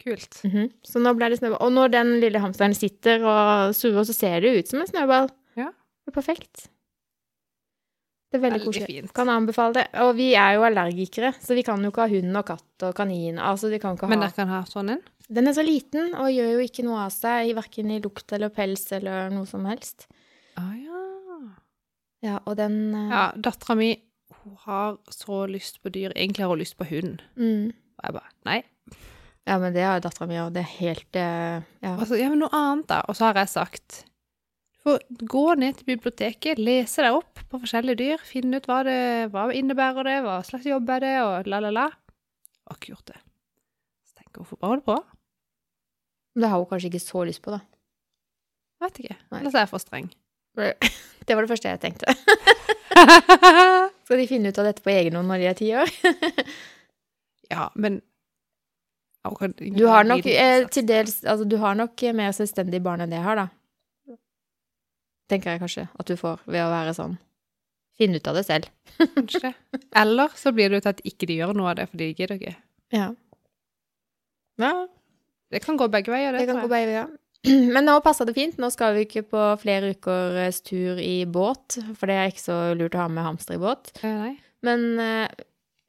Speaker 1: Kult.
Speaker 2: Mhm. Så nå ble det snøball. Og når den lille hamsteren sitter og surrer, så ser det ut som en snøball.
Speaker 1: Ja.
Speaker 2: Det er perfekt. Det er veldig,
Speaker 1: Veldig
Speaker 2: koselig.
Speaker 1: fint.
Speaker 2: Kan anbefale det. Og vi er jo allergikere, så vi kan jo ikke ha hund og katt og kanin. Altså, de kan ikke
Speaker 1: Men
Speaker 2: ha...
Speaker 1: dere kan ha sånn en?
Speaker 2: Den er så liten og gjør jo ikke noe av seg, verken i lukt eller pels eller noe som helst.
Speaker 1: Å ja.
Speaker 2: Ja, og den eh,
Speaker 1: Ja, dattera mi hun har så lyst på dyr. Egentlig har hun lyst på hund.
Speaker 2: Mm.
Speaker 1: Og jeg bare nei.
Speaker 2: ja men det har dattera mi, og det er helt eh, Ja.
Speaker 1: Og så, ja, men noe annet, da. Og så har jeg sagt du får gå ned til biblioteket, lese deg opp på forskjellige dyr, finne ut hva det hva innebærer, det, hva slags jobb er det, og la, la, la. Og ikke gjort det. Så tenker jeg hvorfor bare holde på?
Speaker 2: Det har hun kanskje ikke så lyst på, da.
Speaker 1: Vet ikke.
Speaker 2: Nei.
Speaker 1: Ellers er jeg for streng.
Speaker 2: Det var det første jeg tenkte. Skal de finne ut av dette på egen hånd når de er ti år?
Speaker 1: ja, men Ja, hun kan-
Speaker 2: Du har nok
Speaker 1: Liten
Speaker 2: eh,
Speaker 1: innsats.
Speaker 2: til dels Altså, du har nok eh, mer selvstendige barn enn det jeg har, da. Tenker jeg kanskje at du får ved å være sånn. Finne ut av det selv.
Speaker 1: Kanskje. Eller så blir det ut at ikke de gjør noe av det, for de gidder ikke.
Speaker 2: Ja. ja
Speaker 1: Det kan gå begge veier, det.
Speaker 2: det kan
Speaker 1: tror
Speaker 2: gå
Speaker 1: jeg.
Speaker 2: begge veier. Men nå passa det fint. Nå skal vi ikke på flere ukers eh, tur i båt, for det er ikke så lurt å ha med hamster i båt.
Speaker 1: Eh, Nei.
Speaker 2: Men eh,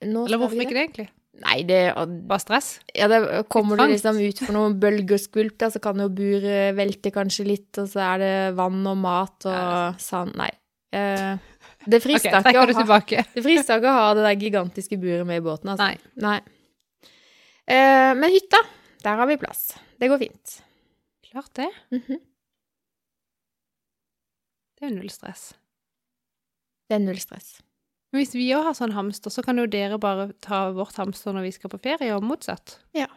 Speaker 2: nå
Speaker 1: Eller
Speaker 2: skal
Speaker 1: hvorfor
Speaker 2: vi
Speaker 1: ikke det, egentlig?
Speaker 2: Nei, det og-
Speaker 1: Bare stress?
Speaker 2: Ja, da kommer du
Speaker 1: Litt
Speaker 2: liksom ut for noen bølgeskvulp, da, så kan jo buret velte kanskje litt, og så er det vann og mat
Speaker 1: Ja,
Speaker 2: og sand Nei. Eh, det
Speaker 1: Ok,
Speaker 2: frister ikke
Speaker 1: trekker
Speaker 2: å
Speaker 1: det
Speaker 2: ha
Speaker 1: tilbake.
Speaker 2: det frister ikke å ha det der gigantiske buret med i båten, altså.
Speaker 1: Nei.
Speaker 2: Nei. Eh, men hytta, der har vi plass. Det går fint.
Speaker 1: Klart det.
Speaker 2: Mhm.
Speaker 1: Det er jo null stress.
Speaker 2: Det er null stress.
Speaker 1: Men hvis vi òg har sånn hamster, så kan jo dere bare ta vårt hamster når vi skal på ferie, og motsatt.
Speaker 2: Ja.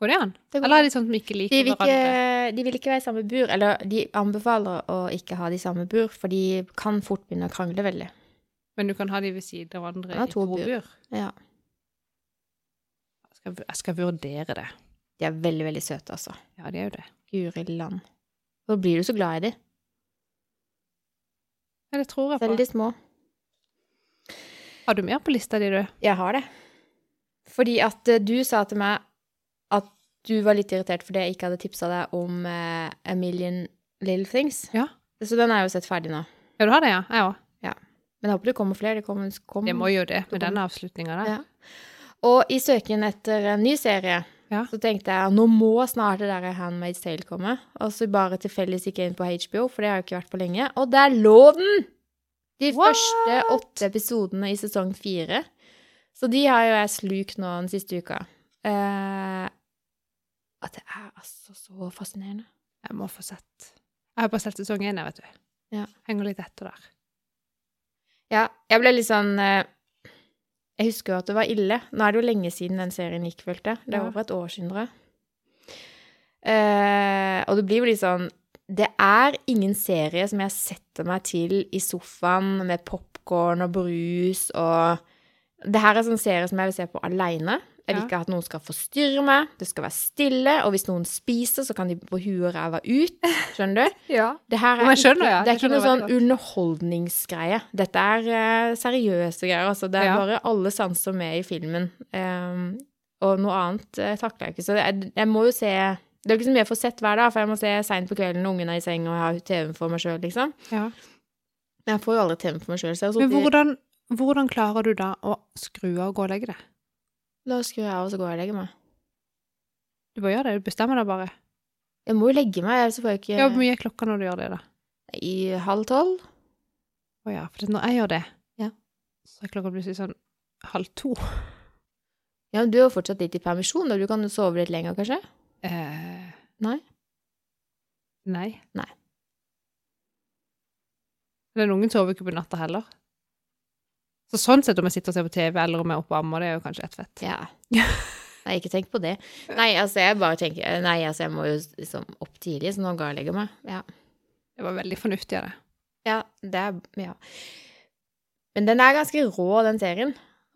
Speaker 1: Går det an?
Speaker 2: Det går
Speaker 1: Eller er det sånn at vi ikke
Speaker 2: De
Speaker 1: liker
Speaker 2: vil
Speaker 1: hverandre?
Speaker 2: ikke, de vil ikke være i samme bur, eller de anbefaler å ikke ha de samme bur, for de kan fort begynne å krangle veldig.
Speaker 1: Men du kan ha de ved siden av hverandre
Speaker 2: Ja,
Speaker 1: i
Speaker 2: to
Speaker 1: to bur.
Speaker 2: bur. Ja.
Speaker 1: Jeg skal, jeg skal vurdere det.
Speaker 2: De er veldig, veldig søte, altså.
Speaker 1: Ja, det er jo det.
Speaker 2: Guri land. Hvor blir du så glad i de?
Speaker 1: Ja, det tror jeg på.
Speaker 2: Selv de små.
Speaker 1: Har du mer på lista di, du?
Speaker 2: Jeg har det. Fordi at eh, du sa til meg at du var litt irritert fordi jeg ikke hadde tipsa deg om eh, A Million Little Things.
Speaker 1: Ja.
Speaker 2: Så den er jo sett ferdig nå.
Speaker 1: Ja, du har det, ja? Jeg òg.
Speaker 2: Men jeg håper det kommer flere. Det kommer, kom.
Speaker 1: Det må jo det, med
Speaker 2: Mm.
Speaker 1: den avslutninga der.
Speaker 2: Ja. Og i søken etter en ny serie
Speaker 1: Ja.
Speaker 2: så tenkte jeg nå må snart det der Handmaid's Tale komme. Og så bare tilfeldigvis gikk jeg inn på HBO, for det har jeg jo ikke vært på lenge. Og der lå den! De
Speaker 1: What?
Speaker 2: første åtte episodene i sesong fire. Så de har jo jeg slukt nå den siste uka. Eh, at det er altså så fascinerende.
Speaker 1: Jeg må få sett. Jeg har bare sett sesong én, jeg, vet du.
Speaker 2: Ja.
Speaker 1: Henger litt etter der.
Speaker 2: Ja, jeg ble litt sånn eh, Jeg husker jo at det var ille. Nå er det jo lenge siden den serien gikk, følte jeg. Det er
Speaker 1: Ja.
Speaker 2: over et århundre. Eh, og det blir jo litt sånn Det er ingen serie som jeg setter meg til i sofaen med popkorn og brus og Det her er sånn serie som jeg vil se på aleine. Jeg vil
Speaker 1: Ja.
Speaker 2: ikke at noen skal forstyrre meg. Det skal være stille. Og hvis noen spiser, så kan de få huet og ræva ut. Skjønner du?
Speaker 1: Ja.
Speaker 2: Det her
Speaker 1: Jo,
Speaker 2: er
Speaker 1: men jeg skjønner,
Speaker 2: ikke,
Speaker 1: ja.
Speaker 2: det er
Speaker 1: Jeg
Speaker 2: ikke
Speaker 1: skjønner
Speaker 2: noe sånn
Speaker 1: veldig
Speaker 2: underholdningsgreie. Dette er eh, seriøse greier, altså. Det er
Speaker 1: Ja.
Speaker 2: bare alle sanser med i filmen. Ehm, og noe annet eh, takler jeg ikke. Så det er, jeg må jo se Det er jo ikke så mye jeg får sett hver dag, for jeg må se seint på kvelden når ungen er i seng og jeg har TV-en for meg sjøl, liksom.
Speaker 1: ja.
Speaker 2: Men jeg får jo aldri TV-en for meg sjøl, så jeg har
Speaker 1: Men
Speaker 2: sittet-
Speaker 1: hvordan, hvordan klarer du da å skru av og gå og legge deg?
Speaker 2: Da skrur jeg av, og så går jeg og legger meg.
Speaker 1: Du bare gjør det. Du bestemmer deg bare.
Speaker 2: Jeg må jo legge meg, ellers får jeg ikke
Speaker 1: Ja, Hvor mye er klokka når du gjør det, da?
Speaker 2: I halv tolv.
Speaker 1: Å ja, for når jeg gjør det,
Speaker 2: Ja.
Speaker 1: så er klokka plutselig sånn halv to.
Speaker 2: Ja, men du er jo fortsatt litt i permisjon, da. Du kan jo sove litt lenger, kanskje?
Speaker 1: Eh,
Speaker 2: Nei?
Speaker 1: nei.
Speaker 2: Nei.
Speaker 1: Den ungen sover jo ikke på natta heller. Så sånn sett om jeg sitter og ser på TV, eller om jeg er oppe og ammer, det er jo kanskje ett fett.
Speaker 2: Ja. Nei, ikke tenk på det. Nei, altså, jeg bare tenker Nei, altså, jeg må jo liksom opp tidlig, så nå ga jeg legge meg. Ja.
Speaker 1: Det var veldig fornuftig av det.
Speaker 2: ja, det er Ja. Men den er ganske rå, den serien.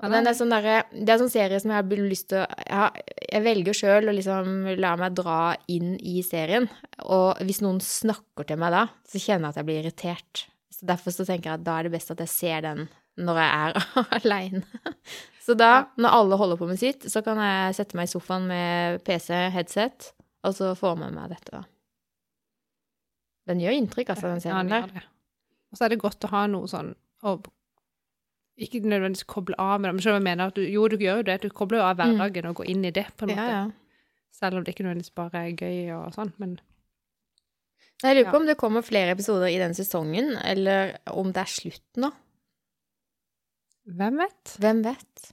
Speaker 2: Og den er sånn derre Det er sånn serie som jeg har lyst til å Jeg, har- jeg velger sjøl å liksom la meg dra inn i serien. Og hvis noen snakker til meg da, så kjenner jeg at jeg blir irritert. Så derfor så tenker jeg at da er det best at jeg ser den når jeg er aleine. Så da, når alle holder på med sitt, så kan jeg sette meg i sofaen med PC, headset, og så få med meg dette, da. Den gjør inntrykk, altså, den
Speaker 1: Ja,
Speaker 2: serien
Speaker 1: den
Speaker 2: der.
Speaker 1: gjør det. Og så er det godt å ha noe sånn å Ikke nødvendigvis koble av med det, men selv om jeg mener at du, jo, du gjør jo det. Du kobler jo av
Speaker 2: Mm.
Speaker 1: hverdagen og går inn i det, på en måte.
Speaker 2: Ja, ja.
Speaker 1: Selv om det ikke nødvendigvis bare er gøy og sånn, men
Speaker 2: Jeg lurer på
Speaker 1: Ja.
Speaker 2: om det kommer flere episoder i den sesongen, eller om det er slutt nå.
Speaker 1: hvem vet?
Speaker 2: Hvem vet?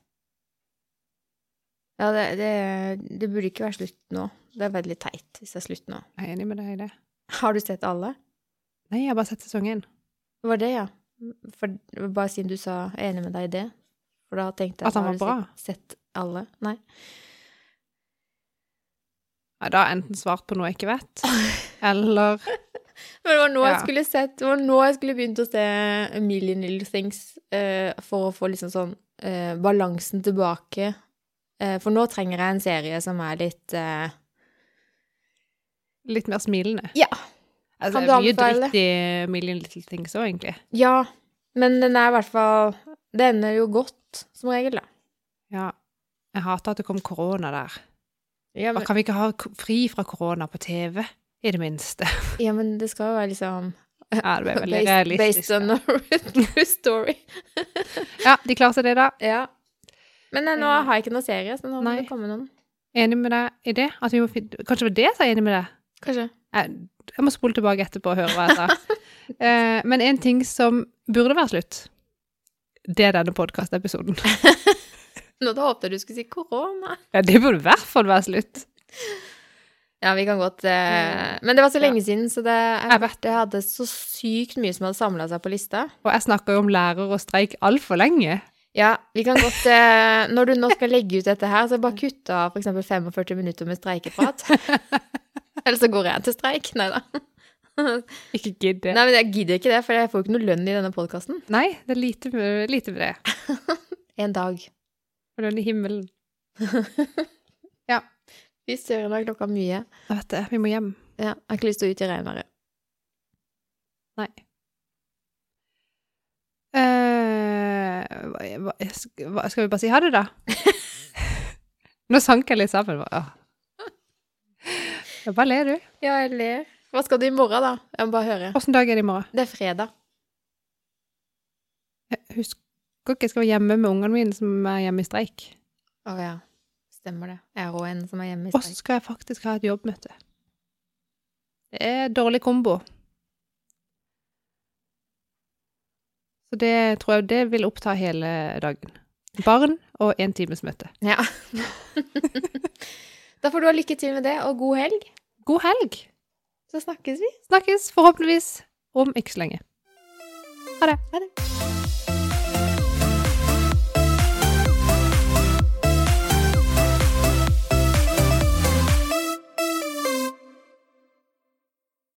Speaker 2: Ja, det, det, det burde ikke være slutt nå. Det er veldig teit hvis det er slutt nå.
Speaker 1: Jeg er enig med deg i det.
Speaker 2: Har du sett alle?
Speaker 1: Nei, jeg har bare sett sesong én.
Speaker 2: Det var det, ja. For, bare siden du sa jeg er enig med deg i det. For da tenkte jeg
Speaker 1: At han var
Speaker 2: har du
Speaker 1: bra?
Speaker 2: Sett, sett alle? Nei.
Speaker 1: Ja, da har jeg enten svart på noe jeg ikke vet, eller
Speaker 2: Men det var nå jeg
Speaker 1: Ja.
Speaker 2: skulle sett Det var nå jeg skulle begynt å se A Million Little Things eh, for å få liksom sånn eh, balansen tilbake. Eh, for nå trenger jeg en serie som er litt eh,
Speaker 1: litt mer smilende.
Speaker 2: Ja.
Speaker 1: Altså,
Speaker 2: Kan
Speaker 1: det er
Speaker 2: du
Speaker 1: mye
Speaker 2: anbefale?
Speaker 1: dritt i Million Little Things òg, egentlig.
Speaker 2: Ja, men den er i hvert fall Det ender jo godt, som regel, da.
Speaker 1: Ja. Jeg hater at det kom korona der.
Speaker 2: Ja,
Speaker 1: Hva
Speaker 2: men,
Speaker 1: kan vi ikke ha k- fri fra korona på TV, i det minste?
Speaker 2: ja, men det skal jo være liksom
Speaker 1: Ja, det ble veldig realistisk.
Speaker 2: based, based on a true story.
Speaker 1: Ja, de klarte det, da.
Speaker 2: Ja. Men eh, nå
Speaker 1: Eh,
Speaker 2: har jeg ikke noen serie, så nå må
Speaker 1: nei.
Speaker 2: det komme noen.
Speaker 1: Enig med deg i det? At vi må fin- Kanskje det var det jeg sa enig med deg?
Speaker 2: Kanskje.
Speaker 1: Jeg, jeg må spole tilbake etterpå og høre hva jeg sa. eh, men en ting som burde være slutt, det er denne podkastepisoden.
Speaker 2: Nå da håpet jeg du skulle si korona.
Speaker 1: Ja, det burde i hvert fall være slutt.
Speaker 2: Ja, vi kan godt eh, Men det var så lenge siden, så det, jeg,
Speaker 1: Jeg
Speaker 2: vet, det hadde så sykt mye som hadde samla seg på lista.
Speaker 1: Og jeg snakker jo om lærer og streik altfor lenge.
Speaker 2: Ja, vi kan godt eh, Når du nå skal legge ut dette her, så bare kutt av f.eks. 45 minutter med streikeprat. Eller så går jeg til streik. Nei da.
Speaker 1: Ikke gidd det.
Speaker 2: Nei, men jeg gidder ikke det, for jeg får jo ikke noe lønn i denne podkasten.
Speaker 1: Nei, det er lite med, lite med det.
Speaker 2: En dag.
Speaker 1: Og den i himmelen.
Speaker 2: Vi søren, nå er klokka mye.
Speaker 1: Jeg vet det, vi må hjem.
Speaker 2: Ja, jeg har ikke lyst til å ut i regnværet.
Speaker 1: Nei. Eh, hva- hva, sk- hva, skal vi bare si ha det, da? Nå sank jeg litt sammen. Åh. Ja, bare le, du.
Speaker 2: Ja, jeg ler. Hva skal du i morgen, da? Jeg må bare høre.
Speaker 1: Åssen dag er det i morgen?
Speaker 2: Det er fredag.
Speaker 1: Jeg husker ikke jeg skal være hjemme med ungene mine som er hjemme i streik.
Speaker 2: Å ja. Stemmer det. Jeg har òg en som er hjemme i
Speaker 1: Og
Speaker 2: streik.
Speaker 1: så skal jeg faktisk ha et jobbmøte. Det er dårlig kombo. Så det tror jeg det vil oppta hele dagen. Barn og en times møte.
Speaker 2: Ja. da får du ha lykke til med det, og god helg.
Speaker 1: God helg!
Speaker 2: Så snakkes vi.
Speaker 1: Snakkes forhåpentligvis om ikke så lenge. Ha det.
Speaker 2: Ha det.